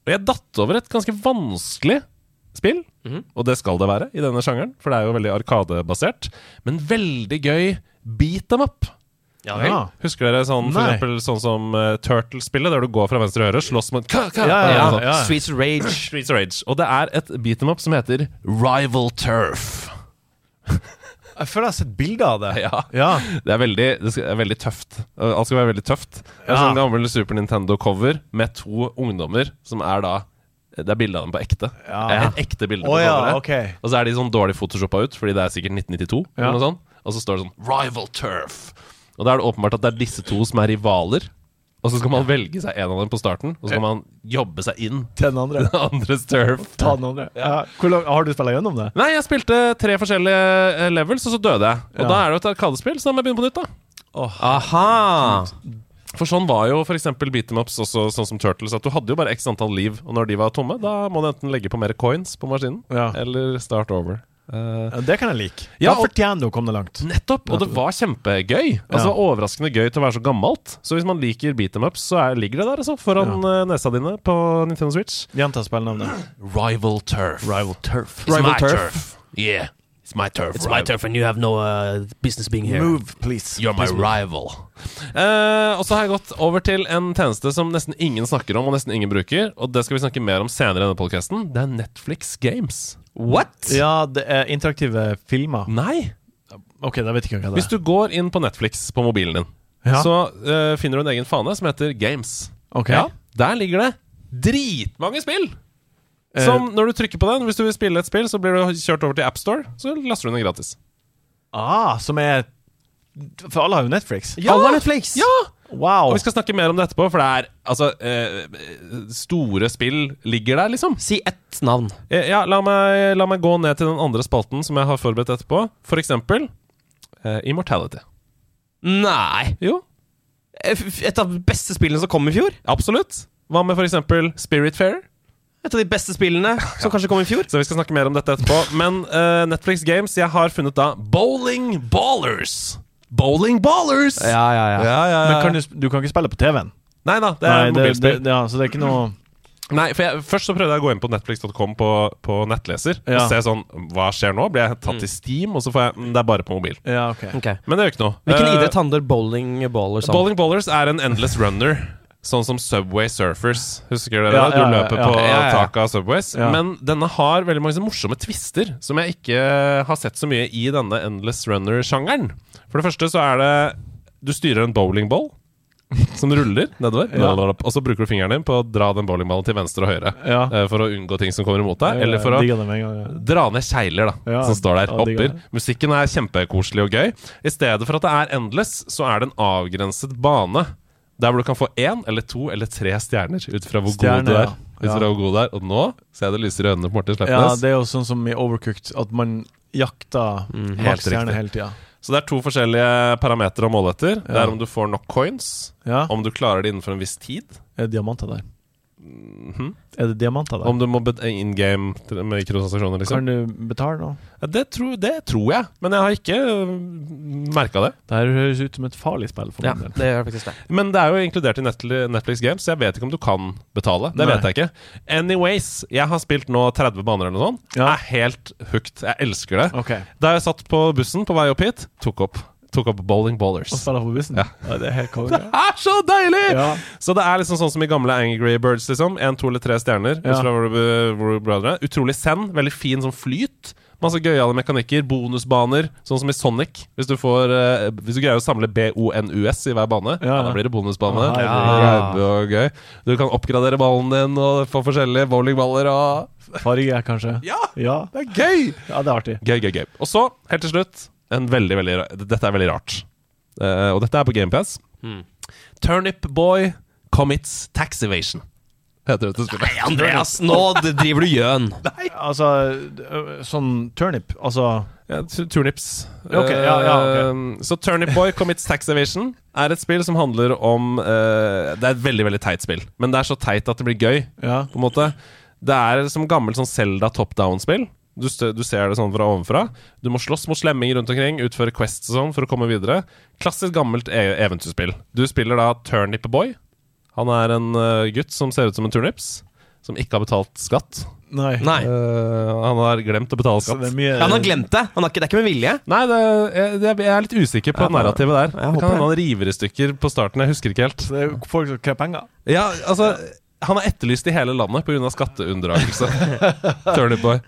[SPEAKER 2] og jeg datt over et ganske vanskelig spill, og det skal det være i denne sjangeren, for det er jo veldig arkadebasert, men veldig gøy beat them up.
[SPEAKER 1] Ja,
[SPEAKER 4] Ja.
[SPEAKER 2] Husker dere sånn, for
[SPEAKER 4] Nei.
[SPEAKER 2] eksempel, sånn som eh, Turtles-spillet, der du går fra venstre øre, slåss mot ka, ka,
[SPEAKER 4] Ja, ja,
[SPEAKER 2] og sånn.
[SPEAKER 4] ja.
[SPEAKER 1] Streets of Rage.
[SPEAKER 2] Streets of Rage. Og det er et beat them up som heter Rival Turf.
[SPEAKER 4] Jeg føler jeg har sett bilder av det.
[SPEAKER 2] Ja.
[SPEAKER 4] Ja.
[SPEAKER 2] Det er veldig, det skal- er veldig tøft. Uh, Alt skal være veldig tøft. Det er
[SPEAKER 4] Ja.
[SPEAKER 2] sånn gammel Super Nintendo-cover med to ungdommer som er da Det er bilde av dem på ekte.
[SPEAKER 4] Ja.
[SPEAKER 2] Det er Et ekte bilde på
[SPEAKER 4] Å ja,
[SPEAKER 2] coveret.
[SPEAKER 4] ok.
[SPEAKER 2] Og så er de sånn dårlig photoshoppa ut, fordi det er sikkert 1992.
[SPEAKER 4] Ja.
[SPEAKER 2] Eller noe sånt. Og så står det sånn Rival Turf. Og da er det åpenbart at det er disse to som er rivaler. Og så skal man velge seg en av dem på starten, og så skal man jobbe seg inn
[SPEAKER 4] Til den andre.
[SPEAKER 2] til den andres turf.
[SPEAKER 4] Ta den andre. Ja. Hvor lang, har du spilla gjennom det?
[SPEAKER 2] Nei, jeg spilte tre forskjellige eh, levels, og så døde jeg. Og
[SPEAKER 4] Ja.
[SPEAKER 2] da er det jo et arkadespill, så da må jeg begynne på nytt, da.
[SPEAKER 1] Aha!
[SPEAKER 2] For sånn var jo f.eks. beat em ups, også sånn som Turtles, at du hadde jo bare x antall liv, og når de var tomme, da må du enten legge på mer coins på maskinen,
[SPEAKER 4] Ja.
[SPEAKER 2] eller start over. Eh,
[SPEAKER 4] Ja, Mm. det kan jeg like.
[SPEAKER 2] Ja,
[SPEAKER 4] da
[SPEAKER 2] og-
[SPEAKER 4] fortjener du å komme deg langt.
[SPEAKER 2] nettopp! Og det var kjempegøy. Altså, det var Overraskende gøy til å være så gammelt. Så hvis man liker beat em ups, så er, ligger det der, altså, foran eh, nesa dine på Nintendo Switch.
[SPEAKER 4] Gjenta spillenavnet.
[SPEAKER 2] Rival Turf.
[SPEAKER 5] Rival turf.
[SPEAKER 1] It's my turf.
[SPEAKER 5] Yeah.
[SPEAKER 2] It's my turf.
[SPEAKER 5] It's my turf, and you have no uh, business being here.
[SPEAKER 4] Move, please.
[SPEAKER 2] You're my rival. Eh, og så har jeg gått over til en tjeneste som nesten ingen snakker om, og nesten ingen bruker, og det skal vi snakke mer om senere i denne podcasten. Det er Netflix Games.
[SPEAKER 1] What?
[SPEAKER 4] Ja, det er interaktive filmer.
[SPEAKER 2] Nei!
[SPEAKER 4] Ok, da vet jeg ikke hva det
[SPEAKER 2] Mm. Hvis du
[SPEAKER 4] er.
[SPEAKER 2] går inn på Netflix på mobilen din,
[SPEAKER 4] Ja.
[SPEAKER 2] så eh, finner du en egen fane som heter Games.
[SPEAKER 4] Ok.
[SPEAKER 2] Ja, der ligger det dritmange spill! Som når du trykker på den, hvis du vil spille et spill, så blir du kjørt over til AppStore, så laster du den gratis.
[SPEAKER 4] Ah, som er For alle har jo Netflix.
[SPEAKER 2] Ja!
[SPEAKER 1] Alle har Netflix!
[SPEAKER 2] Ja!
[SPEAKER 4] Wow.
[SPEAKER 2] Og vi skal snakke mer om det etterpå, for det er altså eh, Store spill ligger der, liksom.
[SPEAKER 1] Si ett navn.
[SPEAKER 2] Eh, Ja, la meg, la meg gå ned til den andre spalten som jeg har forberedt etterpå. For eksempel eh, Immortality.
[SPEAKER 1] Nei.
[SPEAKER 2] Jo,
[SPEAKER 1] Et av de beste spillene som kom i fjor.
[SPEAKER 2] absolutt. Hva med for eksempel Spirit Fair?
[SPEAKER 1] Et av de beste spillene som kanskje kom i fjor.
[SPEAKER 2] Så vi skal snakke mer om dette etterpå. Men eh, Netflix Games, jeg har funnet da Bowling Ballers. Bowling Ballers!
[SPEAKER 1] Ja, ja, ja.
[SPEAKER 4] Men kan du, sp- du kan ikke spille på TV-en?
[SPEAKER 2] Nei da, det er
[SPEAKER 4] Nei, det, det,
[SPEAKER 2] mobilspill.
[SPEAKER 4] det, ja, så det er ikke noe
[SPEAKER 2] Nei, for jeg, Først så prøvde jeg å gå inn på netflix.com på, på nettleser og
[SPEAKER 4] Ja.
[SPEAKER 2] se sånn Hva skjer nå? Blir jeg tatt til Steam? Og så får jeg mm, Det er bare på mobil.
[SPEAKER 4] Ja, ok.
[SPEAKER 1] Ok.
[SPEAKER 2] Men det gjør ikke noe.
[SPEAKER 1] Hvilken
[SPEAKER 2] Eh,
[SPEAKER 1] idrett handler bowling baller om?
[SPEAKER 2] Bowling Ballers er en endless runner. Sånn som Subway Surfers. Husker dere
[SPEAKER 4] Ja,
[SPEAKER 2] det? Du
[SPEAKER 4] ja, ja,
[SPEAKER 2] løper
[SPEAKER 4] ja.
[SPEAKER 2] på
[SPEAKER 4] Ja, ja, ja.
[SPEAKER 2] taket av Subways.
[SPEAKER 4] Ja.
[SPEAKER 2] Men denne har veldig mange sånne morsomme twister som jeg ikke eh, har sett så mye i denne Endless Runner-sjangeren. For det første så er det Du styrer en bowlingball som ruller nedover.
[SPEAKER 4] Ja.
[SPEAKER 2] Og så bruker du fingeren din på å dra den bowlingballen til venstre og høyre.
[SPEAKER 4] Ja.
[SPEAKER 2] eh, For å unngå ting som kommer imot deg. Eller for å
[SPEAKER 4] Digger det med en gang. ja.
[SPEAKER 2] dra ned kjegler da,
[SPEAKER 4] Ja,
[SPEAKER 2] som står der.
[SPEAKER 4] ja, digger
[SPEAKER 2] Hopper.
[SPEAKER 4] det.
[SPEAKER 2] Musikken er kjempekoselig og gøy. I stedet for at det er endless, så er det en avgrenset bane. Der hvor du kan få én eller to eller tre stjerner ut fra hvor god
[SPEAKER 4] Stjerne,
[SPEAKER 2] du er.
[SPEAKER 4] ja.
[SPEAKER 2] Ut fra
[SPEAKER 4] Ja.
[SPEAKER 2] hvor god du er. Og nå ser jeg det lyser i øynene på Morten
[SPEAKER 4] Ja,
[SPEAKER 2] Sleipnes.
[SPEAKER 4] det er jo sånn som i Overcooked, at man jakter mm,
[SPEAKER 2] helt riktig.
[SPEAKER 4] hele tida.
[SPEAKER 2] Så det er to forskjellige parametere å måle etter. Det
[SPEAKER 4] Ja.
[SPEAKER 2] er om du får nok coins,
[SPEAKER 4] Ja.
[SPEAKER 2] om du klarer det innenfor en viss tid,
[SPEAKER 4] Er det diamanter der? Er det diamanter der?
[SPEAKER 2] Mhm. om du må bet- in game til- med mikrotransaksjoner, liksom.
[SPEAKER 4] Kan du betale noe?
[SPEAKER 2] Ja, Det, tror, det tror jeg, men jeg har ikke merka det.
[SPEAKER 4] Det her høres ut som et farlig spill for
[SPEAKER 1] Ja,
[SPEAKER 4] min del.
[SPEAKER 1] det gjør faktisk det.
[SPEAKER 2] Men det er jo inkludert i Netl- Netflix Games, så jeg vet ikke om du kan betale. Det
[SPEAKER 4] Nei.
[SPEAKER 2] vet jeg ikke. Anyways, jeg har spilt nå 30 baner eller noe sånt.
[SPEAKER 4] Ja.
[SPEAKER 2] Jeg er helt hooked. Jeg elsker det.
[SPEAKER 4] Ok.
[SPEAKER 2] Da jeg satt på bussen på vei opp hit, tok opp, tok opp Bowling Ballers.
[SPEAKER 4] Å spille på bussen?
[SPEAKER 2] Ja.
[SPEAKER 4] Ja, det er helt konge.
[SPEAKER 2] Det er så deilig!
[SPEAKER 4] Ja.
[SPEAKER 2] Så det er liksom sånn som i gamle Angry Birds, liksom. Én, to eller tre stjerner.
[SPEAKER 4] Ja.
[SPEAKER 2] ut fra Hvor du, hvor du bladrer. Utrolig send. Veldig fin sånn flyt. Masse gøyale mekanikker. Bonusbaner. Sånn som i Sonic. Hvis du, får, eh, hvis du greier å samle BONUS i hver bane, ja. Ah,
[SPEAKER 4] Ja.
[SPEAKER 2] da blir det bonusbane.
[SPEAKER 4] Ja.
[SPEAKER 2] Det er jo gøy. Du kan oppgradere ballen din og få forskjellige bowlingballer og
[SPEAKER 4] Farge, kanskje?
[SPEAKER 2] Ja!
[SPEAKER 4] Ja.
[SPEAKER 2] Det er gøy!
[SPEAKER 4] ja, det er artig.
[SPEAKER 2] Gøy, gøy, gøy. Og så, helt til slutt en veldig, veldig, ra- Dette er veldig rart. Eh,
[SPEAKER 4] Hmm.
[SPEAKER 2] og dette er på GamePass. Turnip Boy commits tax evasion. heter dette spillet.
[SPEAKER 1] Nei, Andreas, nå d- driver du gjøn.
[SPEAKER 4] Altså, øh, sånn turnip Altså
[SPEAKER 2] Ja, tu- turnips.
[SPEAKER 4] Ok, ja, ja, ok.
[SPEAKER 2] Eh, Så Turnip Boy Commits Tax Evasion er et spill som handler om eh, Det er et veldig veldig teit spill, men det er så teit at det blir gøy.
[SPEAKER 4] Ja.
[SPEAKER 2] på en måte. Det er som gammelt sånn Zelda top down-spill. Du, stø- du ser det sånn fra ovenfra. Du må slåss mot slemminger rundt omkring, utføre quests og sånn for å komme videre. Klassisk gammelt e eventyrspill. Du spiller da Turnip Boy. Han er en eh, gutt som ser ut som en turnips. Som ikke har betalt skatt.
[SPEAKER 4] Nei.
[SPEAKER 1] Nei.
[SPEAKER 2] Eh, han har glemt å betale
[SPEAKER 4] Så
[SPEAKER 2] skatt.
[SPEAKER 4] det er mye
[SPEAKER 1] Ja, han har glemt det. Han har ikke, det er ikke med vilje.
[SPEAKER 2] Nei, det, jeg, jeg er litt usikker på narrativet
[SPEAKER 1] jeg
[SPEAKER 2] der.
[SPEAKER 1] håper
[SPEAKER 2] Det kan hende
[SPEAKER 1] det.
[SPEAKER 2] han river i stykker på starten. Jeg husker ikke helt.
[SPEAKER 4] Så det er jo folk som krever penger.
[SPEAKER 2] Ja, altså Han er etterlyst i hele landet pga. skatteunndragelse. Turnip boy.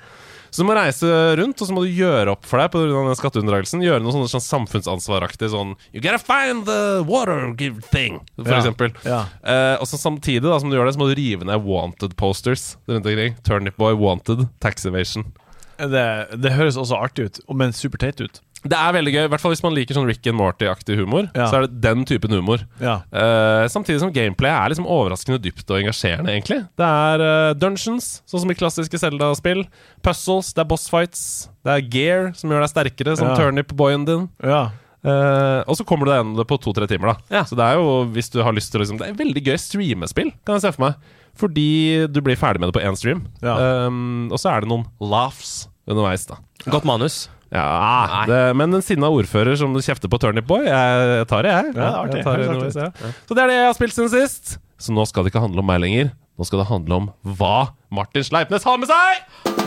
[SPEAKER 2] Så du må reise rundt og så må du gjøre opp for deg på grunn av den skatteunndragelsen. Gjøre noe sånn, sånn samfunnsansvaraktig sånn You gotta find the water give thing, for
[SPEAKER 4] Ja.
[SPEAKER 2] eksempel.
[SPEAKER 4] Ja.
[SPEAKER 2] Eh, og så samtidig da som du gjør det, så må du rive ned wanted posters rundt omkring. Turnip boy wanted, tax evasion.
[SPEAKER 4] Det, det høres også artig ut, og- men super teit ut.
[SPEAKER 2] Det er veldig gøy, i hvert fall hvis man liker sånn Rick and Morty-aktig humor.
[SPEAKER 4] Ja.
[SPEAKER 2] Så er det den typen humor.
[SPEAKER 4] Ja.
[SPEAKER 2] Eh, samtidig som gameplay er liksom overraskende dypt og engasjerende, egentlig. Det er eh, dungeons, sånn som i klassiske Zelda-spill. Puzzles, det er boss fights. Det er gear, som gjør deg sterkere, som
[SPEAKER 4] Ja.
[SPEAKER 2] turnip-boyen din.
[SPEAKER 4] Ja.
[SPEAKER 2] Eh, og så kommer du deg gjennom det på to-tre timer, da. Så det er jo, hvis du har lyst til å liksom, Det er et veldig gøy streamespill, kan jeg se for meg. Fordi du blir ferdig med det på én stream.
[SPEAKER 4] Ja.
[SPEAKER 2] Eh, og så er det noen laughs underveis, da.
[SPEAKER 1] Godt manus.
[SPEAKER 2] Ja, det, men en sinna ordfører som kjefter på Turnip Boy, jeg, jeg tar det, jeg.
[SPEAKER 4] Ja, det er
[SPEAKER 2] jeg
[SPEAKER 4] artig.
[SPEAKER 2] tar det
[SPEAKER 4] Helt
[SPEAKER 2] underveis, ja. Så det er det jeg har spilt siden sist. Så nå skal det ikke handle om meg lenger. Nå skal det handle om hva Martin Sleipnes har med seg!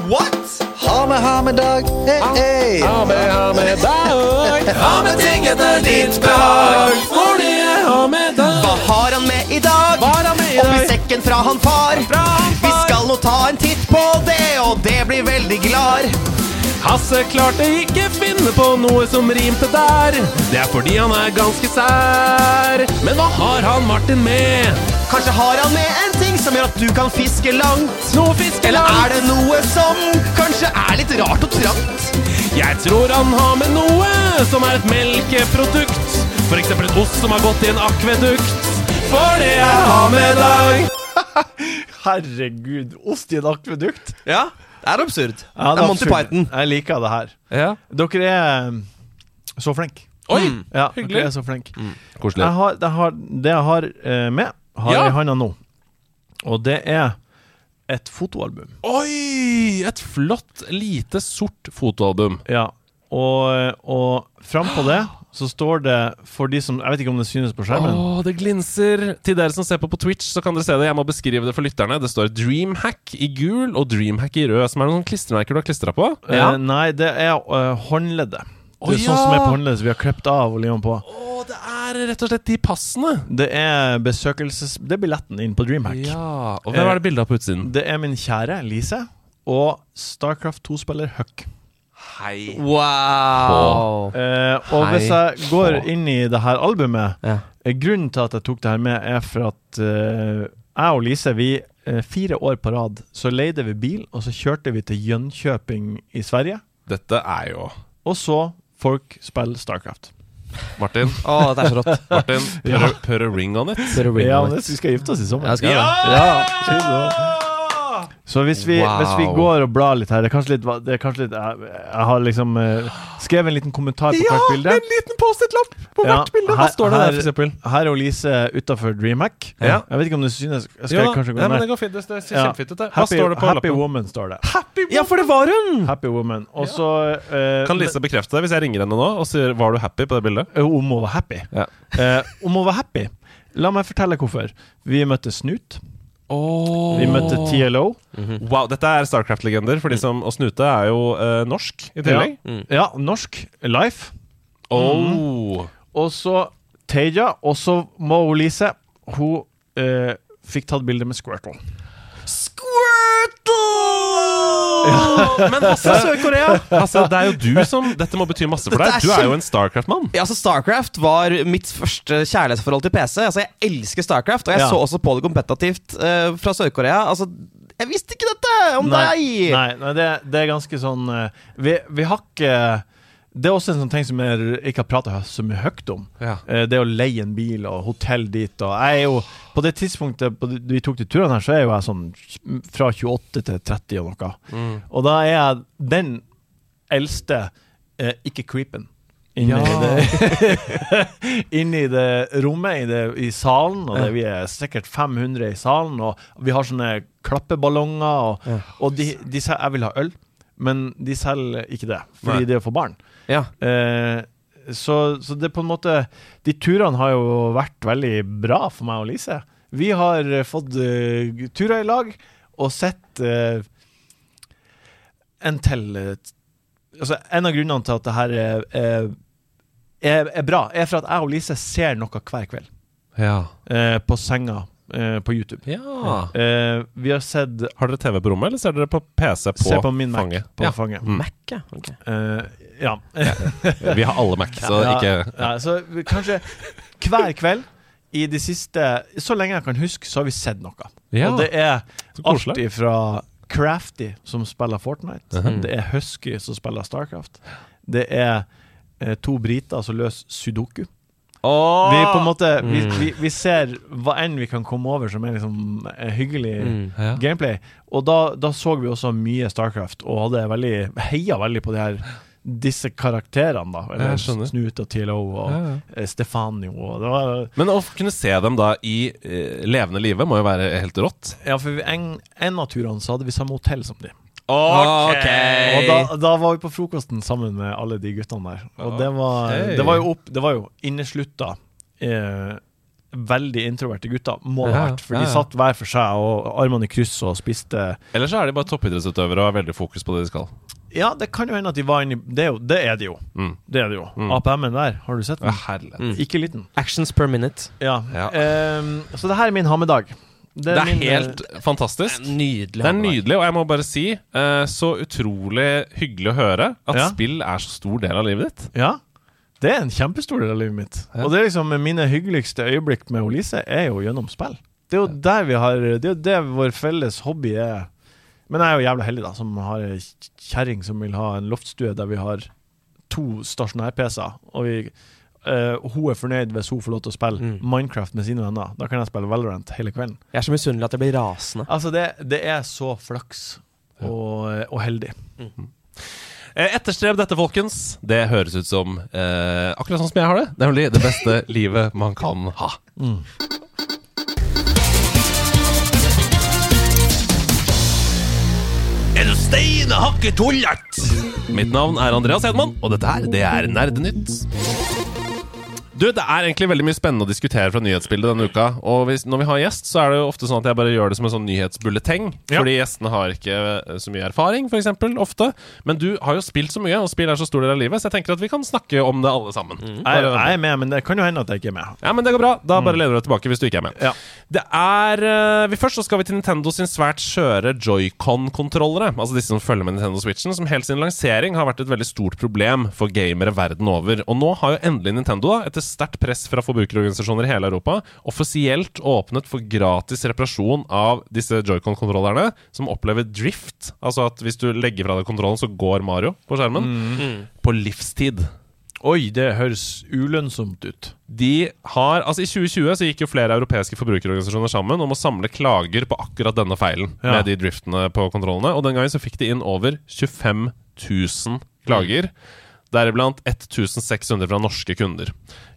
[SPEAKER 1] What?!
[SPEAKER 6] Ha med, ha med dag. Hey, hey.
[SPEAKER 2] Ha med, ha med dag. Ha med ting etter ditt behag. For det jeg har med dag.
[SPEAKER 1] Hva har han med i dag?
[SPEAKER 2] Hva har han med i
[SPEAKER 1] Oppi
[SPEAKER 2] dag?
[SPEAKER 1] sekken fra han far.
[SPEAKER 2] han
[SPEAKER 1] Vi
[SPEAKER 2] far.
[SPEAKER 1] skal nå ta en titt på det, og det blir veldig glad.
[SPEAKER 2] Hasse klarte ikke finne på noe som rimte der. Det er fordi han er ganske sær. Men hva har han Martin med?
[SPEAKER 1] Kanskje har han med en ting som gjør at du kan fiske langt?
[SPEAKER 2] Noe fisk
[SPEAKER 1] Eller er det noe som kanskje er litt rart og trangt?
[SPEAKER 2] Jeg tror han har med noe som er et melkeprodukt. For eksempel en ost som har gått i en akvedukt. For det jeg har med dag.
[SPEAKER 4] Herregud, ost i et akvedukt?
[SPEAKER 1] Ja, det er absurd.
[SPEAKER 4] Ja,
[SPEAKER 1] det er Monty
[SPEAKER 4] absurd.
[SPEAKER 1] Python.
[SPEAKER 4] Jeg liker det her. Dere er um, så flinke.
[SPEAKER 2] Oi,
[SPEAKER 1] Mm.
[SPEAKER 4] Ja, Mm.
[SPEAKER 2] Hyggelig.
[SPEAKER 4] dere er så flinke.
[SPEAKER 2] koselig.
[SPEAKER 4] Jeg har, jeg har, det jeg har eh, med, har
[SPEAKER 2] Ja.
[SPEAKER 4] jeg i handa nå. Og det er et fotoalbum.
[SPEAKER 2] Oi, et flott, lite sort fotoalbum.
[SPEAKER 4] Ja, og, og frampå det så står det for de som Jeg vet ikke om det synes på
[SPEAKER 2] Å,
[SPEAKER 4] skjermen.
[SPEAKER 2] det glinser! Til dere som ser på på Twitch, så kan dere se det. Jeg må beskrive det for lytterne. Det står Dreamhack i gul og Dreamhack i rød, som er noen klistremerker du har klistra på.
[SPEAKER 4] Eh, nei, det er eh, håndleddet. Det er
[SPEAKER 2] Å,
[SPEAKER 4] sånn som er
[SPEAKER 2] ja.
[SPEAKER 4] på håndleddet, som vi har klippet av og limt på.
[SPEAKER 2] Å, det er rett og slett de passene.
[SPEAKER 4] Det er besøkelses... Det er billetten inn på Dreamhack.
[SPEAKER 2] Ja, Og
[SPEAKER 4] Eh.
[SPEAKER 2] hvem er det bilde av på utsiden?
[SPEAKER 4] Det er min kjære Lise og Starcraft 2-spiller Huck.
[SPEAKER 2] Hei.
[SPEAKER 1] Wow.
[SPEAKER 4] Eh, og
[SPEAKER 2] Hei
[SPEAKER 4] hvis jeg går
[SPEAKER 2] på.
[SPEAKER 4] inn i det her albumet
[SPEAKER 1] Ja.
[SPEAKER 4] eh, Grunnen til at jeg tok det her med, er for at eh, jeg og Lise, vi eh, fire år på rad, så leide vi bil, og så kjørte vi til Jönköping i Sverige.
[SPEAKER 2] Dette er jo
[SPEAKER 4] Og så folk spiller Starcraft.
[SPEAKER 2] Martin,
[SPEAKER 1] Å, dette er så rått.
[SPEAKER 2] Martin put, a, put a ring on it.
[SPEAKER 4] Ja, men det- vi skal gifte oss i sommer.
[SPEAKER 1] Ja, skal jeg det?
[SPEAKER 4] Ja, skjønner du. så hvis vi,
[SPEAKER 2] Wow.
[SPEAKER 4] hvis vi går og blar litt her Det er kanskje litt, va- det er kanskje litt jeg, jeg har liksom eh, skrevet en liten kommentar på hvert bilde.
[SPEAKER 2] liten Post-It-lapp på
[SPEAKER 4] Ja, her- her-
[SPEAKER 2] eksempel?
[SPEAKER 4] Her er Lise utafor DreamHack.
[SPEAKER 2] Ja.
[SPEAKER 4] Jeg vet ikke om du synes jeg Skal
[SPEAKER 2] Ja,
[SPEAKER 4] jeg kanskje gå
[SPEAKER 2] nei, men
[SPEAKER 4] ned?
[SPEAKER 2] det går fint. Det ser
[SPEAKER 4] Ja.
[SPEAKER 2] kjempefint ut. det. Hva
[SPEAKER 4] Happy,
[SPEAKER 2] står det på
[SPEAKER 4] happy
[SPEAKER 2] lappen?
[SPEAKER 4] woman står det.
[SPEAKER 1] Ja, for det var hun!
[SPEAKER 4] Happy woman. Og så eh,
[SPEAKER 2] Kan Lise bekrefte det hvis jeg ringer henne nå og sier 'var du happy' på det bildet?
[SPEAKER 4] men- Om hun var happy.
[SPEAKER 2] Ja.
[SPEAKER 4] Eh, om hun var happy La meg fortelle hvorfor. Vi møtte Snut. Vi møtte TLO.
[SPEAKER 2] Mhm. Wow, dette er Starcraft-legender, for de som Og Snute er jo eh, norsk i tillegg.
[SPEAKER 4] Ja, norsk. Life.
[SPEAKER 2] Oh.
[SPEAKER 4] Og så Teja. Og så må hun Lise Hun eh, fikk tatt bilde med Squirtle.
[SPEAKER 2] Squirtle! Men Hasse, Sør-Korea altså, Det er jo du som Dette må bety masse for
[SPEAKER 1] Dette er
[SPEAKER 2] deg. Du er jo
[SPEAKER 1] kjempe-
[SPEAKER 2] en Starcraft-mann.
[SPEAKER 1] Ja, altså Starcraft var mitt første kjærlighetsforhold til PC. Altså Jeg elsker Starcraft, og jeg
[SPEAKER 4] Ja.
[SPEAKER 1] så også på det kompetativt eh, fra Sør-Korea. Altså, jeg visste ikke dette om
[SPEAKER 4] Nei,
[SPEAKER 1] deg!
[SPEAKER 4] sånn, nei, nei det, det er ganske sånn eh, Vi, vi har ikke Det er også en sånn ting som jeg ikke har prata så mye høyt om.
[SPEAKER 2] Ja.
[SPEAKER 4] Eh, Det å leie en bil og hotell dit og Jeg er jo På det tidspunktet på de- vi tok de turene her, så er jo jeg sånn fra 28 til 30 og noe. Og da er jeg den eldste eh, ikke creepen. Inni, det, inni det rommet, i, det, i salen. Og det, vi er sikkert 500 i salen, og vi har sånne klappeballonger. Og, og de, de sier 'jeg vil ha øl', men de selger ikke det, fordi
[SPEAKER 2] Nei.
[SPEAKER 4] det er for barn.
[SPEAKER 1] Ja.
[SPEAKER 4] Eh, så, så det er på en måte De turene har jo vært veldig bra for meg og Lise. Vi har eh, fått eh, turer i lag og sett eh, en til eh, Altså, en av grunnene til at det her er, er, er, er bra, er for at jeg og Lise ser noe hver kveld
[SPEAKER 2] Ja.
[SPEAKER 4] eh, på senga eh, på YouTube. Eh, vi har sett
[SPEAKER 2] Har dere TV på rommet, eller ser dere på PC på,
[SPEAKER 4] Se på min Mac
[SPEAKER 2] fanget?
[SPEAKER 4] på
[SPEAKER 2] ja.
[SPEAKER 4] fanget.
[SPEAKER 2] Mm.
[SPEAKER 1] Mac, ja. ok.
[SPEAKER 4] Eh, ja.
[SPEAKER 2] Vi har alle Mac, så
[SPEAKER 4] Ja,
[SPEAKER 2] ikke
[SPEAKER 4] ja, Så vi- kanskje hver kveld i de siste Så lenge jeg kan huske, så har vi sett noe.
[SPEAKER 2] Ja.
[SPEAKER 4] Og det er
[SPEAKER 2] Så koselig.
[SPEAKER 4] alt ifra Crafty, som spiller Fortnite,
[SPEAKER 2] Mhm.
[SPEAKER 4] det er Husky, som spiller Starcraft, det er eh, to briter som løser sudoku. Vi
[SPEAKER 2] Ah.
[SPEAKER 4] på en måte vi,
[SPEAKER 2] Mm.
[SPEAKER 4] vi, vi ser hva enn vi kan komme over som er liksom eh, hyggelig
[SPEAKER 2] Mm. Ja.
[SPEAKER 4] gameplay. Og da, da så vi også mye Starcraft, og hadde veldig, heia veldig på de her, disse karakterene, da.
[SPEAKER 2] Ja,
[SPEAKER 4] Eller
[SPEAKER 2] jeg skjønner.
[SPEAKER 4] Snoot og TLO og
[SPEAKER 2] Ja, ja.
[SPEAKER 4] eh, Stefanio og det var,
[SPEAKER 2] Men å kunne se dem da i eh, levende live må jo være helt rått.
[SPEAKER 4] Ja, for vi- en, en av turene så hadde vi samme hotell som de.
[SPEAKER 2] Ok!
[SPEAKER 4] Og da, da var vi på frokosten sammen med alle de guttene der. Og det var,
[SPEAKER 2] Ok.
[SPEAKER 4] det var jo, opp, det var jo inneslutta eh, veldig introverte gutter, må det ha
[SPEAKER 2] Ja,
[SPEAKER 4] vært. For
[SPEAKER 2] ja,
[SPEAKER 4] de
[SPEAKER 2] ja.
[SPEAKER 4] satt hver for seg og armene i kryss og spiste
[SPEAKER 2] Eller så er de bare toppidrettsutøvere og har veldig fokus på det de skal.
[SPEAKER 4] Ja, det kan jo hende at de var inni Det er, jo, det er de jo.
[SPEAKER 2] Mm.
[SPEAKER 4] Det er de jo. APM-en der, har du sett den?
[SPEAKER 2] Herlighet.
[SPEAKER 4] Ikke liten.
[SPEAKER 1] Actions per minute.
[SPEAKER 4] Ja.
[SPEAKER 2] Ja.
[SPEAKER 4] Ehm, så det her er min hammedag.
[SPEAKER 2] Det er
[SPEAKER 4] min, eh,
[SPEAKER 2] helt fantastisk.
[SPEAKER 1] Nydelig.
[SPEAKER 2] Det er
[SPEAKER 1] Hanne.
[SPEAKER 2] nydelig, og jeg må bare si eh, så utrolig hyggelig å høre at
[SPEAKER 4] Ja.
[SPEAKER 2] spill er så stor del av livet ditt.
[SPEAKER 4] Ja. Det er en kjempestor del av livet mitt. Og det er liksom mine hyggeligste øyeblikk med Olise er jo gjennom spill. Det er jo der vi har Det er jo det vår felles hobby er. Men jeg er jo jævla heldig, da, som har ei kjerring som vil ha en loftstue der vi har to stasjonær-PC-er. Og vi, eh, hun er fornøyd hvis hun får lov til å spille Minecraft med sine venner. Da kan jeg spille Valorant hele kvelden.
[SPEAKER 1] Jeg er så misunnelig at jeg blir rasende.
[SPEAKER 4] Altså, det, det er så flaks og, og heldig.
[SPEAKER 2] Eh, etterstreb dette, folkens. Det høres ut som eh, akkurat sånn som jeg har det. Nemlig det beste livet man kan ha. En stein hakket tullert. Mitt navn er Andreas Hedman, og dette her, det er Nerdenytt. Du, Det er egentlig veldig mye spennende å diskutere fra nyhetsbildet denne uka. Og hvis, når vi har gjest, så er det jo ofte sånn at jeg bare gjør det som en sånn nyhetsbulleteng. Fordi gjestene har ikke eh, så mye erfaring, f.eks. Ofte. Men du har jo spilt så mye, og spill er så stor del av livet, så jeg tenker at vi kan snakke om det alle sammen.
[SPEAKER 4] Jeg,
[SPEAKER 2] Bare-
[SPEAKER 4] jeg er med, men det kan jo hende at jeg ikke er med.
[SPEAKER 2] ja, men det går bra. Da bare lener du deg tilbake hvis du ikke er med.
[SPEAKER 4] Ja.
[SPEAKER 2] Det er eh, vi Først så skal vi til Nintendo sin svært skjøre Joy-Con-kontrollere. Altså disse som følger med Nintendo Switchen, som helt sin lansering har vært et veldig stort problem for gamere verden over. Og nå har jo endelig Nintendo, da, etter sterkt press fra forbrukerorganisasjoner i hele Europa, offisielt åpnet for gratis reparasjon av disse Joy-Con-kontrollerne, som opplever drift. Altså at hvis du legger fra deg kontrollen, så går Mario på skjermen. På livstid.
[SPEAKER 4] Oi, det høres ulønnsomt ut.
[SPEAKER 2] De har, altså I 2020 så gikk jo flere europeiske forbrukerorganisasjoner sammen om å samle klager på akkurat denne feilen.
[SPEAKER 4] Ja.
[SPEAKER 2] Med de driftene på kontrollene Og Den gangen så fikk de inn over 25 000 klager. Deriblant 1600 fra norske kunder.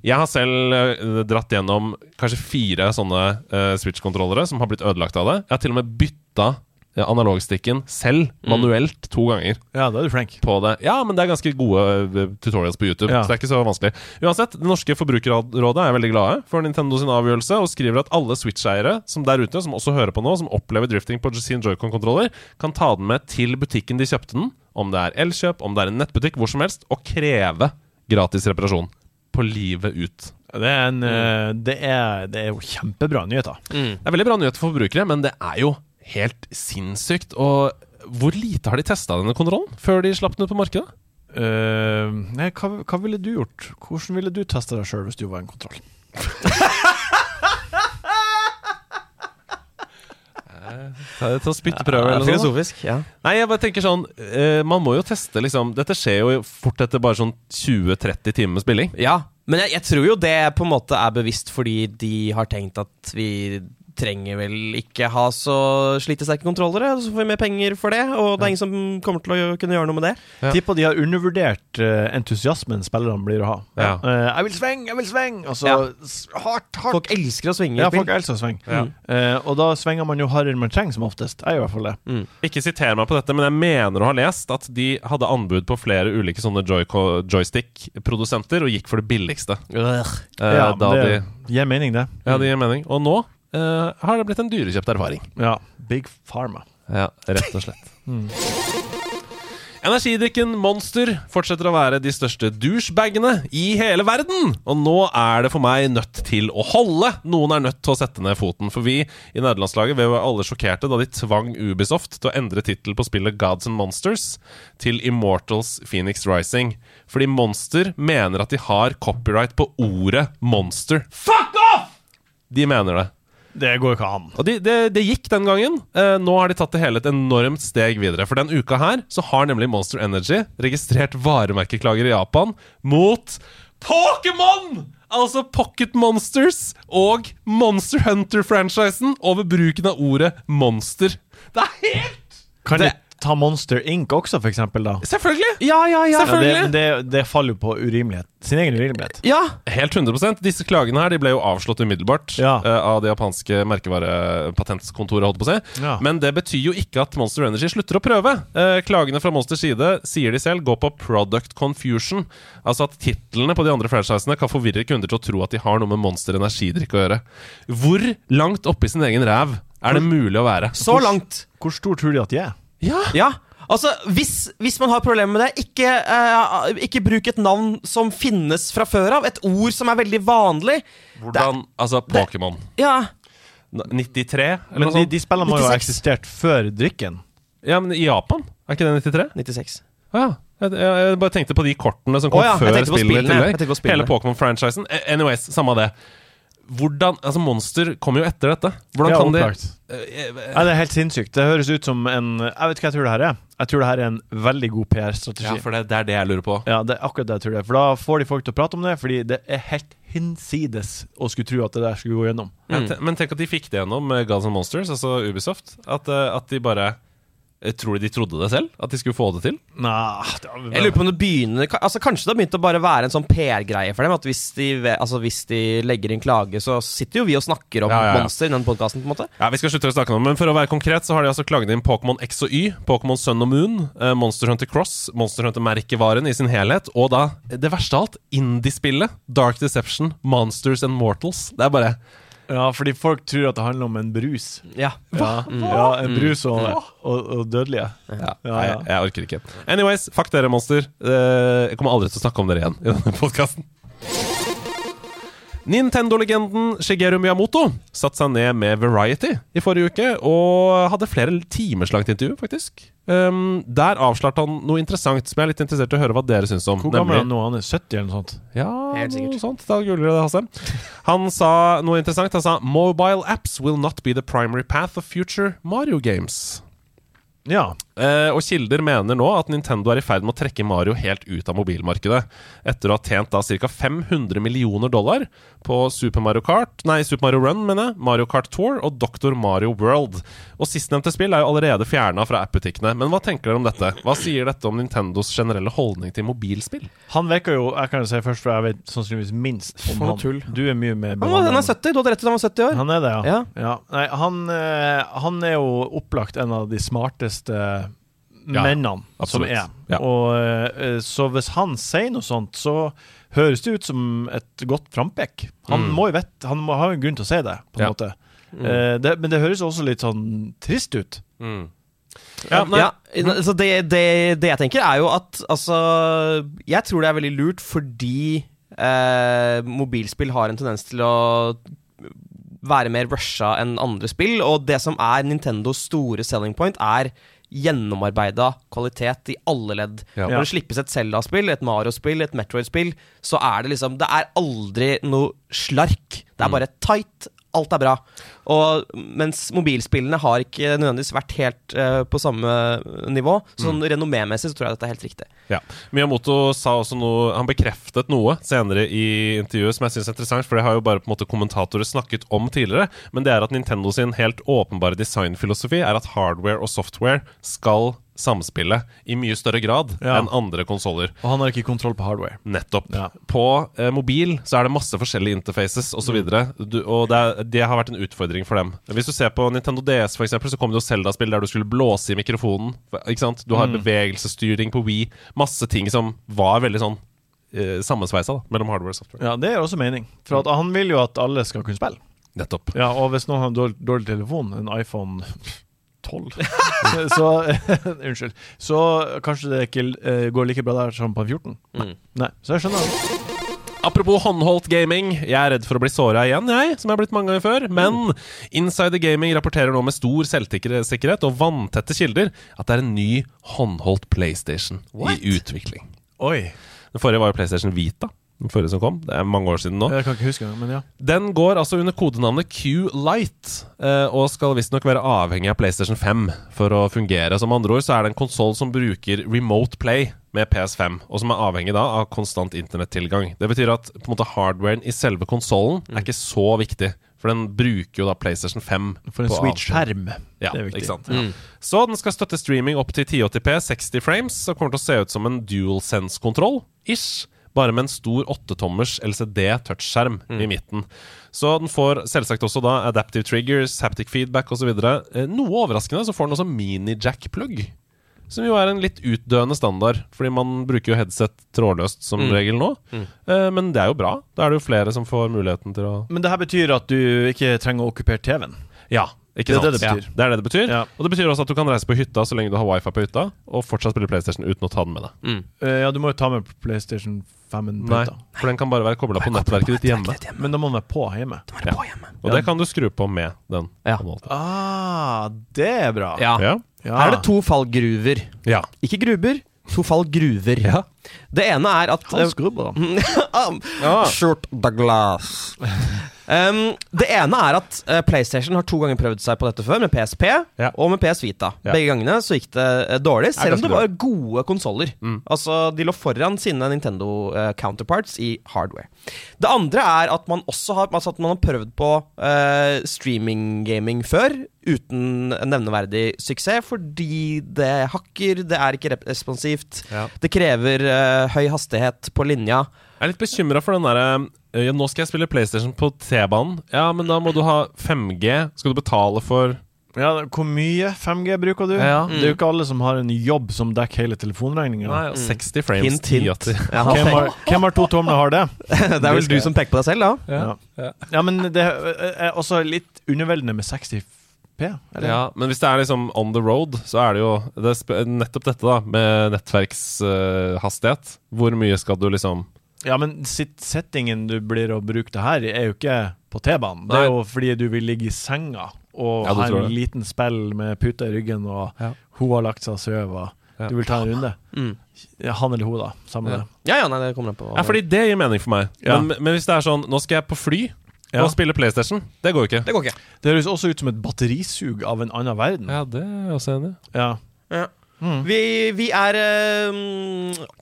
[SPEAKER 2] Jeg har selv eh, dratt gjennom kanskje fire sånne eh, Switch-kontrollere som har blitt ødelagt av det. Jeg har til og med bytta eh, analogstikken selv, manuelt, to ganger
[SPEAKER 4] Ja, da er du flink.
[SPEAKER 2] på det. Ja, men det er ganske gode eh, tutorials på YouTube,
[SPEAKER 4] Ja.
[SPEAKER 2] så det er ikke så vanskelig. Uansett, Det norske forbrukerrådet er veldig glade for Nintendo sin avgjørelse, og skriver at alle Switch-eiere som der ute, som også hører på nå, som opplever drifting på sin Joy-Con-kontroller, kan ta den med til butikken de kjøpte den, om det er Elkjøp, om det er en nettbutikk, hvor som helst, og kreve gratis reparasjon. På livet ut.
[SPEAKER 4] Det er,
[SPEAKER 2] Mm.
[SPEAKER 4] en, eh, det er, det er jo kjempebra nyheter.
[SPEAKER 2] Det er veldig bra nyheter for forbrukere, men det er jo helt sinnssykt. Og hvor lite har de testa denne kontrollen før de slapp den ut på markedet?
[SPEAKER 4] Eh, nei, hva, hva ville du gjort? Hvordan ville du teste deg sjøl hvis du var en kontroll?
[SPEAKER 2] Ta det til å spytteprøve eller noe.
[SPEAKER 7] Filosofisk. ja.
[SPEAKER 2] Nei, jeg bare tenker sånn eh, Man må jo teste, liksom. Dette skjer jo fort etter bare sånn 20-30 timer med spilling.
[SPEAKER 1] Ja, men jeg, jeg tror jo det på en måte er bevisst fordi de har tenkt at vi trenger vel ikke ha så slitesterke kontrollere, så får vi mer penger for det, og det er ingen som kommer til å gjø- kunne gjøre noe med det.
[SPEAKER 2] Ja.
[SPEAKER 4] Tipper de har undervurdert eh, entusiasmen spillerne blir å ha.
[SPEAKER 2] Ja.
[SPEAKER 4] Eh, 'Jeg vil sving, jeg vil sving!' Og så
[SPEAKER 1] Ja.
[SPEAKER 4] s- hardt, hardt.
[SPEAKER 1] Folk elsker å svinge
[SPEAKER 4] ja,
[SPEAKER 1] i
[SPEAKER 4] folk
[SPEAKER 1] spill.
[SPEAKER 4] elsker å svinge.
[SPEAKER 2] Ja.
[SPEAKER 4] Eh, og da svinger man jo hardere enn man trenger, som oftest. Jeg gjør i hvert fall det.
[SPEAKER 2] Ikke siter meg på dette, men jeg mener å ha lest at de hadde anbud på flere ulike sånne joyco- joystick-produsenter og gikk for det billigste. Eh,
[SPEAKER 4] ja,
[SPEAKER 2] da
[SPEAKER 4] det
[SPEAKER 2] de,
[SPEAKER 4] gir mening, det.
[SPEAKER 2] ja, det gir mening. Og nå eh, har det blitt en dyrekjøpt erfaring.
[SPEAKER 4] Ja. Big Pharma.
[SPEAKER 2] Ja, rett og slett. Mm. Energidrikken Monster fortsetter å være de største douchebagene i hele verden. Og nå er det for meg nødt til å holde. Noen er nødt til å sette ned foten. For vi i nederlandslaget vi var alle sjokkerte da de tvang Ubisoft til å endre tittel på spillet Gods and Monsters til Immortals Phoenix Rising. Fordi Monster mener at de har copyright på ordet monster. Fuck off! De mener det.
[SPEAKER 4] Det går ikke an.
[SPEAKER 2] Og de, det, det gikk den gangen. Eh, nå har de tatt det hele et enormt steg videre. For den uka her så har nemlig Monster Energy registrert varemerkeklager i Japan mot Pokémon! Altså Pocket Monsters og Monster Hunter-franchisen over bruken av ordet monster. Det er helt
[SPEAKER 4] Kan de ta Monster Inc. også, for eksempel, da?
[SPEAKER 2] Selvfølgelig!
[SPEAKER 1] Ja, ja, ja.
[SPEAKER 4] Ja, det,
[SPEAKER 2] Selvfølgelig!
[SPEAKER 4] men det, det faller jo på urimelighet. Sin egen urimelighet.
[SPEAKER 1] Ja,
[SPEAKER 2] Helt 100 Disse klagene her de ble jo avslått umiddelbart
[SPEAKER 4] Ja.
[SPEAKER 2] eh, av det japanske merkevarepatentkontoret. holdt på å si.
[SPEAKER 4] Ja.
[SPEAKER 2] Men det betyr jo ikke at Monster Energy slutter å prøve. Eh, klagene fra Monsters side sier de selv går på product confusion. Altså at titlene på de andre franchisene kan forvirre kunder til å tro at de har noe med Monster energidrikk å gjøre. Hvor langt oppi sin egen ræv er det mulig å være?
[SPEAKER 1] så langt.
[SPEAKER 4] Hvor stor tror de at de er?
[SPEAKER 2] Ja,
[SPEAKER 1] Ja. Altså, hvis, hvis man har problemer med det, ikke, eh, ikke bruk et navn som finnes fra før av. Et ord som er veldig vanlig.
[SPEAKER 2] Hvordan Altså, Pokémon.
[SPEAKER 1] Ja,
[SPEAKER 2] 93? Eller sånn
[SPEAKER 4] Men
[SPEAKER 2] noe
[SPEAKER 4] de,
[SPEAKER 2] sånt?
[SPEAKER 4] de spillene må jo ha
[SPEAKER 1] 96.
[SPEAKER 4] eksistert før drikken.
[SPEAKER 2] Ja, men i Japan? Er ikke det 93?
[SPEAKER 1] 96.
[SPEAKER 2] Å ja. Jeg, jeg, jeg bare tenkte på de kortene som kom
[SPEAKER 1] Å ja, jeg
[SPEAKER 2] før
[SPEAKER 1] tenkte på
[SPEAKER 2] spillet. i
[SPEAKER 1] spillene.
[SPEAKER 2] tillegg.
[SPEAKER 1] Jeg tenkte på spillene.
[SPEAKER 2] Hele Pokémon-franchisen. A- Anyways, samme av det. Hvordan, altså Monster kommer jo etter dette. Hvordan
[SPEAKER 4] Ja,
[SPEAKER 2] kan de Eh,
[SPEAKER 4] opplagt. Ja, det er helt sinnssykt. Det høres ut som en Jeg vet ikke hva jeg tror det her er. Jeg tror det her er en veldig god PR-strategi.
[SPEAKER 2] Ja,
[SPEAKER 4] Ja,
[SPEAKER 2] for det, det er det jeg lurer på.
[SPEAKER 4] det er akkurat det jeg tror det er. For da får de folk til å prate om det, fordi det er helt hinsides å skulle tro at det der skulle gå gjennom.
[SPEAKER 1] Mm.
[SPEAKER 2] Jeg te- Men tenk at de fikk det gjennom med Gods and Monsters, altså Ubisoft. At, eh, at de bare eh, Tror du de trodde det selv? At de skulle få det til?
[SPEAKER 4] Nei, det er-
[SPEAKER 1] Jeg lurer på om det begynner ka- altså Kanskje det har begynt å bare være en sånn PR-greie for dem. At hvis de, ve- altså hvis de legger inn klage, så sitter jo vi og snakker om
[SPEAKER 2] Ja, ja, ja.
[SPEAKER 1] monster i den podkasten, på en måte.
[SPEAKER 2] Ja, vi skal slutte å snakke om det, men For å være konkret så har de altså klaget inn Pokémon X og Y, Pokémon Sun og Moon, eh, Monster Hunter Cross, Monster Hunter-merkevaren i sin helhet, og da, det verste av alt, indiespillet Dark Deception, Monsters and Mortals. Det er bare
[SPEAKER 4] Ja, fordi folk tror at det handler om en brus.
[SPEAKER 1] Ja.
[SPEAKER 4] Ja, ja en brus og, og, og dødelige.
[SPEAKER 2] Mm. ja,
[SPEAKER 4] Ja, ja.
[SPEAKER 2] Jeg, jeg orker ikke. Anyways, fuck dere, Monster. Eh, jeg kommer aldri til å snakke om dere igjen i denne podkasten. Nintendo-legenden Shigeru Miyamoto satte seg ned med Variety i forrige uke og hadde flere timers langt intervju, faktisk. Um, der avslørte han noe interessant som jeg er litt interessert i å høre hva dere syns om.
[SPEAKER 4] Hvor gammel er
[SPEAKER 2] nemlig-
[SPEAKER 4] han nå? Han er 70 eller noe sånt?
[SPEAKER 2] ja,
[SPEAKER 1] Helt sikkert.
[SPEAKER 2] noe sånt. Da googler det, Hasse. Han sa noe interessant. Han sa Mobile apps will not be the primary path of future Mario games.
[SPEAKER 4] Ja.
[SPEAKER 2] Eh, og kilder mener nå at Nintendo er i ferd med å trekke Mario helt ut av mobilmarkedet, etter å ha tjent da ca. 500 millioner dollar på Super Mario Kart Nei, Super Mario Run, mener jeg, Mario Kart Tour og Dr. Mario World. Og sistnevnte spill er jo allerede fjerna fra app-butikkene. Men hva tenker dere om dette? Hva sier dette om Nintendos generelle holdning til mobilspill?
[SPEAKER 4] Han virker jo Jeg kan jo si først, for jeg vet sannsynligvis minst om
[SPEAKER 1] noe
[SPEAKER 4] han.
[SPEAKER 1] tull.
[SPEAKER 4] Du er mye med
[SPEAKER 1] Han, var, han er 70. Du hadde rett til han var 70 år.
[SPEAKER 4] Han er det, ja.
[SPEAKER 1] Ja.
[SPEAKER 4] Nei, han, eh, han er jo opplagt en av de smarteste
[SPEAKER 2] Ja,
[SPEAKER 4] mennene som
[SPEAKER 2] absolutt.
[SPEAKER 4] er.
[SPEAKER 2] Ja.
[SPEAKER 4] Og, eh, så hvis han sier noe sånt, så høres det ut som et godt frampek. Han må jo vite Han må ha en grunn til å si det, på
[SPEAKER 2] Mm.
[SPEAKER 4] en
[SPEAKER 2] Ja.
[SPEAKER 4] måte.
[SPEAKER 1] Mm.
[SPEAKER 4] Eh, det, men det høres også litt sånn trist ut.
[SPEAKER 2] Ja, nei,
[SPEAKER 1] Ja, så det, det, det jeg tenker, er jo at altså Jeg tror det er veldig lurt fordi eh, mobilspill har en tendens til å være mer rusha enn andre spill, og det som er Nintendos store selling point, er gjennomarbeida kvalitet i alle ledd.
[SPEAKER 2] Ja.
[SPEAKER 1] Når det slippes et Zelda-spill, et Mario-spill, et
[SPEAKER 2] Mm.
[SPEAKER 1] Metroid-spill, så er det liksom Det er aldri noe slark. Det er bare tight. alt er bra. Og mens mobilspillene har ikke nødvendigvis vært helt eh, på samme nivå, så sånn
[SPEAKER 2] Mm.
[SPEAKER 1] renommémessig så tror jeg dette er helt riktig.
[SPEAKER 2] Ja. Miyamoto sa også noe Han bekreftet noe senere i intervjuet som jeg synes er interessant, for det har jo bare på en måte kommentatorer snakket om tidligere. Men det er at Nintendo sin helt åpenbare designfilosofi er at hardware og software skal samspille i mye større grad
[SPEAKER 4] Ja.
[SPEAKER 2] enn andre konsoller.
[SPEAKER 4] Og han har ikke kontroll på hardware.
[SPEAKER 2] Nettopp.
[SPEAKER 4] Ja.
[SPEAKER 2] På eh, mobil så er det masse forskjellige interfaces osv.
[SPEAKER 4] Mm.
[SPEAKER 2] Og, du, og det, er, det har vært en utfordring for dem. Hvis du ser på Nintendo DS, for eksempel, så kom det jo Zelda-spill der du skulle blåse i mikrofonen. Ikke sant? Du
[SPEAKER 4] Mm.
[SPEAKER 2] har bevegelsesstyring på Wii. Masse ting som var veldig sånn eh, sammensveisa da, mellom hardware og software.
[SPEAKER 4] Ja, Det gir også mening, for at han vil jo at alle skal kunne spille.
[SPEAKER 2] Nettopp.
[SPEAKER 4] Ja, Og hvis noen har en dårlig, dårlig telefon, en iPhone 12 så, så- Unnskyld. Så kanskje det ikke eh, går like bra der som på en 14.
[SPEAKER 2] Mm.
[SPEAKER 4] Nei, Så jeg skjønner det.
[SPEAKER 2] Apropos håndholdt gaming, jeg er redd for å bli såra igjen, jeg, som jeg har blitt mange ganger før. Men Insider Gaming rapporterer nå med stor selvsikkerhet og vanntette kilder at det er en ny håndholdt PlayStation i utvikling.
[SPEAKER 4] Oi.
[SPEAKER 2] Den forrige var jo PlayStation Vita. Den forrige som kom. Det er mange år siden nå.
[SPEAKER 4] Jeg kan ikke huske engang, men ja.
[SPEAKER 2] Den går altså under kodenavnet Q-Light, eh, og skal visstnok være avhengig av PlayStation 5 for å fungere. Som andre ord så er det en konsoll som bruker remote play med PS5, og som er avhengig da av konstant internettilgang. Det betyr at på en måte hardwaren i selve konsollen
[SPEAKER 4] Mm.
[SPEAKER 2] er ikke så viktig, for den bruker jo da PlayStation 5
[SPEAKER 4] For en
[SPEAKER 2] på
[SPEAKER 4] sweet
[SPEAKER 2] avstand.
[SPEAKER 4] skjerm.
[SPEAKER 2] Ja,
[SPEAKER 4] det er viktig.
[SPEAKER 2] ikke sant? Så den skal støtte streaming opp til 1080p, 60 frames, og kommer til å se ut som en DualSense-kontroll, ish, bare med en stor 8-tommers LCD-touchskjerm i midten. Så den får selvsagt også da adaptive triggers, haptic feedback osv. Eh, Noe overraskende så får den også mini-jack-plugg. Som jo er en litt utdøende standard, fordi man bruker jo headset trådløst som regel nå. Eh, Men det er jo bra. Da er det jo flere som får muligheten til å
[SPEAKER 4] Men det her betyr at du ikke trenger å okkupere TV-en.
[SPEAKER 2] ja, ikke
[SPEAKER 4] Det
[SPEAKER 2] sant?
[SPEAKER 4] er det det
[SPEAKER 2] Ja.
[SPEAKER 4] betyr.
[SPEAKER 2] Det er det det betyr.
[SPEAKER 4] Ja.
[SPEAKER 2] Og det betyr også at du kan reise på hytta så lenge du har wifi på hytta, og fortsatt spille PlayStation uten å ta den med deg.
[SPEAKER 4] Eh, ja, du må jo ta med PlayStation 5-en på
[SPEAKER 2] Nei,
[SPEAKER 4] hytta.
[SPEAKER 2] For den kan bare være kobla på nettverket ditt hjemme.
[SPEAKER 4] Men da må den være på hjemme.
[SPEAKER 2] Og det kan du skru på med den.
[SPEAKER 1] Ja.
[SPEAKER 4] Ah, det er bra.
[SPEAKER 2] Ja.
[SPEAKER 4] Ja.
[SPEAKER 1] Her er det to fallgruver.
[SPEAKER 2] ja.
[SPEAKER 1] Ikke gruber, to fallgruver. Det ene er at
[SPEAKER 4] Han skrubber, da.
[SPEAKER 1] um, Short the glass. Um, det ene er at eh, PlayStation har to ganger prøvd seg på dette før, med PSP
[SPEAKER 2] Ja.
[SPEAKER 1] og med PS Vita.
[SPEAKER 2] Ja.
[SPEAKER 1] Begge gangene så gikk det eh, dårlig,
[SPEAKER 2] er
[SPEAKER 1] selv om
[SPEAKER 2] ganske Mm.
[SPEAKER 1] det var gode konsoller. Altså, de lå foran sine Nintendo eh, counterparts i hardware. Det andre er at man også har, altså at man har prøvd på eh, streaming-gaming før, uten nevneverdig suksess, fordi det hakker, det er ikke rep- responsivt,
[SPEAKER 2] Ja.
[SPEAKER 1] det krever eh, høy hastighet på linja.
[SPEAKER 2] Jeg er litt bekymra for den derre ja, Nå skal jeg spille PlayStation på T-banen. Ja, men da må du ha 5G. Skal du betale for
[SPEAKER 4] Ja, hvor mye 5G bruker du?
[SPEAKER 2] Ja.
[SPEAKER 4] Det er jo ikke alle som har en jobb som dekker hele telefonregninga.
[SPEAKER 2] Nei, 60 frames?
[SPEAKER 1] Hint, hint.
[SPEAKER 2] 1080.
[SPEAKER 1] Ja, han
[SPEAKER 4] Hvem,
[SPEAKER 1] peker-
[SPEAKER 4] har- hvem har to tomler, har det?
[SPEAKER 1] det er vel du som peker på deg selv, da?
[SPEAKER 4] Ja, ja men det er også litt underveldende med 60P. Eller?
[SPEAKER 2] Ja, men hvis det er liksom on the road, så er det jo det er sp- nettopp dette, da, med nettverkshastighet. Hvor mye skal du liksom
[SPEAKER 4] Ja, men sit- settingen du blir å bruke det her, i, er jo ikke på T-banen. Det er
[SPEAKER 2] Nei.
[SPEAKER 4] jo fordi du vil ligge i senga og
[SPEAKER 2] Ja, du
[SPEAKER 4] ha
[SPEAKER 2] tror
[SPEAKER 4] en
[SPEAKER 2] det.
[SPEAKER 4] liten spill med puta i ryggen, og
[SPEAKER 2] Ja.
[SPEAKER 4] hun har lagt seg og sovet.
[SPEAKER 2] Ja.
[SPEAKER 4] Du vil ta en runde.
[SPEAKER 1] Mm.
[SPEAKER 4] Ja, Han eller hun, da. Samme
[SPEAKER 2] Ja.
[SPEAKER 4] det.
[SPEAKER 1] Ja, ja, nei, det kommer an på.
[SPEAKER 2] Ja, fordi det gir mening for meg.
[SPEAKER 4] Ja.
[SPEAKER 2] Men, men hvis det er sånn Nå skal jeg på fly
[SPEAKER 4] Ja.
[SPEAKER 2] og spille PlayStation. Det går jo ikke.
[SPEAKER 1] Det går ikke.
[SPEAKER 4] Det høres også ut som et batterisug av en annen verden. Ja.
[SPEAKER 2] Ja, det er jeg også enig i.
[SPEAKER 8] Mm.
[SPEAKER 1] Vi, vi er eh,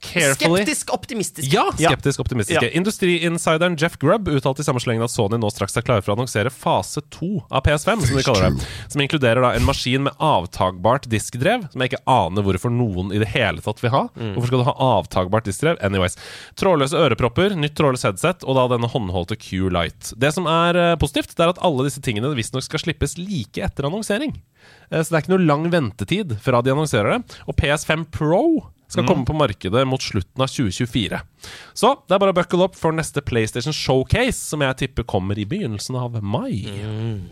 [SPEAKER 2] Carefully.
[SPEAKER 1] skeptisk optimistiske.
[SPEAKER 2] Ja, skeptisk optimistiske.
[SPEAKER 4] Ja.
[SPEAKER 2] Industriinsideren Jeff Grubb uttalte i samme slengen at Sony nå straks er klare for å annonsere fase to av PS5, som de kaller det. Som inkluderer da en maskin med avtagbart diskdrev, som jeg ikke aner hvorfor noen i det hele tatt vil ha. Hvorfor skal du ha avtagbart diskdrev? Anyways. Trådløse ørepropper, nytt trådløst headset og da denne håndholdte Q-Light. Det som er eh, positivt, det er at alle disse tingene visstnok skal slippes like etter annonsering. Eh, Så det er ikke noe lang ventetid fra de annonserer det. Og PS5 Pro skal
[SPEAKER 1] Mm.
[SPEAKER 2] komme på markedet mot slutten av 2024. Så det er bare å buckle opp for neste PlayStation Showcase, som jeg tipper kommer i begynnelsen av mai.
[SPEAKER 1] Mm.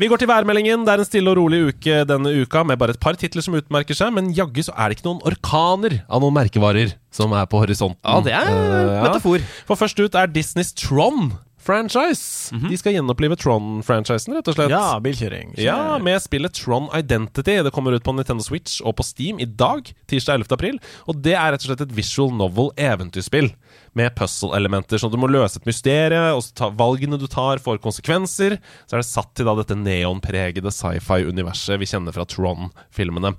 [SPEAKER 2] Vi går til værmeldingen. Det er en stille og rolig uke denne uka, med bare et par titler som utmerker seg, men jaggu så er det ikke noen orkaner av noen merkevarer som er på horisonten.
[SPEAKER 1] Ja, det er
[SPEAKER 2] Eh, ja.
[SPEAKER 1] metafor.
[SPEAKER 2] For først ut er Disneys Tron, franchise.
[SPEAKER 1] Mhm.
[SPEAKER 2] De skal gjenopplive Tron-franchisen, rett og slett.
[SPEAKER 4] Ja, bilkjøring.
[SPEAKER 2] Ja, med spillet Tron Identity. Det kommer ut på Nintendo Switch og på Steam i dag, tirsdag 11. april. Og det er rett og slett et visual novel-eventyrspill med puzzle-elementer. Så du må løse et mysterium, og så ta, valgene du tar, får konsekvenser. Så er det satt til da dette neonpregede sci-fi-universet vi kjenner fra Tron-filmene.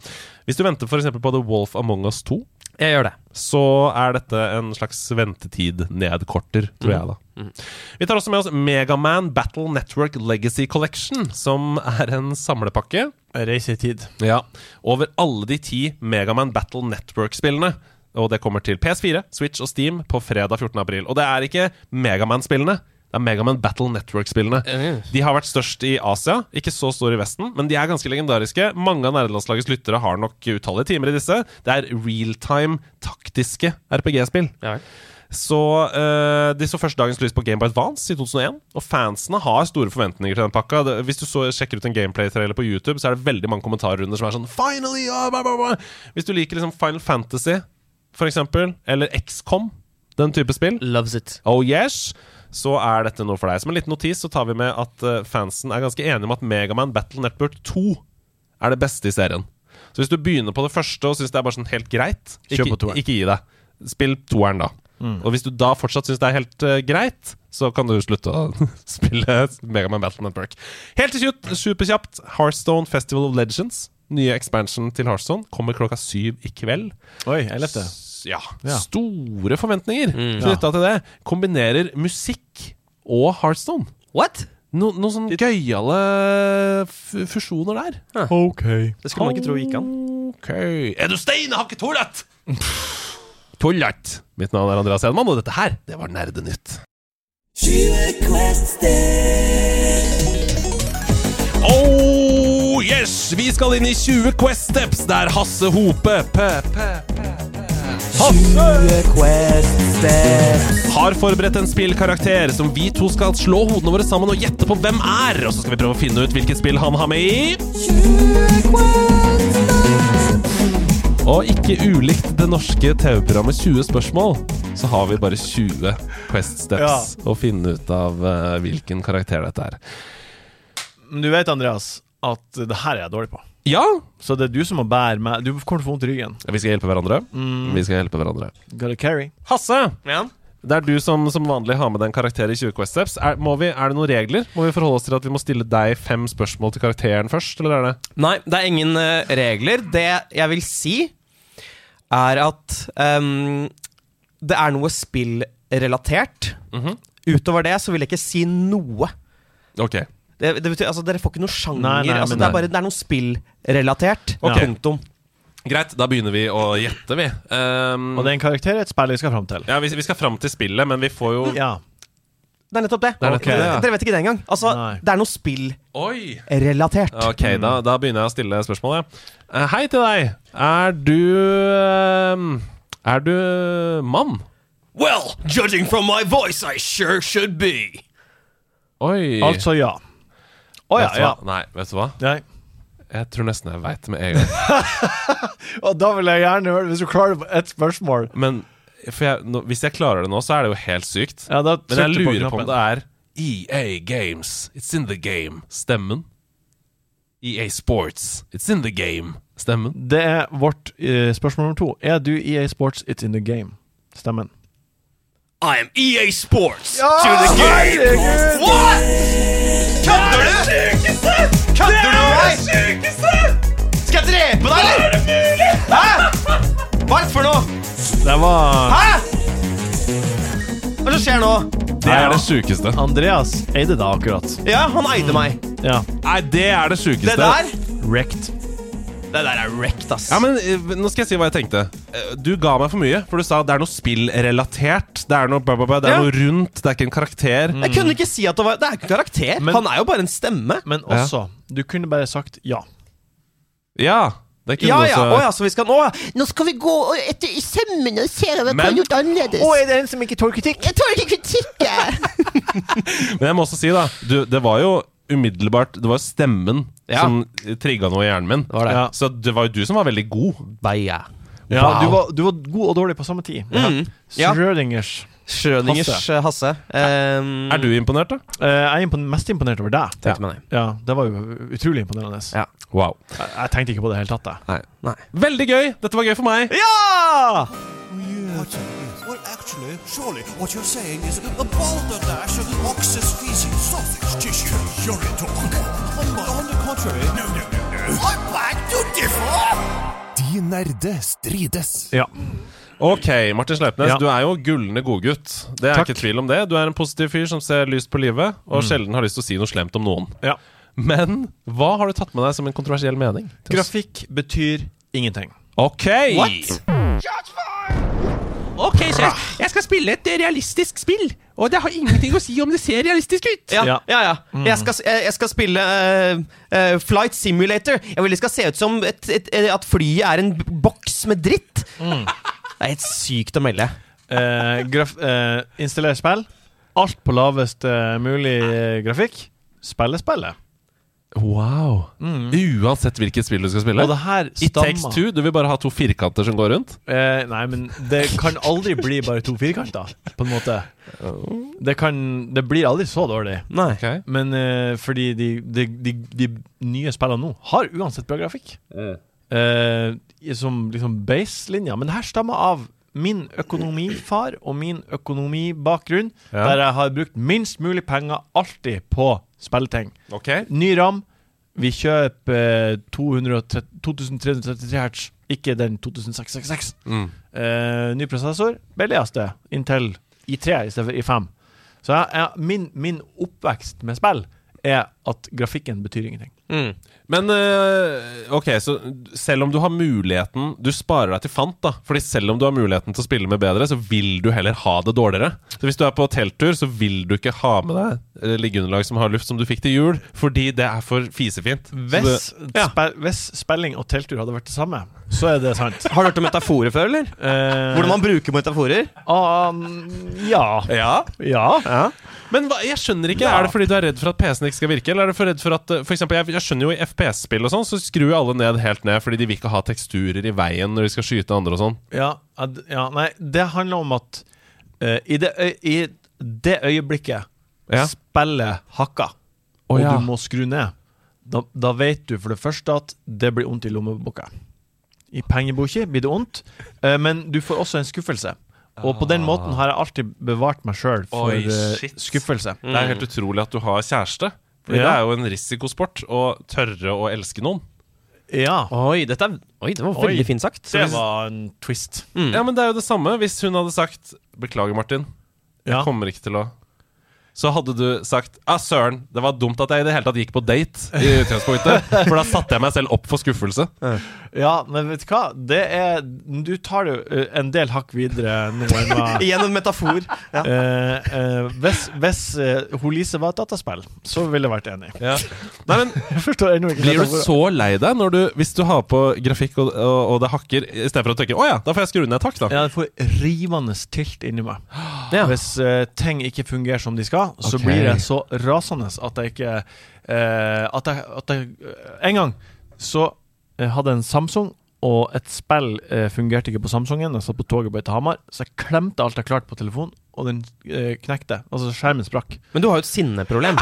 [SPEAKER 2] Hvis du venter f.eks. på The Wolf Among Us 2,
[SPEAKER 8] Jeg gjør det.
[SPEAKER 2] så er dette en slags ventetid-nedkorter, tror jeg, da.
[SPEAKER 8] Mm.
[SPEAKER 2] Vi tar også med oss Megaman Battle Network Legacy Collection, som er en samlepakke
[SPEAKER 4] Reisetid.
[SPEAKER 2] ja, over alle de ti Megaman Battle Network-spillene. Og det kommer til PS4, Switch og Steam på fredag 14. april. Og det er ikke Megaman-spillene. Det er Megaman Battle Network-spillene. De har vært størst i Asia, ikke så store i Vesten, men de er ganske legendariske. Mange av nerdelandslagets lyttere har nok utallige timer i disse. Det er real-time taktiske RPG-spill. Så eh, de så først dagens lys på Game Boy Advance i 2001, og fansene har store forventninger til den pakka. Det- Hvis du så, sjekker ut en gameplay-trailer på YouTube, så er det veldig mange kommentarer under som er sånn Finally! ah, blah, blah, blah." Hvis du liker liksom Final Fantasy, for eksempel, eller XCOM, den type spill,
[SPEAKER 8] Loves it.
[SPEAKER 2] Oh yes så er dette noe for deg. Som en liten notis så tar vi med at eh, fansen er ganske enige om at Megaman Battle Network 2 er det beste i serien. Så hvis du begynner på det første og syns det er bare sånn helt greit,
[SPEAKER 4] Kjør
[SPEAKER 2] ikke,
[SPEAKER 4] på toeren. Mm.
[SPEAKER 2] ikke gi deg. Spill toeren, da. Og hvis du da fortsatt syns det er helt eh, greit, så kan du slutte å spille Megaman Battle Network. Helt til slutt, superkjapt, Hearthstone Festival of Legends. Nye expansion til Hearthstone kommer klokka syv i kveld
[SPEAKER 4] Oi, jeg lette.
[SPEAKER 2] ja,
[SPEAKER 4] Ja.
[SPEAKER 2] store forventninger
[SPEAKER 8] Mm.
[SPEAKER 2] knytta til det. Kombinerer musikk og Heartstone.
[SPEAKER 8] What?
[SPEAKER 2] No, noen sånne gøyale f- fusjoner der.
[SPEAKER 4] OK.
[SPEAKER 8] Det skulle man ikke tro gikk an.
[SPEAKER 2] Ok Er du stein, har ikke tullet! tullet! Mitt navn er Andreas Hedman, og dette her, det var Nerdenytt. Oh yes! Vi skal inn i 20 Quest Steps, der Hasse Hope p p p Hasse har forberedt en spillkarakter som vi to skal slå hodene våre sammen og gjette på hvem er. Og så skal vi prøve å finne ut hvilket spill han har med i. Og ikke ulikt det norske TV-programmet 20 spørsmål, så har vi bare 20 Quest Steps å finne ut av eh, hvilken karakter dette er.
[SPEAKER 4] Men du vet, Andreas, at det her er jeg dårlig på.
[SPEAKER 2] Ja,
[SPEAKER 4] Så det er du som må bære meg. Du kommer til å få vondt i ryggen.
[SPEAKER 2] vi skal hjelpe hverandre. Vi skal hjelpe hverandre.
[SPEAKER 4] Gotta carry.
[SPEAKER 2] Hasse, det er du som som vanlig har med deg en karakter i 20 Quest Steps. Er, må vi, er det noen regler? Må vi forholde oss til at vi må stille deg fem spørsmål til karakteren først, eller er det?
[SPEAKER 8] Nei, det er ingen eh, regler. Det jeg vil si, er at ehm, det er noe spillrelatert. Utover det så vil jeg ikke si noe.
[SPEAKER 2] Ok.
[SPEAKER 8] Det, det betyr, altså, Dere får ikke noe sjanger.
[SPEAKER 4] Nei, nei,
[SPEAKER 8] altså,
[SPEAKER 4] men
[SPEAKER 8] det, er
[SPEAKER 4] nei.
[SPEAKER 8] bare, det er noe spillrelatert.
[SPEAKER 2] Ok.
[SPEAKER 8] Punktum.
[SPEAKER 2] Greit, da begynner vi å gjette, vi. Ehm,
[SPEAKER 4] Og det er en karakter et spill jeg skal fram til.
[SPEAKER 2] ja, vi, vi skal fram til spillet, men vi får jo
[SPEAKER 4] Ja.
[SPEAKER 8] Det er nettopp det.
[SPEAKER 2] Det er nettopp det, ja.
[SPEAKER 8] Dere vet ikke det engang. Altså,
[SPEAKER 4] Nei.
[SPEAKER 8] det er noe spillrelatert.
[SPEAKER 2] Oi! Ok, da, da begynner jeg å stille spørsmål, jeg. Eh, hei til deg. Er du ehm, Er du mann?
[SPEAKER 1] Well, judging from my voice, I sure should be.
[SPEAKER 2] Oi.
[SPEAKER 4] Altså ja. Å ja,
[SPEAKER 2] Vet du
[SPEAKER 4] ja.
[SPEAKER 2] hva? Nei, vet du hva?
[SPEAKER 4] Nei.
[SPEAKER 2] Jeg tror nesten jeg veit med en gang.
[SPEAKER 4] Og da vil jeg gjerne høre, hvis du klarer det på ett spørsmål
[SPEAKER 2] Men for jeg, nå, hvis jeg klarer det nå, så er det jo helt sykt.
[SPEAKER 4] Ja, da
[SPEAKER 2] Men jeg
[SPEAKER 4] trykker du
[SPEAKER 2] lurer på om
[SPEAKER 4] knappen.
[SPEAKER 2] det er EA Games, it's in the game. Stemmen. EA Sports, it's in the game. Stemmen.
[SPEAKER 4] Det er vårt eh, spørsmål nummer to. Er du EA Sports It's In The Game? Stemmen.
[SPEAKER 1] I am EA Sports to the game. What?! Kødder du?! Kødder du med meg?! Skal jeg drepe deg, eller?! Hæ?! Hva er det for noe?!
[SPEAKER 4] Det var
[SPEAKER 1] Hæ?! Hva er det som skjer nå?
[SPEAKER 2] Det er det sjukeste.
[SPEAKER 4] Andreas eide da akkurat.
[SPEAKER 1] Ja, han eide meg.
[SPEAKER 4] Ja.
[SPEAKER 2] Nei, det er det
[SPEAKER 1] Det
[SPEAKER 2] sjukeste.
[SPEAKER 1] der
[SPEAKER 4] Wrecked.
[SPEAKER 1] Det der er wrecked, ass.
[SPEAKER 2] Ja, men eh, Nå skal jeg si hva jeg tenkte. Eh, Du ga meg for mye, for du sa det er noe spillrelatert. Det er noe blah, blah, blah, det er
[SPEAKER 1] Ja. Mm.
[SPEAKER 2] noe rundt, det er ikke en karakter.
[SPEAKER 1] Jeg kunne ikke si at det var Det er ikke en karakter.
[SPEAKER 4] Men-
[SPEAKER 1] han er jo bare en stemme.
[SPEAKER 4] Men også, du kunne bare sagt ja.
[SPEAKER 2] Ja, det kunne
[SPEAKER 8] Ja ja.
[SPEAKER 2] også
[SPEAKER 8] Å ja, så vi skal nå ja.
[SPEAKER 3] Nå skal vi gå og etter i sømmene og se hva vi
[SPEAKER 2] Men-
[SPEAKER 3] har gjort annerledes.
[SPEAKER 8] er det en som ikke tåler kritikk?
[SPEAKER 3] Jeg tåler ikke kritikk, jeg.
[SPEAKER 2] Men jeg må også si, da. Du, det var jo umiddelbart Det var jo stemmen
[SPEAKER 8] Ja.
[SPEAKER 2] som trigga noe i hjernen min.
[SPEAKER 8] var det.
[SPEAKER 2] Ja. Så det var jo du som var veldig god.
[SPEAKER 8] Beia.
[SPEAKER 4] Mm.
[SPEAKER 1] Mm.
[SPEAKER 4] Ja, du, var, du var god og dårlig på samme tid. Ja. Schrødingers.
[SPEAKER 8] Schrødingers
[SPEAKER 4] Hasse.
[SPEAKER 8] eh, Hasse. Ehm,
[SPEAKER 2] Er du imponert, da?
[SPEAKER 4] Eh, jeg er impon mest imponert over deg.
[SPEAKER 8] tenkte meg det.
[SPEAKER 4] Ja, Det var jo utrolig imponerende.
[SPEAKER 8] Ja.
[SPEAKER 2] Wow.
[SPEAKER 4] Jeg, jeg tenkte ikke på det i det hele tatt. Jeg.
[SPEAKER 8] Nei. Nei.
[SPEAKER 2] Veldig gøy! Dette var gøy for meg.
[SPEAKER 4] Ja!
[SPEAKER 9] Well, actually, surely what you're saying is a balderdash of oxus feces, sausage tissue. You're into On, the- on the contrary. No, no, no, no. I'm back to differ. De nerde strides.
[SPEAKER 4] Ja.
[SPEAKER 2] Ok, Martin Sleipnes,
[SPEAKER 4] Ja.
[SPEAKER 2] du er jo gullende godgutt. Det er
[SPEAKER 4] Takk.
[SPEAKER 2] ikke tvil om det. Du er en positiv fyr som ser lyst på livet, og sjelden har lyst til å si noe slemt om noen.
[SPEAKER 4] ja.
[SPEAKER 2] Men hva har du tatt med deg som en kontroversiell mening? til oss?
[SPEAKER 4] Grafikk betyr ingenting.
[SPEAKER 2] Ok!
[SPEAKER 8] Ok, så jeg, skal spille et realistisk spill, og det har ingenting å si om det ser realistisk ut. Ja,
[SPEAKER 4] Ja.
[SPEAKER 8] ja, Mm. ja. Jeg, skal, jeg, jeg skal spille eh, eh, Flight Simulator. Jeg vil det skal se ut som et, et, et, at flyet er en b- boks med dritt. Det er helt sykt å melde.
[SPEAKER 4] Eh, graf eh, installer spill. Alt på lavest eh, mulig eh, grafikk. Spille spillet.
[SPEAKER 2] Wow. Uansett hvilket spill du skal spille.
[SPEAKER 4] Og det her
[SPEAKER 2] It takes
[SPEAKER 4] stammer
[SPEAKER 2] two. Du vil bare ha to firkanter som går rundt?
[SPEAKER 4] Eh, nei, men det kan aldri bli bare to firkanter, på en måte.
[SPEAKER 2] Oh.
[SPEAKER 4] Det, kan, det blir aldri så dårlig.
[SPEAKER 8] Nei.
[SPEAKER 2] Ok.
[SPEAKER 4] Men eh, fordi de, de, de, de nye spillene nå har uansett bra grafikk. Eh, i- som liksom baselinja. Men det her stammer av min økonomifar og min økonomibakgrunn,
[SPEAKER 2] Ja.
[SPEAKER 4] der jeg har brukt minst mulig penger alltid på spilleting. Eh, Ny ram. Vi kjøper eh, 230 2333 hertz, ikke den 2666.
[SPEAKER 2] Mm.
[SPEAKER 4] Eh, ny prosessor, billigste, inntil i 3 i stedet for i 5. Så jeg, jeg, min, min oppvekst med spill er at grafikken betyr ingenting.
[SPEAKER 8] Mm.
[SPEAKER 2] Men eh, ok, så selv om du har muligheten Du sparer deg til fant, da. Fordi selv om du har muligheten til å spille med bedre, så vil du heller ha det dårligere. Så hvis du er på telttur, så vil du ikke ha med deg eh, liggeunderlag som har luft, som du fikk til jul, fordi det er for fisefint. Så
[SPEAKER 4] Hvis,
[SPEAKER 2] det- ja.
[SPEAKER 4] spe- hvis spilling og telttur hadde vært det samme, så er det sant.
[SPEAKER 8] Har du hørt om metaforer før, eller?
[SPEAKER 4] Eh,
[SPEAKER 8] Hvordan man bruker metaforer?
[SPEAKER 4] ah, ja.
[SPEAKER 2] ja.
[SPEAKER 4] Ja.
[SPEAKER 2] Men hva, jeg skjønner ikke,
[SPEAKER 4] Ja.
[SPEAKER 2] er det fordi du er redd for at PC-en ikke skal virke? Eller er det for redd for at, eh, for eksempel, jeg, jeg skjønner jo i FPS-spill og sånn, så skrur jo alle ned helt ned fordi de vil ikke ha teksturer i veien når de skal skyte andre og sånn.
[SPEAKER 4] Ja, ad- ja, nei, det handler om at eh, i, det øy, i det øyeblikket
[SPEAKER 2] Ja.
[SPEAKER 4] spillet hakker,
[SPEAKER 2] Å,
[SPEAKER 4] og
[SPEAKER 2] ja.
[SPEAKER 4] du må skru ned, da, da vet du for det første at det blir vondt i lommeboka. I pengeboka blir det vondt, eh, men du får også en skuffelse. Og på den måten har jeg alltid bevart meg sjøl for
[SPEAKER 2] Oi,
[SPEAKER 4] eh,
[SPEAKER 2] shit. Mm.
[SPEAKER 4] skuffelse.
[SPEAKER 2] Det er helt utrolig at du har kjæreste. Fordi
[SPEAKER 4] Mm. Ja.
[SPEAKER 2] Det er jo en risikosport å tørre å elske noen.
[SPEAKER 4] Ja,
[SPEAKER 8] Oi, dette er, oi det var
[SPEAKER 4] Oi.
[SPEAKER 8] veldig fint sagt.
[SPEAKER 4] det var en twist.
[SPEAKER 2] Ja, men det er jo det samme hvis hun hadde sagt 'Beklager, Martin, jeg
[SPEAKER 4] Ja.
[SPEAKER 2] kommer ikke til å' så hadde du sagt 'Ah, søren, det var dumt at jeg i det hele tatt gikk på date', i utgangspunktet, for da satte jeg meg selv opp for skuffelse.
[SPEAKER 4] ja, men vet du hva? Det er Du tar det jo eh, en del hakk videre nå enn hva
[SPEAKER 8] Igjen en metafor. Ja.
[SPEAKER 4] Eh, eh, hvis hvis eh, hun Lise var et dataspill, så ville jeg vært enig.
[SPEAKER 2] Nei, men
[SPEAKER 4] Jeg forstår ennå ikke
[SPEAKER 2] Blir
[SPEAKER 4] dette
[SPEAKER 2] du
[SPEAKER 4] ordet.
[SPEAKER 2] så lei deg når du, hvis du har på grafikk og, og, og det hakker, istedenfor å tenke 'Å ja, da får jeg skru ned takk', da.
[SPEAKER 4] Ja, det får rivende tilt inni meg.
[SPEAKER 8] Ja.
[SPEAKER 4] Hvis eh, ting ikke fungerer som de skal, så
[SPEAKER 2] Ok.
[SPEAKER 4] blir jeg så rasende at jeg ikke eh, at, jeg, at jeg eh, En gang så eh, hadde jeg en Samsung, og et spill eh, fungerte ikke på Samsungen. Jeg satt på toget på vei til Hamar, så jeg klemte alt jeg klarte på telefonen, og den eh, knekte. Altså, skjermen sprakk.
[SPEAKER 8] Men du har jo et sinneproblem.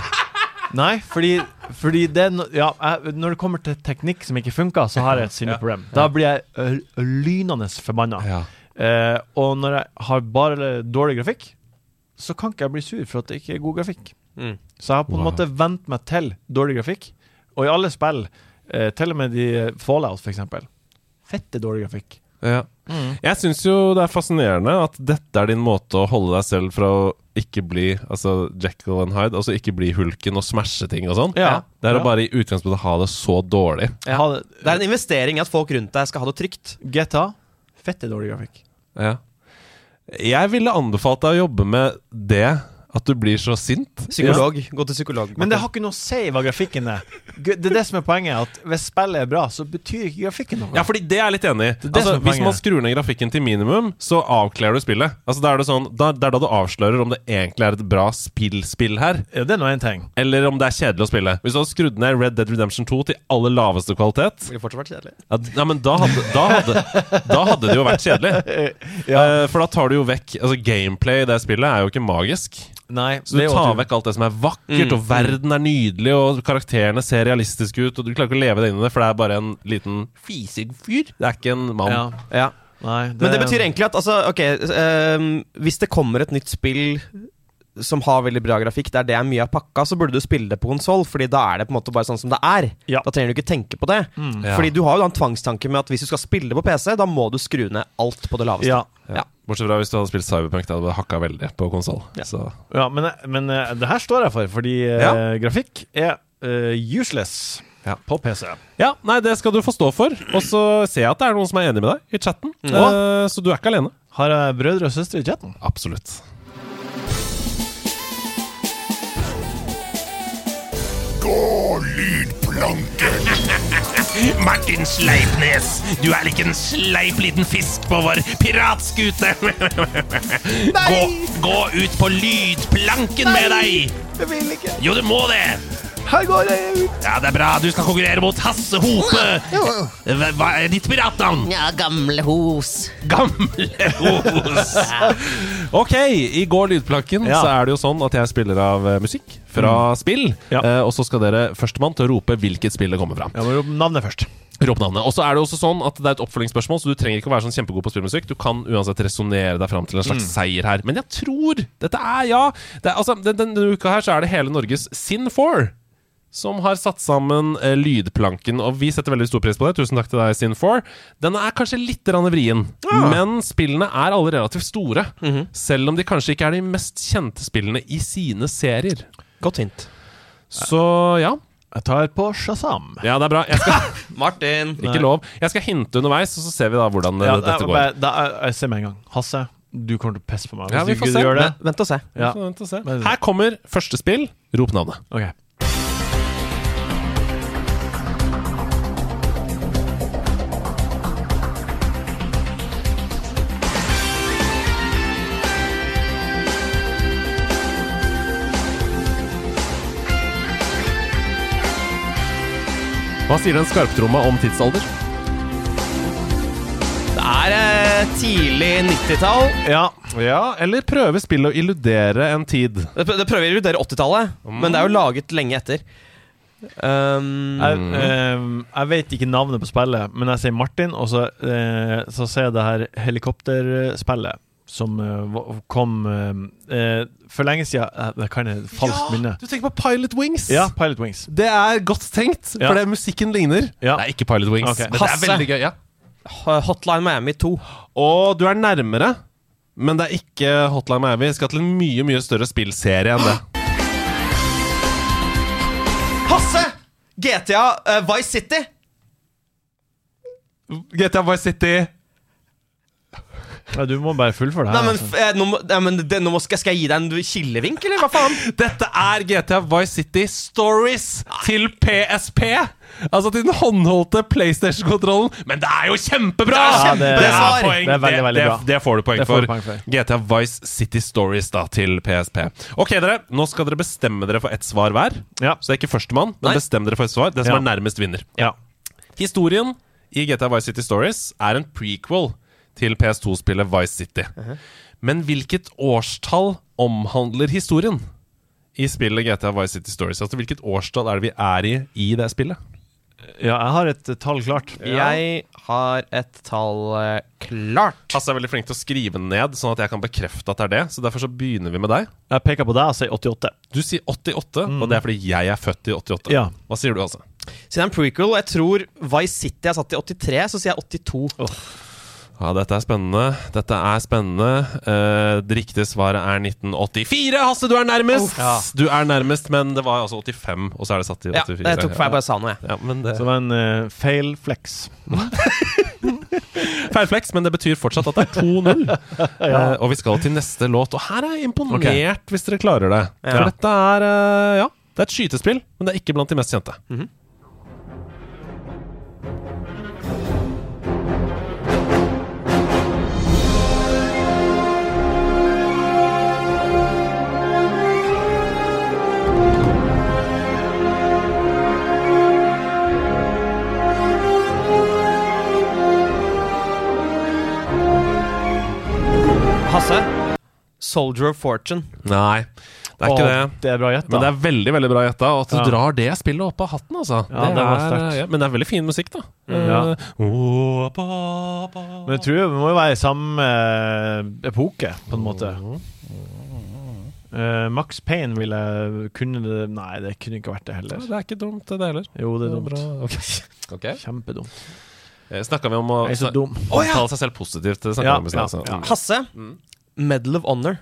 [SPEAKER 4] Nei, fordi, fordi det er no, ja, jeg, Når det kommer til teknikk som ikke funker, så har jeg et sinneproblem. Da blir jeg ø, lynende forbanna.
[SPEAKER 2] Ja.
[SPEAKER 4] Eh, og når jeg har bare dårlig grafikk, så kan ikke jeg bli sur for at det ikke er god grafikk.
[SPEAKER 8] Mm.
[SPEAKER 4] Så jeg har på en
[SPEAKER 2] Wow.
[SPEAKER 4] måte vent meg til dårlig grafikk. Og i alle spill, eh, til og med de Fallout, for eksempel. Fette dårlig grafikk.
[SPEAKER 2] Ja.
[SPEAKER 4] Mm.
[SPEAKER 2] Jeg syns jo det er fascinerende at dette er din måte å holde deg selv fra å ikke bli altså Jekyll and Hyde, altså ikke bli hulken og smashe ting og sånn.
[SPEAKER 4] Ja.
[SPEAKER 2] Det er
[SPEAKER 4] Ja.
[SPEAKER 2] å bare i utgangspunktet ha det så dårlig.
[SPEAKER 4] Ja.
[SPEAKER 8] Det er en investering i at folk rundt deg skal ha det trygt.
[SPEAKER 4] GTA, fette dårlig grafikk.
[SPEAKER 2] Ja. Jeg ville anbefalt deg å jobbe med det at du blir så sint.
[SPEAKER 1] Psykolog. Gå til psykolog.
[SPEAKER 4] Men det har ikke noe å si hva grafikken er. Gu- Det er det som er poenget. At Hvis spillet er bra, så betyr ikke grafikken noe.
[SPEAKER 2] Ja, fordi det er jeg litt enig i.
[SPEAKER 4] det
[SPEAKER 2] Altså,
[SPEAKER 4] som er
[SPEAKER 2] hvis
[SPEAKER 4] poenget.
[SPEAKER 2] man skrur ned grafikken til minimum, så avkler du spillet. Altså, da er det, sånn, da, det er da du avslører om det egentlig er et bra spill-spill her,
[SPEAKER 4] Ja, det er nå én ting.
[SPEAKER 2] eller om det er kjedelig å spille. Hvis du hadde skrudd ned Red Dead Redemption 2 til aller laveste kvalitet
[SPEAKER 1] ville fortsatt vært kjedelig.
[SPEAKER 2] ja, d- ja, men da hadde, da, hadde, da hadde det jo vært kjedelig. Eh, for da tar du jo vekk Altså, gameplay i det spillet er jo ikke magisk.
[SPEAKER 4] Nei,
[SPEAKER 2] Så du tar vekk alt det som er vakkert, og verden er nydelig, og karakterene ser realistiske ut, og du klarer ikke å leve deg inn i det, for det er bare en liten fisig fyr. Det er ikke en mann.
[SPEAKER 4] ja.
[SPEAKER 1] Ja.
[SPEAKER 4] Nei,
[SPEAKER 1] Men det betyr egentlig at altså, ok, ehm, hvis det kommer et nytt spill som har veldig bra grafikk, der det er mye av pakka, så burde du spille det på konsoll, Fordi da er det på en måte bare sånn som det er.
[SPEAKER 4] Ja. Mm.
[SPEAKER 1] Da trenger du ikke tenke på det. Fordi du har jo da en tvangstanke med at hvis du skal spille det på PC, da må du skru ned alt på det laveste.
[SPEAKER 4] Ja.
[SPEAKER 2] Bortsett fra hvis du hadde spilt Cyberpunk, da hadde du hakka veldig på konsoll. Så
[SPEAKER 4] Ja, men, men eh, det her står jeg for, fordi eh,
[SPEAKER 2] Ja.
[SPEAKER 4] grafikk er eh, useless på PC.
[SPEAKER 2] Ja, nei, det skal du få stå for. Og så ser jeg at det er noen som er enig med deg i chatten,
[SPEAKER 4] Mm.
[SPEAKER 2] Eh, så du er ikke alene.
[SPEAKER 4] Har jeg brødre og søstre i chatten?
[SPEAKER 2] Absolutt.
[SPEAKER 10] Gå lydplanken! Martin Sleipnes, du er like en sleip liten fisk på vår piratskute. gå, gå ut på lydplanken med deg! Jeg vil ikke. Jo, du må det. Ja, Det er bra. Du skal konkurrere mot Hasse Hope. Hva hva er ditt piratnavn?
[SPEAKER 3] Ja, gamle hos.
[SPEAKER 10] Gamle Os.
[SPEAKER 2] Ok, i går lydplanken
[SPEAKER 4] Ja.
[SPEAKER 2] så er det jo sånn at jeg spiller av eh, musikk fra spill.
[SPEAKER 4] Ja.
[SPEAKER 2] Eh, og så skal dere førstemann til å rope hvilket spill det kommer fra.
[SPEAKER 4] Jeg må rope navnet først.
[SPEAKER 2] Rop navnet. Og så er det også sånn at det er et oppfølgingsspørsmål, så du trenger ikke å være sånn kjempegod på spillmusikk. Du kan uansett resonnere deg fram til en slags seier her. Men jeg tror Dette er ja! Det er, altså, den- denne uka her så er det hele Norges Sin4 som har satt sammen eh, lydplanken, og vi setter veldig stor pris på det. Tusen takk til deg, Sin4. Denne er kanskje litt grann vrien, men spillene er alle relativt store. Selv om de kanskje ikke er de mest kjente spillene i sine serier.
[SPEAKER 1] Godt hint.
[SPEAKER 2] Så ja.
[SPEAKER 4] Jeg tar på Shazam.
[SPEAKER 2] Ja, det er bra. Jeg skal,
[SPEAKER 1] Martin!
[SPEAKER 2] ikke lov. Jeg skal hinte underveis, og så ser vi da hvordan eh,
[SPEAKER 4] Ja,
[SPEAKER 2] dette
[SPEAKER 4] jeg,
[SPEAKER 2] går.
[SPEAKER 4] bare- da, jeg, jeg ser med en gang. Hasse, du kommer til å pisse på meg hvis
[SPEAKER 2] Ja, vi
[SPEAKER 4] du
[SPEAKER 2] får
[SPEAKER 4] ikke
[SPEAKER 2] se.
[SPEAKER 4] gjør det.
[SPEAKER 1] Vent og se.
[SPEAKER 4] Ja.
[SPEAKER 2] Så vent og se.
[SPEAKER 4] Men-
[SPEAKER 2] Her kommer første spill. Rop navnet.
[SPEAKER 4] Ok.
[SPEAKER 2] Hva sier den skarptromma om tidsalder?
[SPEAKER 1] Det er eh, tidlig 90-tall.
[SPEAKER 4] Ja.
[SPEAKER 2] Ja, eller prøve spillet å illudere en tid.
[SPEAKER 1] Det, det prøver å irritere 80-tallet, men det er jo
[SPEAKER 4] Mm.
[SPEAKER 1] laget lenge etter. Um,
[SPEAKER 4] Jeg,
[SPEAKER 2] Mm.
[SPEAKER 4] eh, jeg vet ikke navnet på spillet, men jeg sier Martin, og så, eh, så ser jeg det her helikopterspillet som eh, va- kom eh, eh, for lenge siden. Eh, Det kan jeg falskt minne.
[SPEAKER 2] Du tenker på Pilot Wings.
[SPEAKER 4] Ja, Pilot Wings.
[SPEAKER 2] Det er godt tenkt,
[SPEAKER 4] Ja.
[SPEAKER 2] for det, musikken ligner.
[SPEAKER 4] Ja.
[SPEAKER 2] Det er ikke Pilot Wings.
[SPEAKER 4] Ok.
[SPEAKER 2] Men det er
[SPEAKER 1] Hasse.
[SPEAKER 2] veldig gøy. Ja.
[SPEAKER 1] Hotline Miami 2.
[SPEAKER 2] Og du er nærmere, men det er ikke Hotline Miami. Vi skal til en mye mye større spillserie enn det.
[SPEAKER 1] Hasse! GTA eh, Vice City.
[SPEAKER 2] GTA Vice City.
[SPEAKER 4] Ja, du må bare fullføre det
[SPEAKER 1] Nei,
[SPEAKER 4] her.
[SPEAKER 1] men,
[SPEAKER 4] altså.
[SPEAKER 1] f- eh, nå, må- nei, men det, nå må, skal, skal jeg gi deg en kilevink, eller hva faen?
[SPEAKER 2] Dette er GTA Vice City Stories til PSP. Altså til den håndholdte PlayStation-kontrollen. Men det er jo kjempebra!
[SPEAKER 1] Ja, det-
[SPEAKER 2] Det
[SPEAKER 1] svar.
[SPEAKER 2] poeng.
[SPEAKER 4] Det er veldig, veldig
[SPEAKER 2] det,
[SPEAKER 4] bra.
[SPEAKER 2] det, det får du poeng
[SPEAKER 4] Det får du
[SPEAKER 2] for.
[SPEAKER 4] poeng for.
[SPEAKER 2] GTA Vice City Stories da til PSP. Ok, dere. Nå skal dere bestemme dere for ett svar hver.
[SPEAKER 4] Ja.
[SPEAKER 2] Så det er ikke førstemann, men
[SPEAKER 1] Nei.
[SPEAKER 2] bestem dere for et svar. Den som
[SPEAKER 4] Ja.
[SPEAKER 2] er nærmest, vinner.
[SPEAKER 4] ja.
[SPEAKER 2] Historien i GTA Vice City Stories er en prequel til PS2-spillet Vice City. Men hvilket årstall omhandler historien i spillet GTA Vice City Stories? Altså Hvilket årstall er det vi er i i det spillet?
[SPEAKER 4] ja, jeg har et eh, tall klart.
[SPEAKER 1] Jeg har et tall eh, klart.
[SPEAKER 2] Hasse er veldig flink til å skrive ned, sånn at jeg kan bekrefte at det er det. Så Derfor så begynner vi med deg.
[SPEAKER 4] Jeg peker på deg og sier 88.
[SPEAKER 2] Du sier 88, og det er fordi jeg er født i 88.
[SPEAKER 4] Ja.
[SPEAKER 2] Hå sier du, Hasse?
[SPEAKER 1] Siden det er en prequel, og jeg tror Vice City er satt i 83, så sier jeg 82.
[SPEAKER 2] Ja, dette er spennende. Dette er spennende. Eh, det riktige svaret er 1984. Hasse, du er nærmest! Du er nærmest, men det var altså 85, og så er det satt i
[SPEAKER 1] Ja,
[SPEAKER 2] 84.
[SPEAKER 4] eh,
[SPEAKER 1] jeg tok feil, jeg bare sa noe, jeg.
[SPEAKER 2] Ja, men det...
[SPEAKER 4] Så det var en eh, fail flex.
[SPEAKER 2] Feilflex, men det betyr fortsatt at det er 2-0. Eh, og vi skal til neste låt. Og her er jeg imponert, hvis dere klarer det. For dette er eh, Ja, det er et skytespill, men det er ikke blant de mest kjente.
[SPEAKER 4] Mm.
[SPEAKER 8] Hasse. Soldier of Fortune.
[SPEAKER 2] Nei, det er ikke det.
[SPEAKER 4] er bra gjett,
[SPEAKER 2] Men det
[SPEAKER 4] da.
[SPEAKER 2] er veldig veldig bra gjetta, og at du
[SPEAKER 4] Ja.
[SPEAKER 2] drar det spillet opp av hatten, altså.
[SPEAKER 4] Ja, det var sterkt.
[SPEAKER 2] ja, men det er veldig fin musikk, da.
[SPEAKER 4] Ja.
[SPEAKER 2] Eh, oh, ba, ba.
[SPEAKER 4] Men jeg tror det må jo være i samme eh, epoke, på en måte. Eh, Max Payne ville kunne det Nei, det kunne ikke vært det heller.
[SPEAKER 2] Det er ikke dumt, det heller.
[SPEAKER 4] Jo, det er dumt.
[SPEAKER 2] Bra. Ok. okay.
[SPEAKER 4] Kjempedumt.
[SPEAKER 2] Eh, Snakka vi om å
[SPEAKER 4] Jeg er så dum.
[SPEAKER 2] omtale seg selv positivt? Det snakket vi
[SPEAKER 4] Ja,
[SPEAKER 2] om i sted,
[SPEAKER 4] ja,
[SPEAKER 2] altså.
[SPEAKER 4] ja.
[SPEAKER 8] Hasse. Medal of Honor.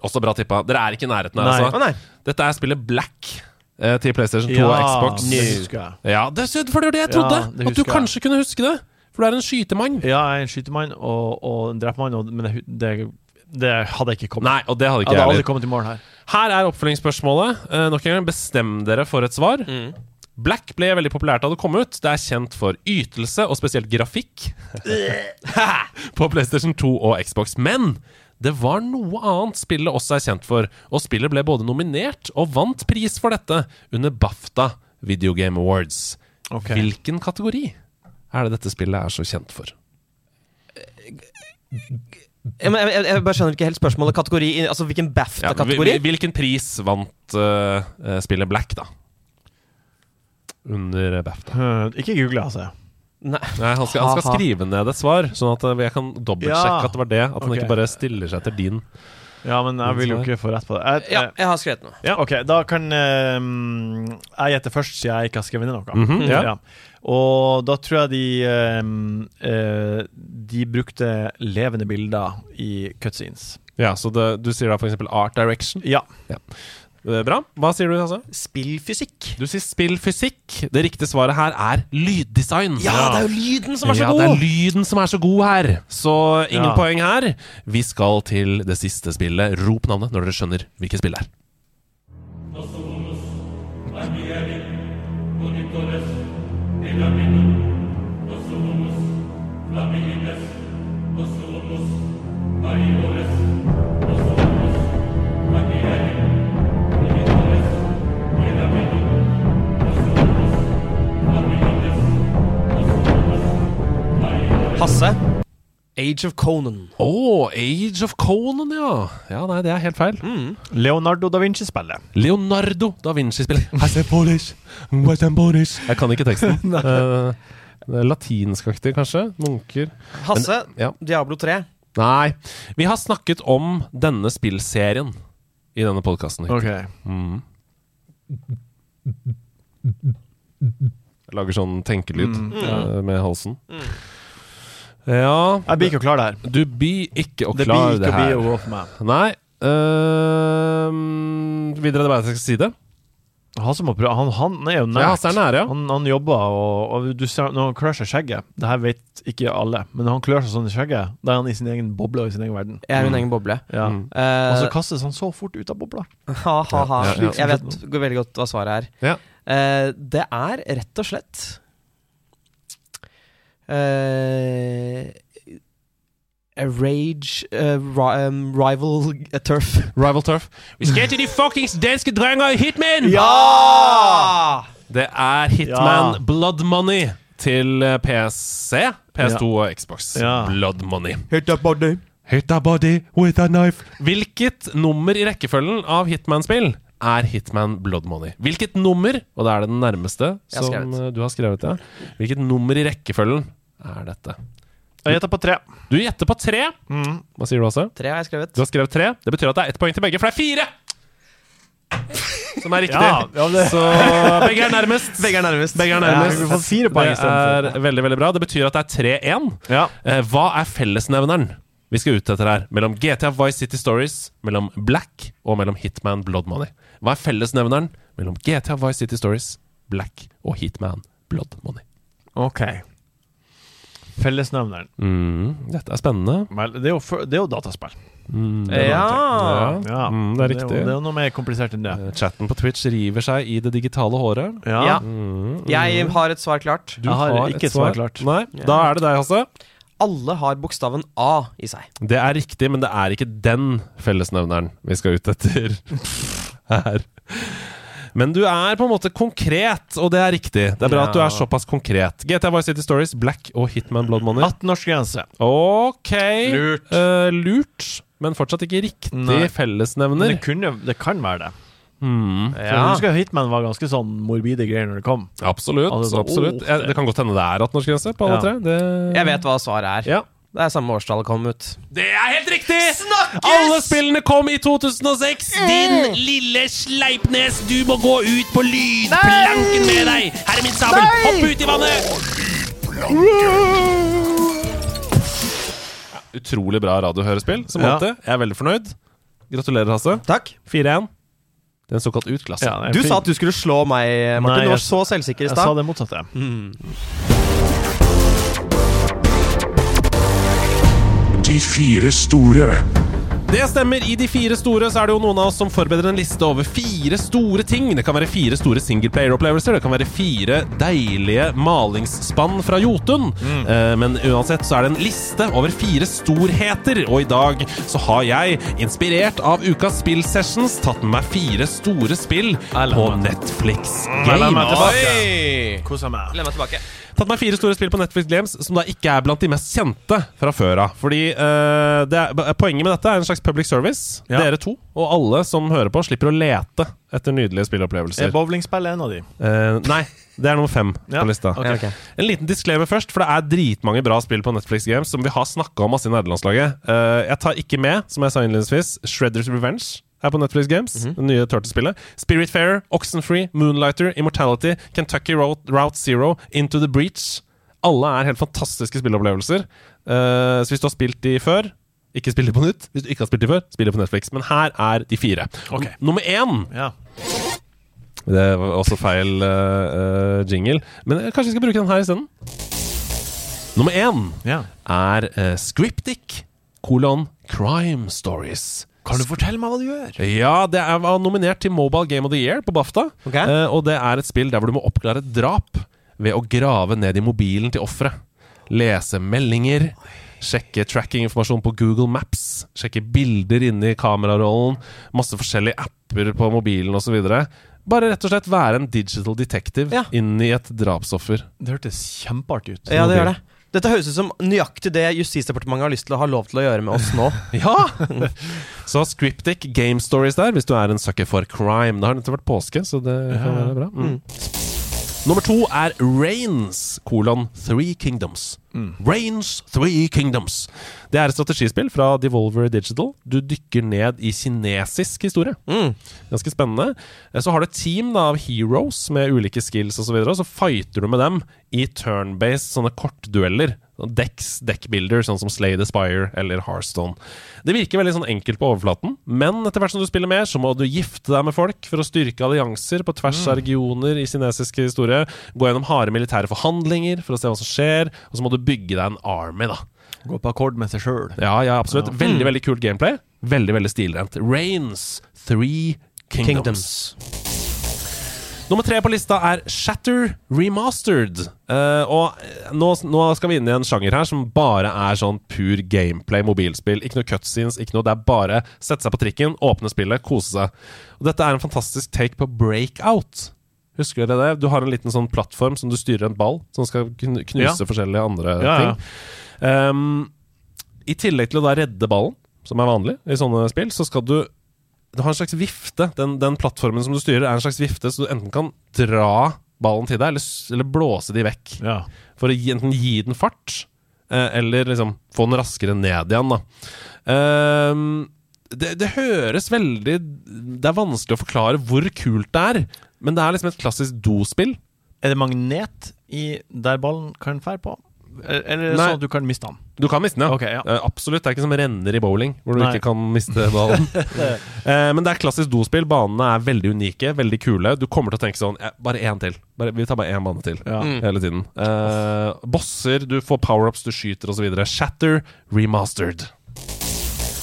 [SPEAKER 2] Også bra tippa. Dere er ikke i nærheten her,
[SPEAKER 4] Nei.
[SPEAKER 2] altså.
[SPEAKER 8] Å nei.
[SPEAKER 2] Dette er spillet Black eh, til PlayStation 2 og Xbox.
[SPEAKER 4] det husker jeg.
[SPEAKER 2] Ja, det, for det var det jeg trodde!
[SPEAKER 4] Ja, det
[SPEAKER 2] at du
[SPEAKER 4] husker jeg.
[SPEAKER 2] kanskje kunne huske det! For du er en skytemann.
[SPEAKER 4] Ja, jeg er en skytemann og, og en drepmann, og- men det, det, det hadde jeg ikke kommet.
[SPEAKER 2] Nei, og det hadde
[SPEAKER 4] Jeg
[SPEAKER 2] ikke jeg
[SPEAKER 4] hadde
[SPEAKER 2] heller.
[SPEAKER 4] aldri kommet i mål her.
[SPEAKER 2] Her er oppfølgingsspørsmålet. Eh, nok en gang, bestem dere for et svar. Black ble veldig populært da det kom ut. Det er kjent for ytelse og spesielt grafikk på PlayStation 2 og Xbox. Men det var noe annet spillet også er kjent for, og spillet ble både nominert og vant pris for dette under BAFTA Video Game Awards.
[SPEAKER 4] Ok.
[SPEAKER 2] Hvilken kategori er det dette spillet er så kjent for?
[SPEAKER 8] Jeg, men- jeg, jeg bare skjønner ikke helt spørsmålet. Kategori, altså Hvilken
[SPEAKER 2] Ja, hvil-
[SPEAKER 8] BAFTA-kategori?
[SPEAKER 2] hvil- hvilken pris vant eh, eh, spillet Black, da? Under BAFTA.
[SPEAKER 4] Eh, Ikke google, altså.
[SPEAKER 8] Nei.
[SPEAKER 2] Nei, han skal, han skal
[SPEAKER 8] Haha.
[SPEAKER 2] skrive ned et svar, sånn at eh, jeg kan dobbeltsjekke
[SPEAKER 4] Ja.
[SPEAKER 2] at det var det. At han
[SPEAKER 4] Ok.
[SPEAKER 2] ikke bare stiller seg etter din.
[SPEAKER 4] Ja, men jeg vil jo ikke få rett på det. Jeg,
[SPEAKER 8] Ja,
[SPEAKER 4] eh,
[SPEAKER 8] jeg har skrevet noe.
[SPEAKER 4] Ja, ok, da kan ehm, jeg gjette først siden jeg ikke har skrevet ned noe.
[SPEAKER 2] Mhm, ja.
[SPEAKER 4] Og da tror jeg de ehm, eh, De brukte levende bilder i cutscenes.
[SPEAKER 2] Ja, Så det, du sier da f.eks. Art Direction.
[SPEAKER 4] Ja.
[SPEAKER 2] Eh, Bra. Hva sier du, Hasse?
[SPEAKER 8] Spillfysikk.
[SPEAKER 2] Du sier spillfysikk. Det riktige svaret her er lyddesign.
[SPEAKER 8] Ja, det er jo lyden som er så
[SPEAKER 2] Ja, det er
[SPEAKER 8] god!
[SPEAKER 2] lyden som er så god her. Så ingen
[SPEAKER 4] Ja.
[SPEAKER 2] poeng her. Vi skal til det siste spillet. Rop navnet når dere skjønner hvilket spill det er.
[SPEAKER 8] Hasse. Age of Conan.
[SPEAKER 2] Å, Age of Conan, ja. Ja, Nei, det er helt feil.
[SPEAKER 4] Leonardo da Vinci-spillet.
[SPEAKER 2] Leonardo da Vinci-spillet. I say Polish, what I'm Polish. Jeg kan ikke teksten. Eh, det er Latinskaktig, kanskje? Munker?
[SPEAKER 8] Hasse.
[SPEAKER 2] Ja.
[SPEAKER 8] Diablo 3.
[SPEAKER 2] Nei. Vi har snakket om denne spillserien i denne podkasten.
[SPEAKER 4] Ok
[SPEAKER 2] Lager sånn tenkelyd
[SPEAKER 4] Mm.
[SPEAKER 2] eh, med halsen. Ja
[SPEAKER 4] Jeg blir ikke klar der.
[SPEAKER 2] Du blir ikke å
[SPEAKER 4] Det blir
[SPEAKER 2] klare
[SPEAKER 4] ikke
[SPEAKER 2] det
[SPEAKER 4] å bli
[SPEAKER 2] her.
[SPEAKER 4] å gå for meg.
[SPEAKER 2] Nei. Uh, videre er det bare at jeg skal si det.
[SPEAKER 4] Han, som må prøve, han, han er jo nært.
[SPEAKER 2] Ja, Hasse er nære, ja.
[SPEAKER 4] Han, han jobber, og, og du ser, når han klør seg i skjegget Det her vet ikke alle, men når han klør seg sånn i skjegget, da er han i sin egen boble og i sin egen verden.
[SPEAKER 8] Jeg
[SPEAKER 2] Mm.
[SPEAKER 8] er min egen boble.
[SPEAKER 4] Ja.
[SPEAKER 8] Eh,
[SPEAKER 4] Og så kastes han så fort ut av bobla.
[SPEAKER 8] ha, ha, ha.
[SPEAKER 2] Ja, ja, ja.
[SPEAKER 8] Jeg vet går veldig godt hva svaret er.
[SPEAKER 2] Ja.
[SPEAKER 8] Eh, det er rett og slett eh, a Rage eh, ri, um, Rival eh, Turf.
[SPEAKER 2] Rival Turf. Vi skal til de fuckings danske drenger i Hitman!
[SPEAKER 8] Ja!
[SPEAKER 2] Det er Hitman
[SPEAKER 4] Ja.
[SPEAKER 2] Blood Money til eh, PC, PS2 og Xbox.
[SPEAKER 4] Ja.
[SPEAKER 2] Blood Money.
[SPEAKER 8] Hit up body.
[SPEAKER 2] Hit a body with a knife. Hvilket nummer i rekkefølgen av Hitman-spill er Hitman Blood Money? Hvilket nummer, og det er det den nærmeste
[SPEAKER 8] Jeg har
[SPEAKER 2] som
[SPEAKER 8] skrevet.
[SPEAKER 2] eh, du har skrevet, ja. Hvilket nummer i rekkefølgen er dette?
[SPEAKER 4] Jeg gjetter på tre. Mm.
[SPEAKER 2] Du gjetter på tre. Hva sier du, Hasse?
[SPEAKER 8] Tre har jeg skrevet.
[SPEAKER 2] Du har skrevet tre. Det betyr at det er ett poeng til begge, for det er fire! Som er riktig.
[SPEAKER 4] Ja, ja, det-
[SPEAKER 2] Så begge er nærmest. Begge er nærmest.
[SPEAKER 4] Ja, vi får fire poeng
[SPEAKER 2] det
[SPEAKER 4] istedenfor.
[SPEAKER 2] er veldig veldig bra. Det betyr at det er 3-1.
[SPEAKER 4] Ja.
[SPEAKER 2] Eh, Hva er fellesnevneren vi skal ut etter her? Mellom GTA Vice City Stories, mellom Black og mellom Hitman Blood Money. Hva er fellesnevneren mellom GTA Vice City Stories, Black og Hitman Blood Money?
[SPEAKER 4] Ok. Fellesnevneren.
[SPEAKER 2] Mm, dette er spennende.
[SPEAKER 4] Vel, Det er jo, fø- det er jo dataspill.
[SPEAKER 8] Ja.
[SPEAKER 4] Ja,
[SPEAKER 2] Mm, det er
[SPEAKER 4] Det
[SPEAKER 2] riktig.
[SPEAKER 4] er, jo, det er jo noe mer komplisert enn det.
[SPEAKER 2] Eh, Chatten på Twitch river seg i det digitale håret.
[SPEAKER 4] Ja.
[SPEAKER 8] Ja. Jeg har et svar klart.
[SPEAKER 2] Mm, Du
[SPEAKER 4] Jeg har ikke et svar klart.
[SPEAKER 2] Nei, Da er det deg, Hasse.
[SPEAKER 8] Alle har bokstaven A i seg.
[SPEAKER 2] Det er riktig, men det er ikke den fellesnevneren vi skal ut etter her. Men du er på en måte konkret, og det er riktig. Det er bra at du er såpass konkret. GTA Vice City Stories, Black og Hitman Blood Money.
[SPEAKER 4] 18-årsgrense.
[SPEAKER 2] Ok.
[SPEAKER 4] Lurt.
[SPEAKER 2] Eh, lurt, men fortsatt ikke riktig
[SPEAKER 4] Nei. Men
[SPEAKER 2] fellesnevner.
[SPEAKER 4] det, kunne, det kan være det.
[SPEAKER 2] Mm.
[SPEAKER 4] For Jeg husker Hitman var ganske sånn morbide greier når det kom.
[SPEAKER 2] Absolutt.
[SPEAKER 4] Altså,
[SPEAKER 2] absolutt.
[SPEAKER 4] åh,
[SPEAKER 2] Ja, det kan godt hende det er 18-årsgrense på alle
[SPEAKER 4] Ja.
[SPEAKER 2] tre. Det...
[SPEAKER 8] Jeg vet hva svaret er.
[SPEAKER 2] Ja.
[SPEAKER 8] Det er samme årstallet kom ut.
[SPEAKER 2] Det er helt riktig! Alle spillene kom i 2006! Din lille sleipnes, du må gå ut på lydplanken med deg! Her er min sabel, hopp ut i vannet! Ja, Utrolig bra radiohørespill, som
[SPEAKER 4] Ja.
[SPEAKER 2] alltid. Jeg er veldig fornøyd. Gratulerer, Hasse.
[SPEAKER 8] Takk.
[SPEAKER 2] 4-1. Det er en såkalt utklasse.
[SPEAKER 4] Ja, det er
[SPEAKER 8] Du
[SPEAKER 4] fint.
[SPEAKER 8] sa at du skulle slå meg,
[SPEAKER 4] Nei,
[SPEAKER 8] Martin. Du var
[SPEAKER 4] jeg-
[SPEAKER 8] så selvsikker i
[SPEAKER 4] Jeg sa
[SPEAKER 8] stad.
[SPEAKER 4] det motsatte.
[SPEAKER 11] De fire store.
[SPEAKER 2] Det stemmer. I De fire store så er det jo noen av oss som forbereder en liste over fire store ting. Det kan være fire store singleplayer-opplevelser, det kan være fire deilige malingsspann fra Jotun.
[SPEAKER 4] Mm.
[SPEAKER 2] Eh, men uansett så er det en liste over fire storheter, og i dag så har jeg, inspirert av ukas spillsessions, tatt med meg fire store spill på Netflix
[SPEAKER 4] la meg
[SPEAKER 2] Games.
[SPEAKER 4] tilbake. Kosa meg.
[SPEAKER 8] Len meg tilbake.
[SPEAKER 2] Tatt meg fire store spill på Netflix Games som da ikke er blant de mest kjente fra før av. Fordi eh, det er, Poenget med dette er en slags public service.
[SPEAKER 4] Ja.
[SPEAKER 2] Dere to og alle som hører på, slipper å lete etter nydelige
[SPEAKER 4] Er
[SPEAKER 2] spillopplevelser.
[SPEAKER 4] bowlingspillet en av de?
[SPEAKER 2] Eh, nei, det er nummer fem
[SPEAKER 4] Ja,
[SPEAKER 2] på lista.
[SPEAKER 4] ok.
[SPEAKER 8] ok.
[SPEAKER 2] En liten disclaimer først, for det er dritmange bra spill på Netflix Games som vi har snakka om masse i nederlandslaget. Eh, jeg tar ikke med, som jeg sa innledningsvis, Shredders Revenge. Er på Netflix Games,
[SPEAKER 4] Mhm.
[SPEAKER 2] det nye Turtle-spillet. Spiritfarer, Oxenfree, Moonlighter, Immortality, Kentucky Route, Route Zero, Into the Breach. Alle er helt fantastiske spilleopplevelser. Eh, så hvis du har spilt de før, ikke spill de på nytt. Hvis du ikke har spilt de før, spill de på Netflix. Men her er de fire. Og
[SPEAKER 4] Ok.
[SPEAKER 2] Nummer én
[SPEAKER 4] Ja.
[SPEAKER 2] det var også feil eh, eh, jingle. Men jeg kanskje vi skal bruke den her isteden? Nummer én
[SPEAKER 4] ja.
[SPEAKER 2] er eh, Scriptic kolon Crime Stories.
[SPEAKER 4] Kan du fortelle meg hva du gjør?
[SPEAKER 2] Ja, det er, var nominert til Mobile Game of the Year på BAFTA.
[SPEAKER 8] Ok.
[SPEAKER 2] Eh, og det er et spill der hvor du må oppklare et drap ved å grave ned i mobilen til offeret. Lese meldinger, sjekke tracking-informasjon på Google Maps, sjekke bilder inne i kamerarollen, masse forskjellige apper på mobilen osv. Bare rett og slett være en digital detective
[SPEAKER 8] Ja.
[SPEAKER 2] inn i et drapsoffer.
[SPEAKER 4] Det hørtes kjempeartig ut.
[SPEAKER 8] Ja, det gjør det. Dette høres ut som nøyaktig det Justisdepartementet har lyst til å ha lov til å gjøre med oss nå.
[SPEAKER 2] Ja! så Scriptic Game Stories der, hvis du er en sucker for crime. Det har nettopp vært påske, så det kan være bra. Mm. Nummer to er Rains, kolon Three Kingdoms. Rains Three Kingdoms. Det er et strategispill fra Devolver Digital. Du dykker ned i kinesisk historie. Ganske spennende. Eh, Så har du et team da, av heroes med ulike skills osv., og, så videre, og så fighter du med dem i turn-based sånne kortdueller. Sånn Decks, deckbuilder, sånn som Slay the Spire eller Hearthstone. Det virker veldig sånn enkelt på overflaten, men etter hvert som du spiller mer, så må du gifte deg med folk for å styrke allianser på tvers av regioner i kinesisk historie, gå gjennom harde militære forhandlinger for å se hva som skjer, og så må du bygge deg en army, da.
[SPEAKER 4] Gå på akkord med seg sjøl.
[SPEAKER 2] Ja, ja, absolutt.
[SPEAKER 4] Mm.
[SPEAKER 2] Veldig, veldig kult gameplay. Veldig, veldig stilrent. Rains Three Kingdoms. Nummer tre på lista er Shatter Remastered. Eh, og eh, nå, nå skal vi inn i en sjanger her som bare er sånn pur gameplay, mobilspill. Ikke noe cutscenes, ikke noe. Det er bare sette seg på trikken, åpne spillet, kose seg. Og dette er en fantastisk take på breakout. Husker dere det? Du har en liten sånn plattform som du styrer en ball, som skal kn- knuse
[SPEAKER 4] Ja.
[SPEAKER 2] forskjellige andre
[SPEAKER 4] Ja, ja.
[SPEAKER 2] ting. Ehm, I tillegg til å da redde ballen, som er vanlig i sånne spill, så skal du du har en slags vifte. Den, den plattformen som du styrer, er en slags vifte, så du enten kan dra ballen til deg, eller, s- eller blåse de vekk.
[SPEAKER 4] Ja.
[SPEAKER 2] For å gi, enten gi den fart, eh, eller liksom få den raskere ned igjen, da. Ehm, det, det høres veldig Det er vanskelig å forklare hvor kult det er, men det er liksom et klassisk dospill.
[SPEAKER 4] Er det magnet i der ballen kan fære på? Eller er det
[SPEAKER 2] Nei.
[SPEAKER 4] sånn at du kan miste den?
[SPEAKER 2] Du kan miste den, ja.
[SPEAKER 4] Ok, ja.
[SPEAKER 2] Eh, absolutt. Det er ikke som renner i bowling, hvor du
[SPEAKER 4] Nei.
[SPEAKER 2] ikke kan miste ballen. Eh, men det er klassisk dospill. Banene er veldig unike, veldig kule. Du kommer til å tenke sånn eh, Bare én til. Bare, vi tar bare én bane til. Hele tiden. Eh, bosser, du får powerups, du skyter osv. Shatter remastered.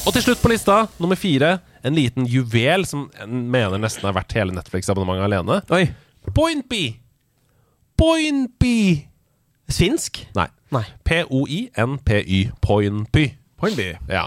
[SPEAKER 2] Og til slutt på lista, nummer fire, en liten juvel som en mener nesten er verdt hele Netflix-abonnementet alene.
[SPEAKER 8] Oi.
[SPEAKER 2] Point B! Point B!
[SPEAKER 8] Svinsk?
[SPEAKER 2] Nei. P-o-i-n-p-y. Poinpy. Ja.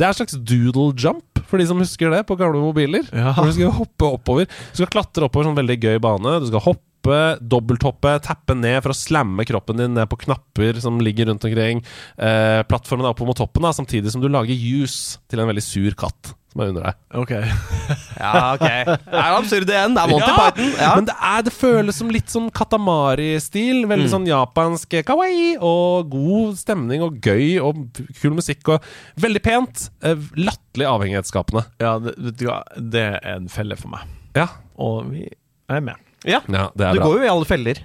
[SPEAKER 2] Det er en slags doodle jump, for de som husker det, på gamle mobiler. Hvor Du skal hoppe oppover Du skal klatre oppover sånn veldig gøy bane. Du skal hoppe, dobbelthoppe, tappe ned for å slamme kroppen din ned på knapper som ligger rundt omkring. Eh, plattformen er oppover mot toppen, da, samtidig som du lager juice til en veldig sur katt som er under deg.
[SPEAKER 4] Ok.
[SPEAKER 8] Ja, ok. Det er absurd igjen. Det er Monty
[SPEAKER 2] Ja,
[SPEAKER 8] Python. Ja.
[SPEAKER 2] Men det, er, det føles som litt sånn katamari-stil.
[SPEAKER 8] Mm.
[SPEAKER 2] Veldig sånn japansk kawaii og god stemning og gøy og kul musikk og veldig pent. eh, Latterlig avhengighetsskapende.
[SPEAKER 4] Ja, det, vet du hva, det er en felle for meg.
[SPEAKER 2] Ja,
[SPEAKER 4] Og vi er med.
[SPEAKER 2] ja det
[SPEAKER 8] Du
[SPEAKER 2] er bra.
[SPEAKER 8] går jo i alle feller.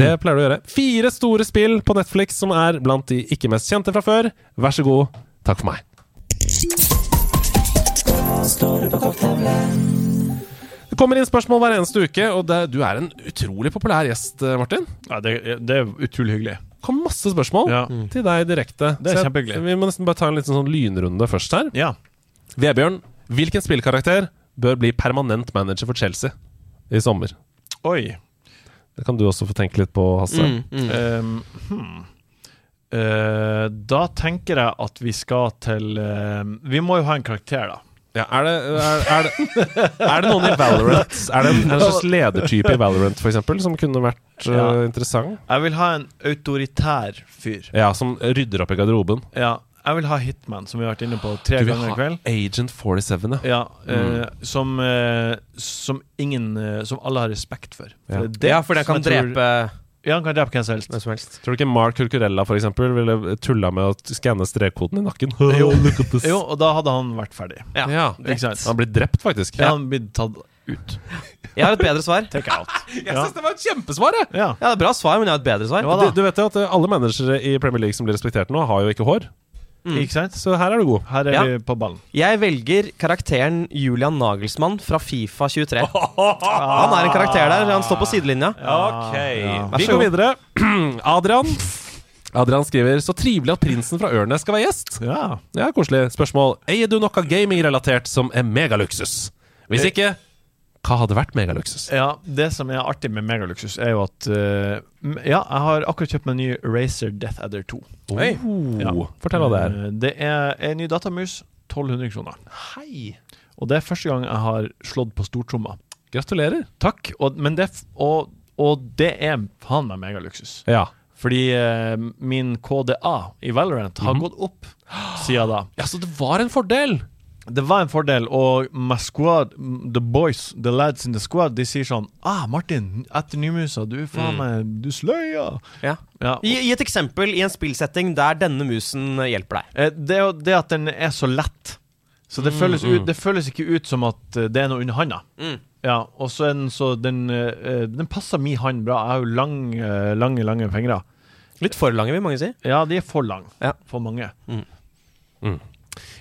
[SPEAKER 2] Det pleier du å gjøre. Fire store spill på Netflix som er blant de ikke mest kjente fra før. Vær så god. Takk for meg. Det kommer inn spørsmål hver eneste uke, og det, du er en utrolig populær gjest, eh, Martin.
[SPEAKER 4] Ja, det, det er utrolig hyggelig.
[SPEAKER 2] kom masse spørsmål
[SPEAKER 4] Ja.
[SPEAKER 2] til deg direkte.
[SPEAKER 4] Det
[SPEAKER 2] Så
[SPEAKER 4] er
[SPEAKER 2] jeg-
[SPEAKER 4] kjempehyggelig.
[SPEAKER 2] Vi må nesten bare ta en liten sånn lynrunde først her.
[SPEAKER 4] Ja.
[SPEAKER 2] Vebjørn, hvilken spillkarakter bør bli permanent manager for Chelsea i sommer?
[SPEAKER 4] Oi.
[SPEAKER 2] Det kan du også få tenke litt på, Hasse.
[SPEAKER 4] Um, hmm. Eh, da tenker jeg at vi skal til eh, Vi må jo ha en karakter, da.
[SPEAKER 2] Ja, er, det, er, er, det, er det noen i Valorant Er det en, en slags ledertype i Valorant, for eksempel, som kunne vært eh,
[SPEAKER 4] Ja.
[SPEAKER 2] interessant?
[SPEAKER 4] Jeg vil ha en autoritær fyr.
[SPEAKER 2] Ja, som rydder opp i garderoben.
[SPEAKER 4] Ja, jeg vil ha Hitman, som vi har vært inne på tre
[SPEAKER 2] Du vil
[SPEAKER 4] ganger i
[SPEAKER 2] ha
[SPEAKER 4] kveld.
[SPEAKER 2] Agent 47, ja.
[SPEAKER 4] Ja, eh, som, eh, som ingen eh, Som alle har respekt for.
[SPEAKER 2] Ja.
[SPEAKER 4] det er det
[SPEAKER 8] Ja, for den
[SPEAKER 4] som
[SPEAKER 8] kan
[SPEAKER 4] jeg tror-
[SPEAKER 8] drepe
[SPEAKER 4] Ja, han kan drepe hvem som helst.
[SPEAKER 8] hvem som helst.
[SPEAKER 2] Tror du ikke Mark Kurkurella for eksempel, ville tulla med å skanne strekkoden i nakken?
[SPEAKER 4] Jo.
[SPEAKER 2] Look at this.
[SPEAKER 4] Jo, og da hadde han vært ferdig.
[SPEAKER 2] Ja,
[SPEAKER 4] Ikke sant?
[SPEAKER 2] Han blir drept, faktisk.
[SPEAKER 4] Ja, han blir tatt ut.
[SPEAKER 8] Jeg har et bedre svar.
[SPEAKER 4] Take out.
[SPEAKER 2] Jeg synes det var et kjempesvar! jeg.
[SPEAKER 4] Ja.
[SPEAKER 8] Ja, det er Bra svar, men jeg har et bedre svar.
[SPEAKER 4] Ja,
[SPEAKER 2] Du,
[SPEAKER 4] da.
[SPEAKER 2] du vet jo at eh, alle managere i Premier League som blir respektert nå, har jo ikke hår.
[SPEAKER 4] Ikke sant?
[SPEAKER 2] Så her er du god.
[SPEAKER 4] Her er
[SPEAKER 8] Ja.
[SPEAKER 4] vi på ballen.
[SPEAKER 8] Jeg velger karakteren Julian Nagelsmann fra Fifa 23. Han er en karakter der. Han står på sidelinja.
[SPEAKER 2] Ok,
[SPEAKER 8] Vær
[SPEAKER 2] Vi
[SPEAKER 8] så
[SPEAKER 2] går
[SPEAKER 8] god.
[SPEAKER 2] videre. Adrian. Adrian skriver Så trivelig at prinsen fra Ørnes skal være gjest.
[SPEAKER 4] Ja.
[SPEAKER 2] Ja, Koselig. Spørsmål. Eier du noe gaming-relatert som er megaluksus? Hvis ikke, hva hadde vært megaluksus?
[SPEAKER 4] Ja, det som er artig med megaluksus, er jo at eh, m- Ja, jeg har akkurat kjøpt meg en ny Razer Death Adder 2.
[SPEAKER 2] Oh,
[SPEAKER 4] Ja.
[SPEAKER 2] Fortell hva det er.
[SPEAKER 4] Eh, Det er en ny datamus. 1200 kroner.
[SPEAKER 2] Hei.
[SPEAKER 4] Og det er første gang jeg har slått på stortromma.
[SPEAKER 2] Gratulerer.
[SPEAKER 4] Takk. Og, men det, f- og, og det er faen meg megaluksus.
[SPEAKER 2] Ja.
[SPEAKER 4] Fordi eh, min KDA i Valorant har gått opp siden da.
[SPEAKER 2] ja, så det var en fordel!
[SPEAKER 4] Det var en fordel, og my squad, m- the boys, the lads in the squad, de sier sånn Ah, Martin, etter Nymusa, du er faen meg Du sløyer!
[SPEAKER 8] Ja.
[SPEAKER 4] Ja, og,
[SPEAKER 8] Gi, gi et eksempel i en spillsetting der denne musen hjelper deg.
[SPEAKER 4] eh, det er jo det at den er så lett. Så det, føles, ut, det føles ikke ut som at eh, det er noe under handa. Ja, og så er den så Den, eh, eh, den passer min hand bra. Jeg har jo lang, eh, lange, lange fingre.
[SPEAKER 8] Litt for lange, vil mange si.
[SPEAKER 4] Ja, de er for lange
[SPEAKER 8] Ja. Mm.
[SPEAKER 4] for mange.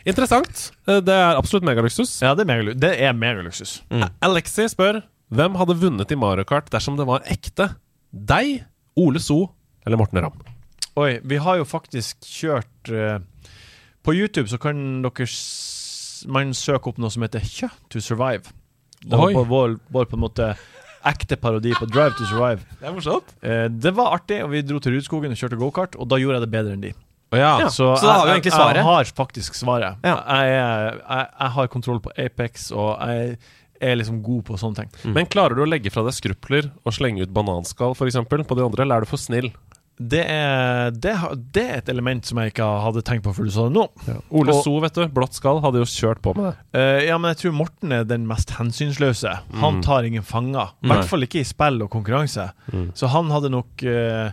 [SPEAKER 2] Interessant. Eh, Det er absolutt megaluksus.
[SPEAKER 4] Ja, det er megalu- det er megaluksus.
[SPEAKER 8] Mm.
[SPEAKER 2] Mm. Alexi spør Hvem hadde vunnet i Mario Kart dersom det var ekte? Deg, Ole So eller Morten Ramm?
[SPEAKER 4] Oi, vi har jo faktisk kjørt eh, På YouTube så kan dere s Man søke opp noe som heter Kjø to survive Det var
[SPEAKER 2] Oi.
[SPEAKER 4] på vår, vår på en måte ekte parodi på Drive to survive
[SPEAKER 2] Det er morsomt.
[SPEAKER 4] Eh, Det var artig, og vi dro til Rudskogen og kjørte go-kart Og da gjorde jeg det bedre enn de
[SPEAKER 2] Ja.
[SPEAKER 4] Så,
[SPEAKER 8] så da har vi
[SPEAKER 4] jeg-
[SPEAKER 8] egentlig
[SPEAKER 4] jeg-
[SPEAKER 8] svaret.
[SPEAKER 4] Jeg har faktisk svaret
[SPEAKER 8] Ja.
[SPEAKER 4] jeg, er- jeg, jeg har kontroll på Apex Og jeg er liksom god på sånne ting
[SPEAKER 2] Men klarer du å legge fra deg skrupler og slenge ut bananskall for eksempel, på de andre, eller er du for snill?
[SPEAKER 4] det er, det, har- det er et element som jeg ikke hadde tenkt på før du sa det nå
[SPEAKER 2] Ole
[SPEAKER 4] Og-
[SPEAKER 2] So, vet du, blått skall, hadde jo kjørt på med det.
[SPEAKER 4] Eh, ja, men jeg tror Morten er den mest hensynsløse.
[SPEAKER 2] Mm.
[SPEAKER 4] Han tar ingen fanger. I hvert fall ikke i spill og konkurranse.
[SPEAKER 2] Mm.
[SPEAKER 4] Så han hadde nok eh,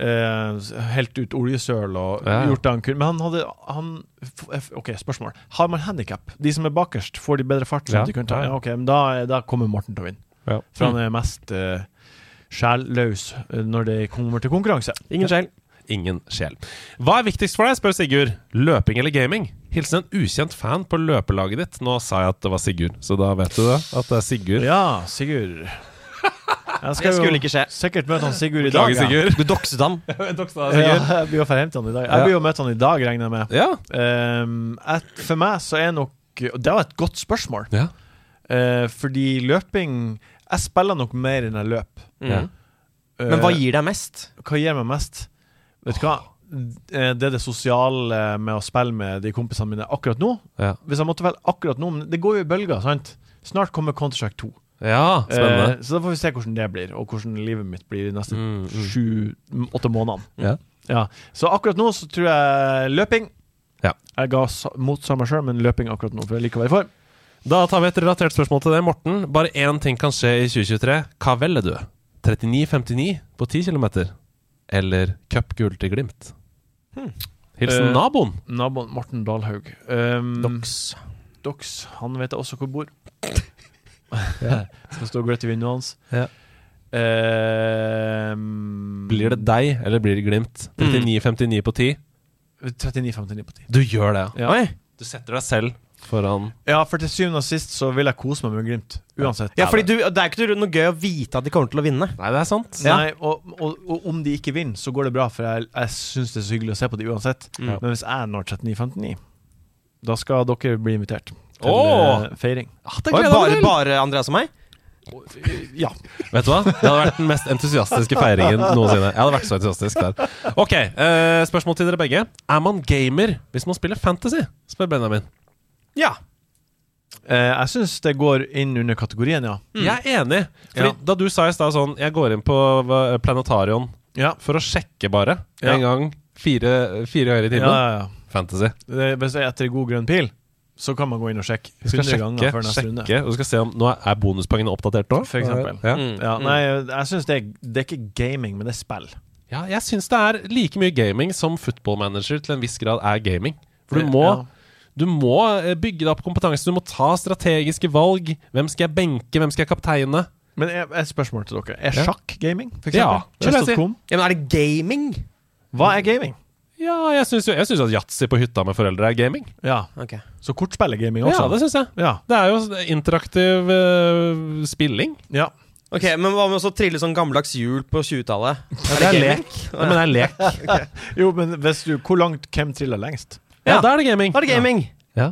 [SPEAKER 4] eh, helt ut oljesøl og
[SPEAKER 2] Ja.
[SPEAKER 4] gjort det han kunne. Men han hadde han, f- f- OK, spørsmål. Har man handikap? De som er bakerst, får de bedre fart? Sånn
[SPEAKER 2] Ja.
[SPEAKER 4] at de kan ta.
[SPEAKER 2] Ja. Mm.
[SPEAKER 4] Ja, ok, men da, da kommer Morten til å vinne.
[SPEAKER 2] Ja.
[SPEAKER 4] For han er mest eh, sjælløs eh, når det kommer til konkurranse.
[SPEAKER 8] Ingen sjel.
[SPEAKER 2] ingen sjel. Hva er viktigst for deg, spør Sigurd. Løping eller gaming? Hilsen en ukjent fan på løpelaget ditt. Nå sa jeg at det var Sigurd, så da vet du det. At det er Sigurd.
[SPEAKER 4] Ja, Sigurd. Jeg skal
[SPEAKER 8] Det skulle
[SPEAKER 4] jo
[SPEAKER 8] ikke skje.
[SPEAKER 4] Sikkert møte han Sigurd i dag.
[SPEAKER 2] Beklager, Sigurd.
[SPEAKER 8] Du dokset ham.
[SPEAKER 4] Ja, jeg blir jo for å hente han i dag. Jeg blir jo møte han i dag, regner jeg med.
[SPEAKER 2] Ja.
[SPEAKER 4] Ehm, et, for meg så er nok og Det var et godt spørsmål.
[SPEAKER 2] Ja.
[SPEAKER 4] Eh, fordi løping Jeg spiller nok mer enn jeg løper.
[SPEAKER 2] Ja.
[SPEAKER 4] Eh,
[SPEAKER 8] Men hva gir deg mest?
[SPEAKER 4] hva gir meg mest? Vet du hva? Eh, Det er det sosiale med å spille med de kompisene mine akkurat nå.
[SPEAKER 2] Ja.
[SPEAKER 4] Hvis jeg måtte velge akkurat nå Men det går jo i bølger, sant? Snart kommer Counter-Strike 2.
[SPEAKER 2] ja, spennende. Mm,
[SPEAKER 4] Eh, så da får vi se hvordan det blir, og hvordan livet mitt blir de neste sju-åtte månedene.
[SPEAKER 2] Ja.
[SPEAKER 4] Ja. Så akkurat nå så tror jeg løping.
[SPEAKER 2] Ja.
[SPEAKER 4] Jeg ga sa- mot samme sjøl, men løping akkurat nå, for jeg liker å være i form.
[SPEAKER 2] Da tar vi et relatert spørsmål til det, Morten. Bare én ting kan skje i 2023. Hva velger du? 39,59 på 10 km? Eller cupgull til Glimt? Hilsen
[SPEAKER 4] Eh,
[SPEAKER 2] naboen.
[SPEAKER 4] Naboen Morten Dalhaug. Um,
[SPEAKER 2] mm.
[SPEAKER 8] Dox.
[SPEAKER 4] Dox, han vet jeg også hvor bor. Skal stå og gløtte i vinduet hans.
[SPEAKER 2] Ja.
[SPEAKER 4] Ehm,
[SPEAKER 2] Blir det deg, eller blir det Glimt? 39,59 på 10.
[SPEAKER 4] 39,59 på 10.
[SPEAKER 2] Du gjør det, ja.
[SPEAKER 4] Ja.
[SPEAKER 2] Du setter deg selv foran
[SPEAKER 4] ja, for til syvende og sist så vil jeg kose meg med Glimt. Uansett.
[SPEAKER 8] Ja, fordi du, Det er ikke noe gøy å vite at de kommer til å vinne.
[SPEAKER 2] Nei, det er sant.
[SPEAKER 4] Nei, og, og, og om de ikke vinner, så går det bra, for jeg, jeg syns det er så hyggelig å se på de uansett. Men hvis jeg når 39,59, da skal dere bli invitert til
[SPEAKER 2] Åh!
[SPEAKER 4] eh, feiring.
[SPEAKER 2] Ah, det
[SPEAKER 8] Oi,
[SPEAKER 2] gleder jeg meg
[SPEAKER 8] bare,
[SPEAKER 2] til.
[SPEAKER 8] bare Andreas og meg?
[SPEAKER 4] Ja.
[SPEAKER 2] Vet du hva? Det hadde vært den mest entusiastiske feiringen noensinne. Jeg hadde vært så entusiastisk der. Ok, eh, Spørsmål til dere begge. Er man gamer hvis man spiller Fantasy? spør Benjamin.
[SPEAKER 8] Ja.
[SPEAKER 4] Eh, jeg syns det går inn under kategorien, ja.
[SPEAKER 2] Jeg er enig. Fordi
[SPEAKER 4] Mm. Ja.
[SPEAKER 2] Da du sa i stad sånn Jeg går inn på eh, Planetarion
[SPEAKER 4] Ja.
[SPEAKER 2] for å sjekke, bare.
[SPEAKER 4] Ja.
[SPEAKER 2] En gang fire, fire ganger i
[SPEAKER 4] ja,
[SPEAKER 2] timen.
[SPEAKER 4] ja, ja.
[SPEAKER 2] Fantasy.
[SPEAKER 4] Det- Hvis jeg er etter god grønn pil, så kan man gå inn og sjekke
[SPEAKER 2] Du skal
[SPEAKER 4] 100 ganger
[SPEAKER 2] sjekke,
[SPEAKER 4] før neste runde.
[SPEAKER 2] sjekke og du skal se om Nå er bonuspoengene oppdatert nå?
[SPEAKER 4] For eksempel. Mm.
[SPEAKER 2] Ja.
[SPEAKER 4] Ja, nei,
[SPEAKER 2] Mm.
[SPEAKER 4] jeg syns det, er- det er ikke gaming, men det er spill.
[SPEAKER 2] Ja, jeg syns det er like mye gaming som football manager til en viss grad er gaming. For du må,
[SPEAKER 4] Ja.
[SPEAKER 2] du må eh, bygge deg opp kompetanse, du må ta strategiske valg. Hvem skal jeg benke, hvem skal jeg kapteine?
[SPEAKER 4] Men jeg- et spørsmål til dere. Er
[SPEAKER 2] Ja.
[SPEAKER 4] sjakk gaming, for
[SPEAKER 2] Ja,
[SPEAKER 4] eksempel?
[SPEAKER 2] det vil jeg si.
[SPEAKER 4] Chess.com.
[SPEAKER 8] ja men er det gaming?
[SPEAKER 4] Hva er gaming?
[SPEAKER 2] Ja, jeg syns jo jeg synes at yatzy på hytta med foreldre er gaming.
[SPEAKER 4] Ja,
[SPEAKER 8] Ok.
[SPEAKER 4] Så kortspill er gaming også?
[SPEAKER 2] Ja, det syns jeg.
[SPEAKER 4] ja.
[SPEAKER 2] Det er jo interaktiv eh, spilling.
[SPEAKER 4] ja.
[SPEAKER 8] Ok, Men hva med å trille sånn gammeldags hjul på 20-tallet?
[SPEAKER 2] Det er lek. Ja, men det er lek.
[SPEAKER 4] Jo, men hvis du, hvor langt hvem triller lengst?
[SPEAKER 2] Ja, da er det gaming.
[SPEAKER 8] Da er det gaming.
[SPEAKER 2] Ja.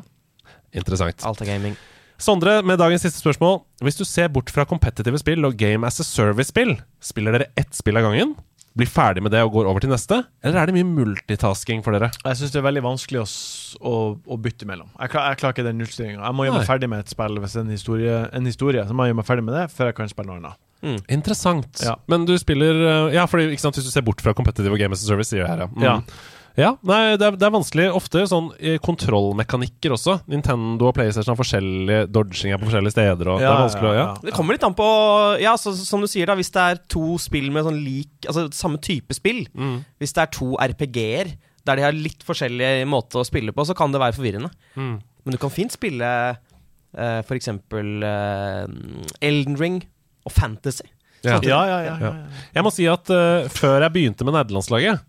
[SPEAKER 2] Interessant.
[SPEAKER 8] Alt er gaming.
[SPEAKER 2] Sondre, med dagens siste spørsmål. Hvis du ser bort fra kompetitive spill og Game as a Service-spill, spiller dere ett spill av gangen? Blir ferdig med det og går over til neste? Eller er det mye multitasking for dere?
[SPEAKER 4] Jeg syns det er veldig vanskelig å, s- å, å bytte mellom. Jeg, klar, jeg klarer ikke den nullstillinga. Jeg må gjøre meg
[SPEAKER 2] Nei.
[SPEAKER 4] ferdig med et spill hvis det er en historie, en historie så må jeg gjøre meg ferdig med det før jeg kan spille noe annet.
[SPEAKER 2] Interessant.
[SPEAKER 4] Ja.
[SPEAKER 2] Men du spiller eh, Ja, fordi, ikke sant, hvis du ser bort fra competitive og Game as a Service, sier jeg her, ja. Mm.
[SPEAKER 4] Ja.
[SPEAKER 2] Ja, nei, det er, det er vanskelig. Ofte sånn eh, kontrollmekanikker også. Nintendo og PlayStation har forskjellig dodging er på forskjellige steder. Og det er vanskelig å ja.
[SPEAKER 8] Det kommer litt an på Ja, så, så, som du sier, da hvis det er to spill med sånn lik Altså samme type spill. Hvis det er to RPG-er der de har litt forskjellige måter å spille på, så kan det være forvirrende. Men du kan fint spille eh, for eksempel eh, Elden Ring og Fantasy.
[SPEAKER 2] Ja.
[SPEAKER 4] Ja, ja, ja. ja, ja.
[SPEAKER 2] Jeg må si at eh, før jeg begynte med nederlandslaget,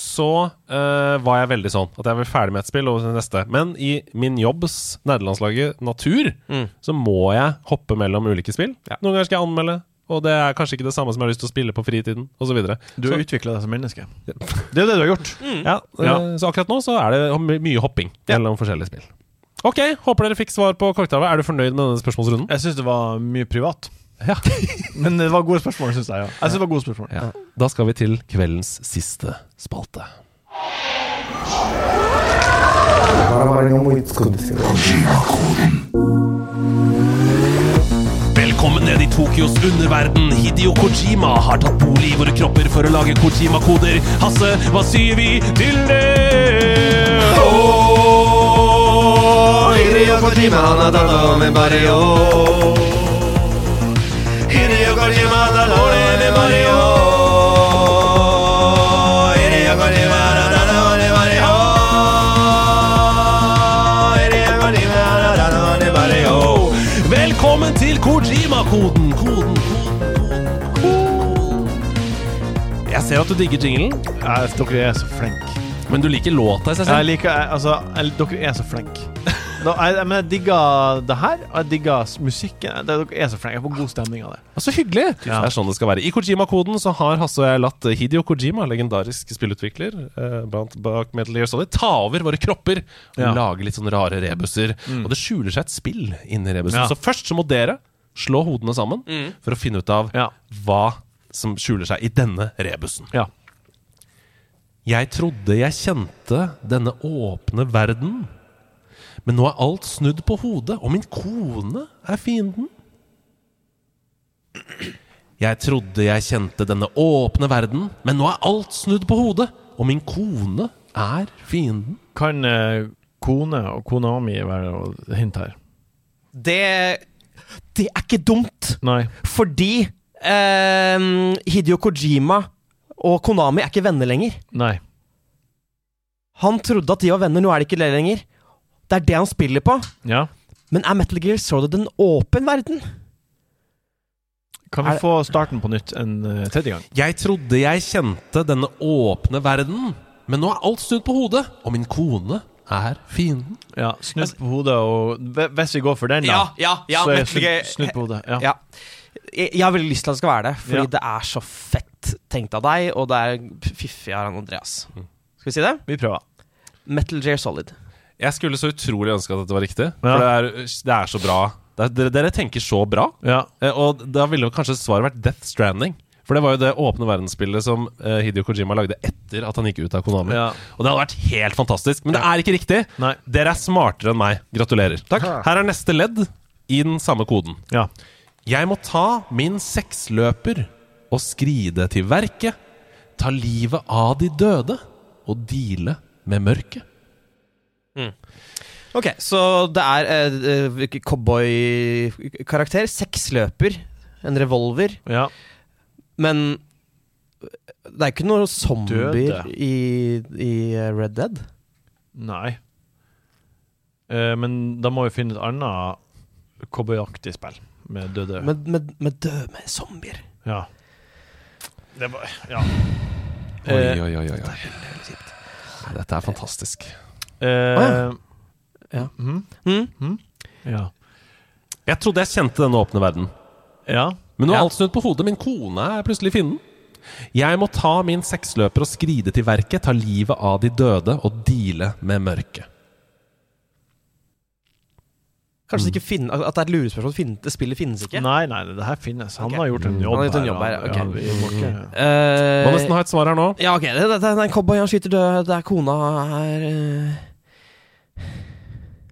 [SPEAKER 2] så eh, var jeg veldig sånn at jeg var ferdig med et spill og til neste. Men i min jobbs nederlandslaget natur,
[SPEAKER 4] Mm.
[SPEAKER 2] så må jeg hoppe mellom ulike spill. Noen ganger skal jeg anmelde, og det er kanskje ikke det samme som jeg har lyst til å spille på fritiden, osv.
[SPEAKER 4] Du har utvikla deg som menneske. Det er jo det du har gjort.
[SPEAKER 2] Ja, eh,
[SPEAKER 4] Ja.
[SPEAKER 2] Så akkurat nå så er det my- mye hopping mellom forskjellige spill. Ok, Håper dere fikk svar på korktavet. Er du fornøyd med denne spørsmålsrunden?
[SPEAKER 4] Jeg syns det var mye privat.
[SPEAKER 2] Ja.
[SPEAKER 4] Men det var gode spørsmål, syns jeg. Ja. Jeg synes det var gode spørsmål
[SPEAKER 2] Ja. Da skal vi til kveldens siste spalte. Velkommen ned i Tokyos underverden. Hideo Kojima har tatt bolig i våre kropper for å lage Kojima-koder. Hasse, hva sier vi til det? Oh,
[SPEAKER 1] Hideo Kojima, han har tatt over med Barrio. Hideo Kojima, han har tatt over med Barrio. Hideo Kojima, han har tatt over med Barrio. Hideo Kojima, han har tatt over med Barrio.
[SPEAKER 2] Velkommen til Kojima-koden. Koden, koden, koden, koden. Jeg Jeg ser jo at du digger jinglen,
[SPEAKER 4] Ja, dere er så flinke.
[SPEAKER 2] men du liker låta i seg
[SPEAKER 4] Jeg
[SPEAKER 2] selv.
[SPEAKER 4] liker jeg- Altså, jeg, dere er så flinke. Da, jeg, jeg, men jeg digger det her, og jeg digger s- musikken. Det- Dere er så flinke. Jeg får god stemning av det.
[SPEAKER 2] Ja, Så hyggelig!
[SPEAKER 4] Ja.
[SPEAKER 2] Det er sånn det skal være. I Kojima-koden så har Hasse og jeg latt Hidio Kojima, legendarisk spillutvikler, eh, blant bak Metal Gear Solid, ta over våre kropper og
[SPEAKER 4] Ja. Mm.
[SPEAKER 2] lage litt sånne rare rebuser. Og det skjuler seg et spill inni rebusen.
[SPEAKER 4] Ja. Mm.
[SPEAKER 2] Så først så må dere slå hodene sammen for å finne ut av
[SPEAKER 4] Ja.
[SPEAKER 2] hva som skjuler seg i denne rebusen.
[SPEAKER 4] Ja.
[SPEAKER 2] Jeg trodde jeg kjente denne åpne verden, men nå er alt snudd på hodet, og min kone er fienden. Jeg trodde jeg kjente denne åpne verden, men nå er alt snudd på hodet, og min kone er fienden.
[SPEAKER 4] Kan eh, kone og kona mi være noe hint her?
[SPEAKER 1] Det Det er ikke dumt,
[SPEAKER 4] Nei.
[SPEAKER 1] fordi
[SPEAKER 8] eh,
[SPEAKER 1] ehm, Hideo Kojima og Konami er ikke venner lenger.
[SPEAKER 4] Nei.
[SPEAKER 1] Han trodde at de var venner, nå er de ikke det lenger. Det er det han spiller på.
[SPEAKER 4] Ja.
[SPEAKER 1] Men er Metal Gear Solid en åpen verden?
[SPEAKER 4] Kan vi
[SPEAKER 1] Er-
[SPEAKER 4] få starten på nytt en eh, tredje gang?
[SPEAKER 2] Jeg trodde jeg kjente denne åpne verden, men nå er alt snudd på hodet, og min kone er fienden.
[SPEAKER 4] Ja, Snudd på hodet og hve- Hvis vi går for den, da,
[SPEAKER 1] Altså- ja,
[SPEAKER 4] så er snudd, snudd på hodet. Ja.
[SPEAKER 1] Ja. Jeg, jeg har veldig lyst til at det skal være det, fordi
[SPEAKER 4] Ja.
[SPEAKER 1] det er så fett tenkt av deg, og det er fiffig av han Andreas. Skal vi si det?
[SPEAKER 4] Vi prøver.
[SPEAKER 1] Metal Gear Solid.
[SPEAKER 2] Jeg skulle så utrolig ønske at dette var riktig,
[SPEAKER 4] Ja.
[SPEAKER 2] for det er, det er så bra. Det er, dere, dere tenker så bra,
[SPEAKER 4] Ja.
[SPEAKER 2] eh, og da ville jo kanskje svaret vært Death Stranding. For det var jo det åpne verdensspillet som eh, Hidio Kojima lagde etter at han gikk ut av Konami.
[SPEAKER 4] Ja.
[SPEAKER 2] Og det hadde vært helt fantastisk, men det er ikke riktig.
[SPEAKER 4] Nei.
[SPEAKER 2] Dere er smartere enn meg. Gratulerer. Her er neste ledd i den samme koden.
[SPEAKER 4] ja.
[SPEAKER 2] Jeg må ta min seksløper og skride til verket, ta livet av de døde og deale med mørket.
[SPEAKER 1] Ok, så det er uh, cowboykarakter. Seksløper. En revolver.
[SPEAKER 4] ja.
[SPEAKER 1] Men det er ikke noen zombier
[SPEAKER 4] Døde.
[SPEAKER 1] i, i eh, Red Dead.
[SPEAKER 4] Nei. Eh, men da må vi finne et annet cowboyaktig spill med døde
[SPEAKER 1] Med, med, med døde med zombier.
[SPEAKER 4] Ja. Det var Ja.
[SPEAKER 2] Oi,
[SPEAKER 4] Eh,
[SPEAKER 2] oi, oi, oi, oi. Nei, Dette er fantastisk.
[SPEAKER 4] eh,
[SPEAKER 1] Ja.
[SPEAKER 4] mhm,
[SPEAKER 1] Mm.
[SPEAKER 4] ja.
[SPEAKER 2] Jeg trodde jeg kjente denne åpne verden,
[SPEAKER 4] Ja.
[SPEAKER 2] men nå er
[SPEAKER 4] Ja.
[SPEAKER 2] alt snudd på hodet. Min kone er plutselig fienden. Jeg må ta min seksløper og skride til verket, ta livet av de døde og deale med mørket.
[SPEAKER 1] Kanskje det ikke finne, at det er et lurespørsmål. Finne, spillet finnes ikke.
[SPEAKER 4] Nei, nei, det her finnes. Han
[SPEAKER 1] Ok.
[SPEAKER 4] har gjort en jobb,
[SPEAKER 1] Mm. Han har gjort en jobb her,
[SPEAKER 4] ja.
[SPEAKER 1] ok.
[SPEAKER 4] Ja, vi må ikke-
[SPEAKER 1] Eh,
[SPEAKER 2] Må nesten ha et svar her nå.
[SPEAKER 1] ja, ok. Det, det, det er en cowboy, han skyter død. Det er kona her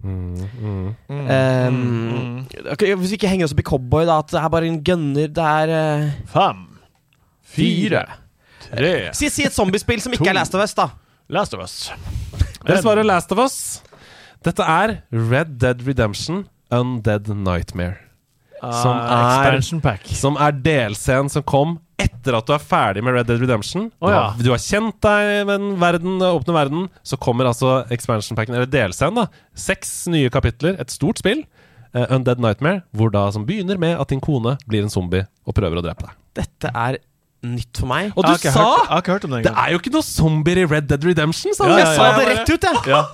[SPEAKER 2] Mm,
[SPEAKER 1] eh, ehm, ok, Hvis vi ikke henger oss opp i cowboy, da. At det er bare en gunner. Det er eh,
[SPEAKER 4] Fem, fire, tre
[SPEAKER 1] si, si et zombiespill som ikke er Last of Us, da.
[SPEAKER 4] Last of Us.
[SPEAKER 2] Dere svarer Last of Us. Dette er Red Dead Redemption Undead Nightmare. Som
[SPEAKER 4] Ah,
[SPEAKER 2] er-
[SPEAKER 4] Expansion pack.
[SPEAKER 2] Som er delscenen som kom etter at du er ferdig med Red Dead Redemption. Du,
[SPEAKER 4] Å, ja.
[SPEAKER 2] har, du har kjent deg med den verden, den åpne verden. Så kommer altså expansion packen, eller delscenen, da. Seks nye kapitler, et stort spill. eh, Undead Nightmare, hvor da som begynner med at din kone blir en zombie og prøver å drepe deg.
[SPEAKER 1] Dette er nytt for meg.
[SPEAKER 2] Og
[SPEAKER 4] Jeg Ah, har
[SPEAKER 2] du
[SPEAKER 4] ikke
[SPEAKER 2] sa
[SPEAKER 4] hørt- Jeg har ikke hørt om det
[SPEAKER 2] Det
[SPEAKER 4] engang.
[SPEAKER 2] er jo ikke noe zombier i Red Dead Redemption, sa du!
[SPEAKER 4] Ja, ja,
[SPEAKER 1] Jeg sa
[SPEAKER 4] ja.
[SPEAKER 1] det rett ut, jeg!
[SPEAKER 4] Ja.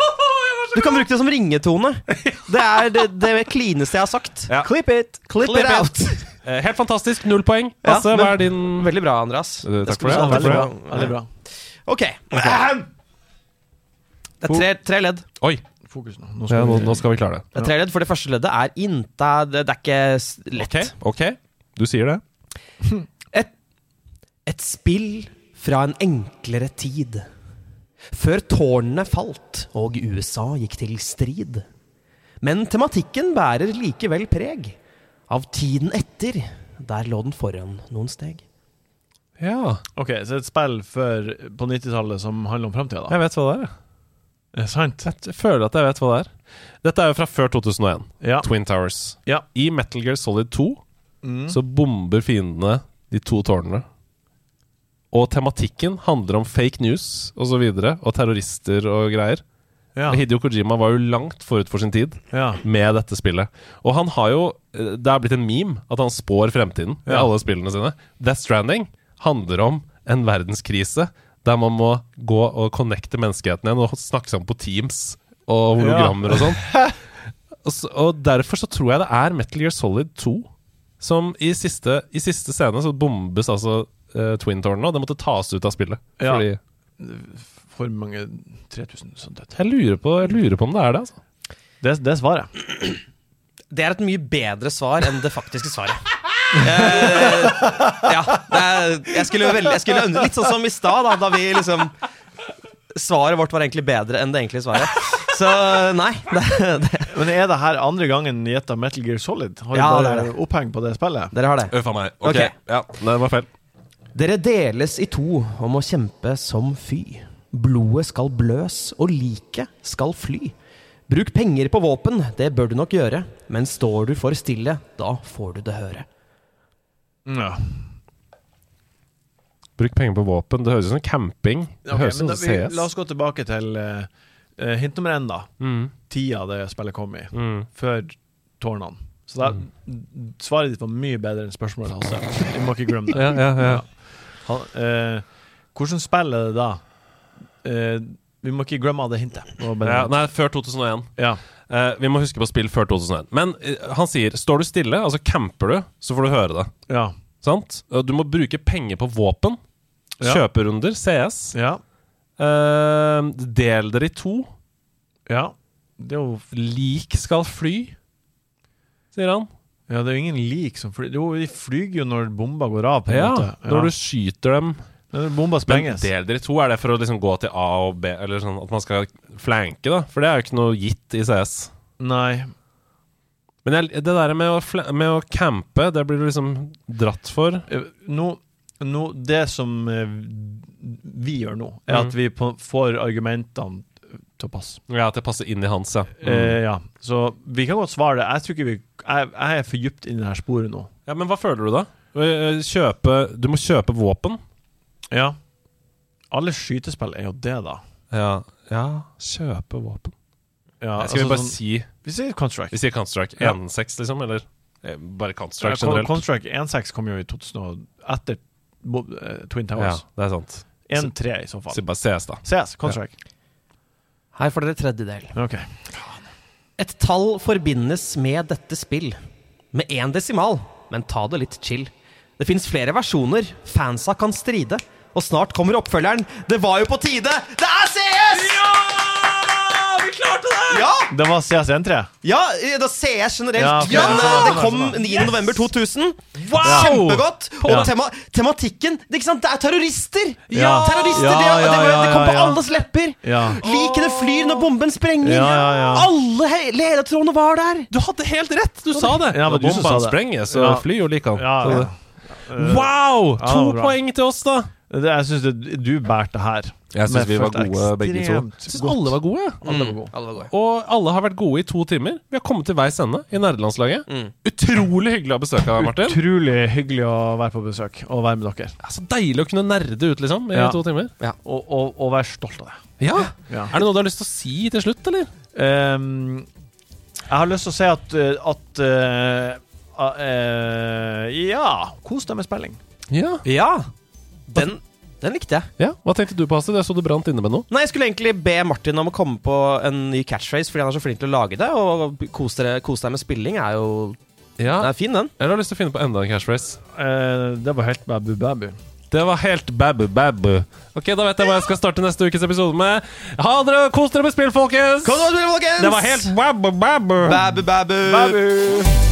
[SPEAKER 1] Du kan bruke det som ringetone. Det er det, det klineste jeg har sagt.
[SPEAKER 2] Ja.
[SPEAKER 1] Clip it! Clip,
[SPEAKER 2] Clip
[SPEAKER 1] it out!
[SPEAKER 2] Eh, Helt fantastisk. Null poeng.
[SPEAKER 1] Ja,
[SPEAKER 2] Hasse,
[SPEAKER 1] men-
[SPEAKER 2] hva er din
[SPEAKER 1] Veldig bra, Andreas.
[SPEAKER 2] Eh, takk
[SPEAKER 1] Det skal
[SPEAKER 2] for
[SPEAKER 1] du
[SPEAKER 2] det.
[SPEAKER 1] ha.
[SPEAKER 2] Takk
[SPEAKER 4] Veldig
[SPEAKER 2] for det.
[SPEAKER 4] bra. Veldig bra.
[SPEAKER 1] Ok. Det er tre, tre ledd.
[SPEAKER 2] Oi!
[SPEAKER 4] Fokus nå. Nå
[SPEAKER 2] Ja,
[SPEAKER 4] skal
[SPEAKER 2] nå,
[SPEAKER 4] vi-
[SPEAKER 2] nå skal vi klare det.
[SPEAKER 1] Det er tre ledd, for det første leddet er inta Det, det er ikke s- lett.
[SPEAKER 2] Ok, ok. Du sier det.
[SPEAKER 1] Et spill fra en enklere tid. Før tårnene falt og USA gikk til strid. Men tematikken bærer likevel preg av tiden etter. Der lå den foran noen steg.
[SPEAKER 2] Ja,
[SPEAKER 4] Ok, så et spill for, på 90-tallet som handler om framtida, da?
[SPEAKER 2] jeg vet hva det er.
[SPEAKER 4] Er det sant?
[SPEAKER 2] Jeg føler at jeg vet hva det er. Dette er jo fra før 2001.
[SPEAKER 4] Ja.
[SPEAKER 2] Twin Towers.
[SPEAKER 4] Ja.
[SPEAKER 2] I Metal Gear Solid 2
[SPEAKER 4] Mm.
[SPEAKER 2] så bomber fiendene de to tårnene. Og tematikken handler om fake news og så videre, og terrorister og greier.
[SPEAKER 4] Ja.
[SPEAKER 2] Hideo Kojima var jo langt forut for sin tid
[SPEAKER 4] ja.
[SPEAKER 2] med dette spillet. Og han har jo eh, Det er blitt en meme at han spår fremtiden i
[SPEAKER 4] Ja.
[SPEAKER 2] alle spillene sine. Death Stranding handler om en verdenskrise der man må gå og connecte menneskeheten igjen og snakke sammen på Teams og hologrammer og sånn. Og, så, og derfor så tror jeg det er Metal Gear Solid 2 som i siste, i siste scene så bombes altså eh, Twin Tårnene, og det måtte tas ut av spillet.
[SPEAKER 4] Ja.
[SPEAKER 2] Fordi
[SPEAKER 4] For mange 3000 som døde.
[SPEAKER 2] jeg lurer, på, jeg lurer på om det er det, altså.
[SPEAKER 4] Det, det er svaret.
[SPEAKER 1] Det er et mye bedre svar enn det faktiske svaret. Eh, ja. Det er, jeg skulle veldig jeg skulle, ønske- Litt sånn som i stad, da, da vi liksom Svaret vårt var egentlig bedre enn det egentlige svaret. Så nei. Det, det,
[SPEAKER 4] Men er det her andre gangen gjetta Metal Gear Solid? Har
[SPEAKER 1] Ja,
[SPEAKER 4] du
[SPEAKER 1] det er
[SPEAKER 4] bare oppheng på det spillet?
[SPEAKER 1] dere har det.
[SPEAKER 2] Uff a meg.
[SPEAKER 1] Ok. Ok.
[SPEAKER 2] Ja, det var feil.
[SPEAKER 1] Dere deles i to om å kjempe som fy. Blodet skal bløs, og liket skal fly. Bruk penger på våpen, det bør du nok gjøre. Men står du for stille, da får du det høre.
[SPEAKER 4] Ja.
[SPEAKER 2] Bruk penger på våpen. Det høres ut som camping. Det
[SPEAKER 4] Ok,
[SPEAKER 2] høres
[SPEAKER 4] men
[SPEAKER 2] ut
[SPEAKER 4] da,
[SPEAKER 2] som
[SPEAKER 4] vi,
[SPEAKER 2] CS.
[SPEAKER 4] la oss gå tilbake til eh, eh, hint nummer én, da.
[SPEAKER 2] Mm.
[SPEAKER 4] Tida det spillet kom i,
[SPEAKER 2] Mm.
[SPEAKER 4] før tårnene. Så da, svaret ditt var mye bedre enn spørsmålet hans. Vi må ikke glemme det.
[SPEAKER 2] Ja, ja, ja.
[SPEAKER 4] Han, eh, hvordan spiller det da? Eh, vi må ikke glemme det hintet. Det var
[SPEAKER 2] ja.
[SPEAKER 4] bare-
[SPEAKER 2] Nei, før 2001.
[SPEAKER 4] ja.
[SPEAKER 2] Eh, vi må huske på spill før 2001. Men eh, han sier står du stille, altså camper du, så får du høre det.
[SPEAKER 4] Ja.
[SPEAKER 2] Sant? Eh, Du må bruke penger på våpen.
[SPEAKER 4] Ja.
[SPEAKER 2] Kjøperunder, CS.
[SPEAKER 4] ja.
[SPEAKER 2] Eh, del dere i to.
[SPEAKER 4] Ja. Det er jo
[SPEAKER 2] Lik skal fly, sier han.
[SPEAKER 4] ja, det er jo ingen lik som flyr Jo, de flyger jo når bomba går av, på en
[SPEAKER 2] Ja,
[SPEAKER 4] måte. Ja.
[SPEAKER 2] Når du skyter dem.
[SPEAKER 4] Når bomba
[SPEAKER 2] Men
[SPEAKER 4] sprenges.
[SPEAKER 2] del dere i to, er det for å liksom gå til A og B? Eller sånn at man skal flanke, da? For det er jo ikke noe gitt i CS.
[SPEAKER 4] Nei.
[SPEAKER 2] Men jeg, det der med å, fla- med å campe, det blir du liksom dratt for.
[SPEAKER 4] Eh, Nå, nå Det som eh, vi gjør nå, er
[SPEAKER 2] Mhm.
[SPEAKER 4] at vi på, får argumentene til å passe.
[SPEAKER 2] Ja, At det passer inn i hans, ja.
[SPEAKER 4] Eh, ja. Så vi kan godt svare det. Jeg tror ikke vi Jeg, jeg er for dypt inn i det her sporet nå.
[SPEAKER 2] ja. Men hva føler du, da? Eh, Kjøpe Du må kjøpe våpen.
[SPEAKER 4] Ja. Alle skytespill er jo det, da.
[SPEAKER 2] Ja. ja kjøpe våpen.
[SPEAKER 4] Ja,
[SPEAKER 2] Skal vi
[SPEAKER 4] altså
[SPEAKER 2] bare
[SPEAKER 4] sånn-
[SPEAKER 2] si
[SPEAKER 4] Vi sier Contract.
[SPEAKER 2] Vi sier Counter-Strike
[SPEAKER 4] Ja.
[SPEAKER 2] 1.6, liksom? Eller eh, bare
[SPEAKER 4] Ja,
[SPEAKER 2] Counter-Strike
[SPEAKER 4] Con-
[SPEAKER 2] generelt?
[SPEAKER 4] Contract 1.6 kom jo i 2000 og etter Bo- eh, Twin
[SPEAKER 2] Ja,
[SPEAKER 4] Towers.
[SPEAKER 2] det er sant.
[SPEAKER 4] 1.3 i så fall.
[SPEAKER 2] Si bare CS, da.
[SPEAKER 4] CS, Contract.
[SPEAKER 1] Her får dere tredjedel.
[SPEAKER 4] Ok.
[SPEAKER 1] Et tall forbindes med dette spill. Med én desimal, men ta det litt chill. Det fins flere versjoner, fansa kan stride. Og snart kommer oppfølgeren. Det var jo på tide! Det er CS! Ja! Vi klarte det! Ja,
[SPEAKER 4] Det var CS 1.3.
[SPEAKER 1] ja eh, da CS generelt.
[SPEAKER 4] Ja, ok.
[SPEAKER 1] Men, eh, det kom
[SPEAKER 4] Sånn,
[SPEAKER 1] 9. november 2000. Kjempegodt! Og tema tematikken det, er ikke sant? det er terrorister!
[SPEAKER 4] Ja.
[SPEAKER 1] Terrorister,
[SPEAKER 4] Ja,
[SPEAKER 1] det, var- det, var-
[SPEAKER 4] ja,
[SPEAKER 1] det kom
[SPEAKER 4] ja,
[SPEAKER 1] på
[SPEAKER 4] ja.
[SPEAKER 1] alles lepper.
[SPEAKER 4] Ja.
[SPEAKER 1] Likene flyr når bomben sprenger.
[SPEAKER 4] Ja, ja, ja.
[SPEAKER 1] Alle he- ledetrådene var der.
[SPEAKER 2] Du hadde helt rett! Du sa det!
[SPEAKER 4] Ja, men du som
[SPEAKER 2] Bomba
[SPEAKER 4] sa det.
[SPEAKER 2] sprenger, så
[SPEAKER 4] Ja.
[SPEAKER 2] fly jo like han.
[SPEAKER 4] Ja,
[SPEAKER 2] Så
[SPEAKER 4] ja.
[SPEAKER 2] det- Wow!
[SPEAKER 4] ja,
[SPEAKER 2] to
[SPEAKER 4] det var bra.
[SPEAKER 2] poeng til oss, da!
[SPEAKER 4] Det, jeg syns det- du bærte her.
[SPEAKER 2] Jeg
[SPEAKER 4] Men
[SPEAKER 2] syns vi var
[SPEAKER 4] følte
[SPEAKER 2] gode, begge to.
[SPEAKER 4] ekstremt
[SPEAKER 2] Jeg syns
[SPEAKER 4] godt.
[SPEAKER 2] alle var gode. jeg.
[SPEAKER 4] Alle var gode.
[SPEAKER 2] Og alle har vært gode i to timer. Vi har kommet til veis ende i nerdelandslaget. Utrolig hyggelig å ha besøk av deg, Martin.
[SPEAKER 4] Utrolig hyggelig å være på besøk og være med dere.
[SPEAKER 2] Det er så deilig å kunne nerde ut, liksom, i
[SPEAKER 4] Ja.
[SPEAKER 2] to timer.
[SPEAKER 4] Og, og, og være stolt av det.
[SPEAKER 2] Ja.
[SPEAKER 4] Ja.
[SPEAKER 2] Er det noe du har lyst til å si til slutt, eller?
[SPEAKER 4] Ehm, jeg har lyst til å si at, eh, at eh, ah, eh, Ja, kos deg med spilling.
[SPEAKER 2] Ja.
[SPEAKER 1] Ja, den, den likte jeg.
[SPEAKER 2] ja. Hva tenkte du på, Astrid? Jeg så du brant inne med noe.
[SPEAKER 1] Nei, Jeg skulle egentlig be Martin om å komme på en ny catchphrase, fordi han er så flink til å lage det. Og kos, dere, kos deg med spilling er jo Den
[SPEAKER 2] Ja.
[SPEAKER 1] er fin, den.
[SPEAKER 2] Eller har du lyst til å finne på enda en catchphrase?
[SPEAKER 4] Eh, det var helt babu babu.
[SPEAKER 2] Det var helt babu babu. Ok, da vet jeg hva jeg skal starte neste ukes episode med. Ha dere, Kos dere med spill, folkens!
[SPEAKER 1] Kom nå, folkens!
[SPEAKER 2] Det var helt babu babu.
[SPEAKER 1] Babu, babu.
[SPEAKER 4] Babu!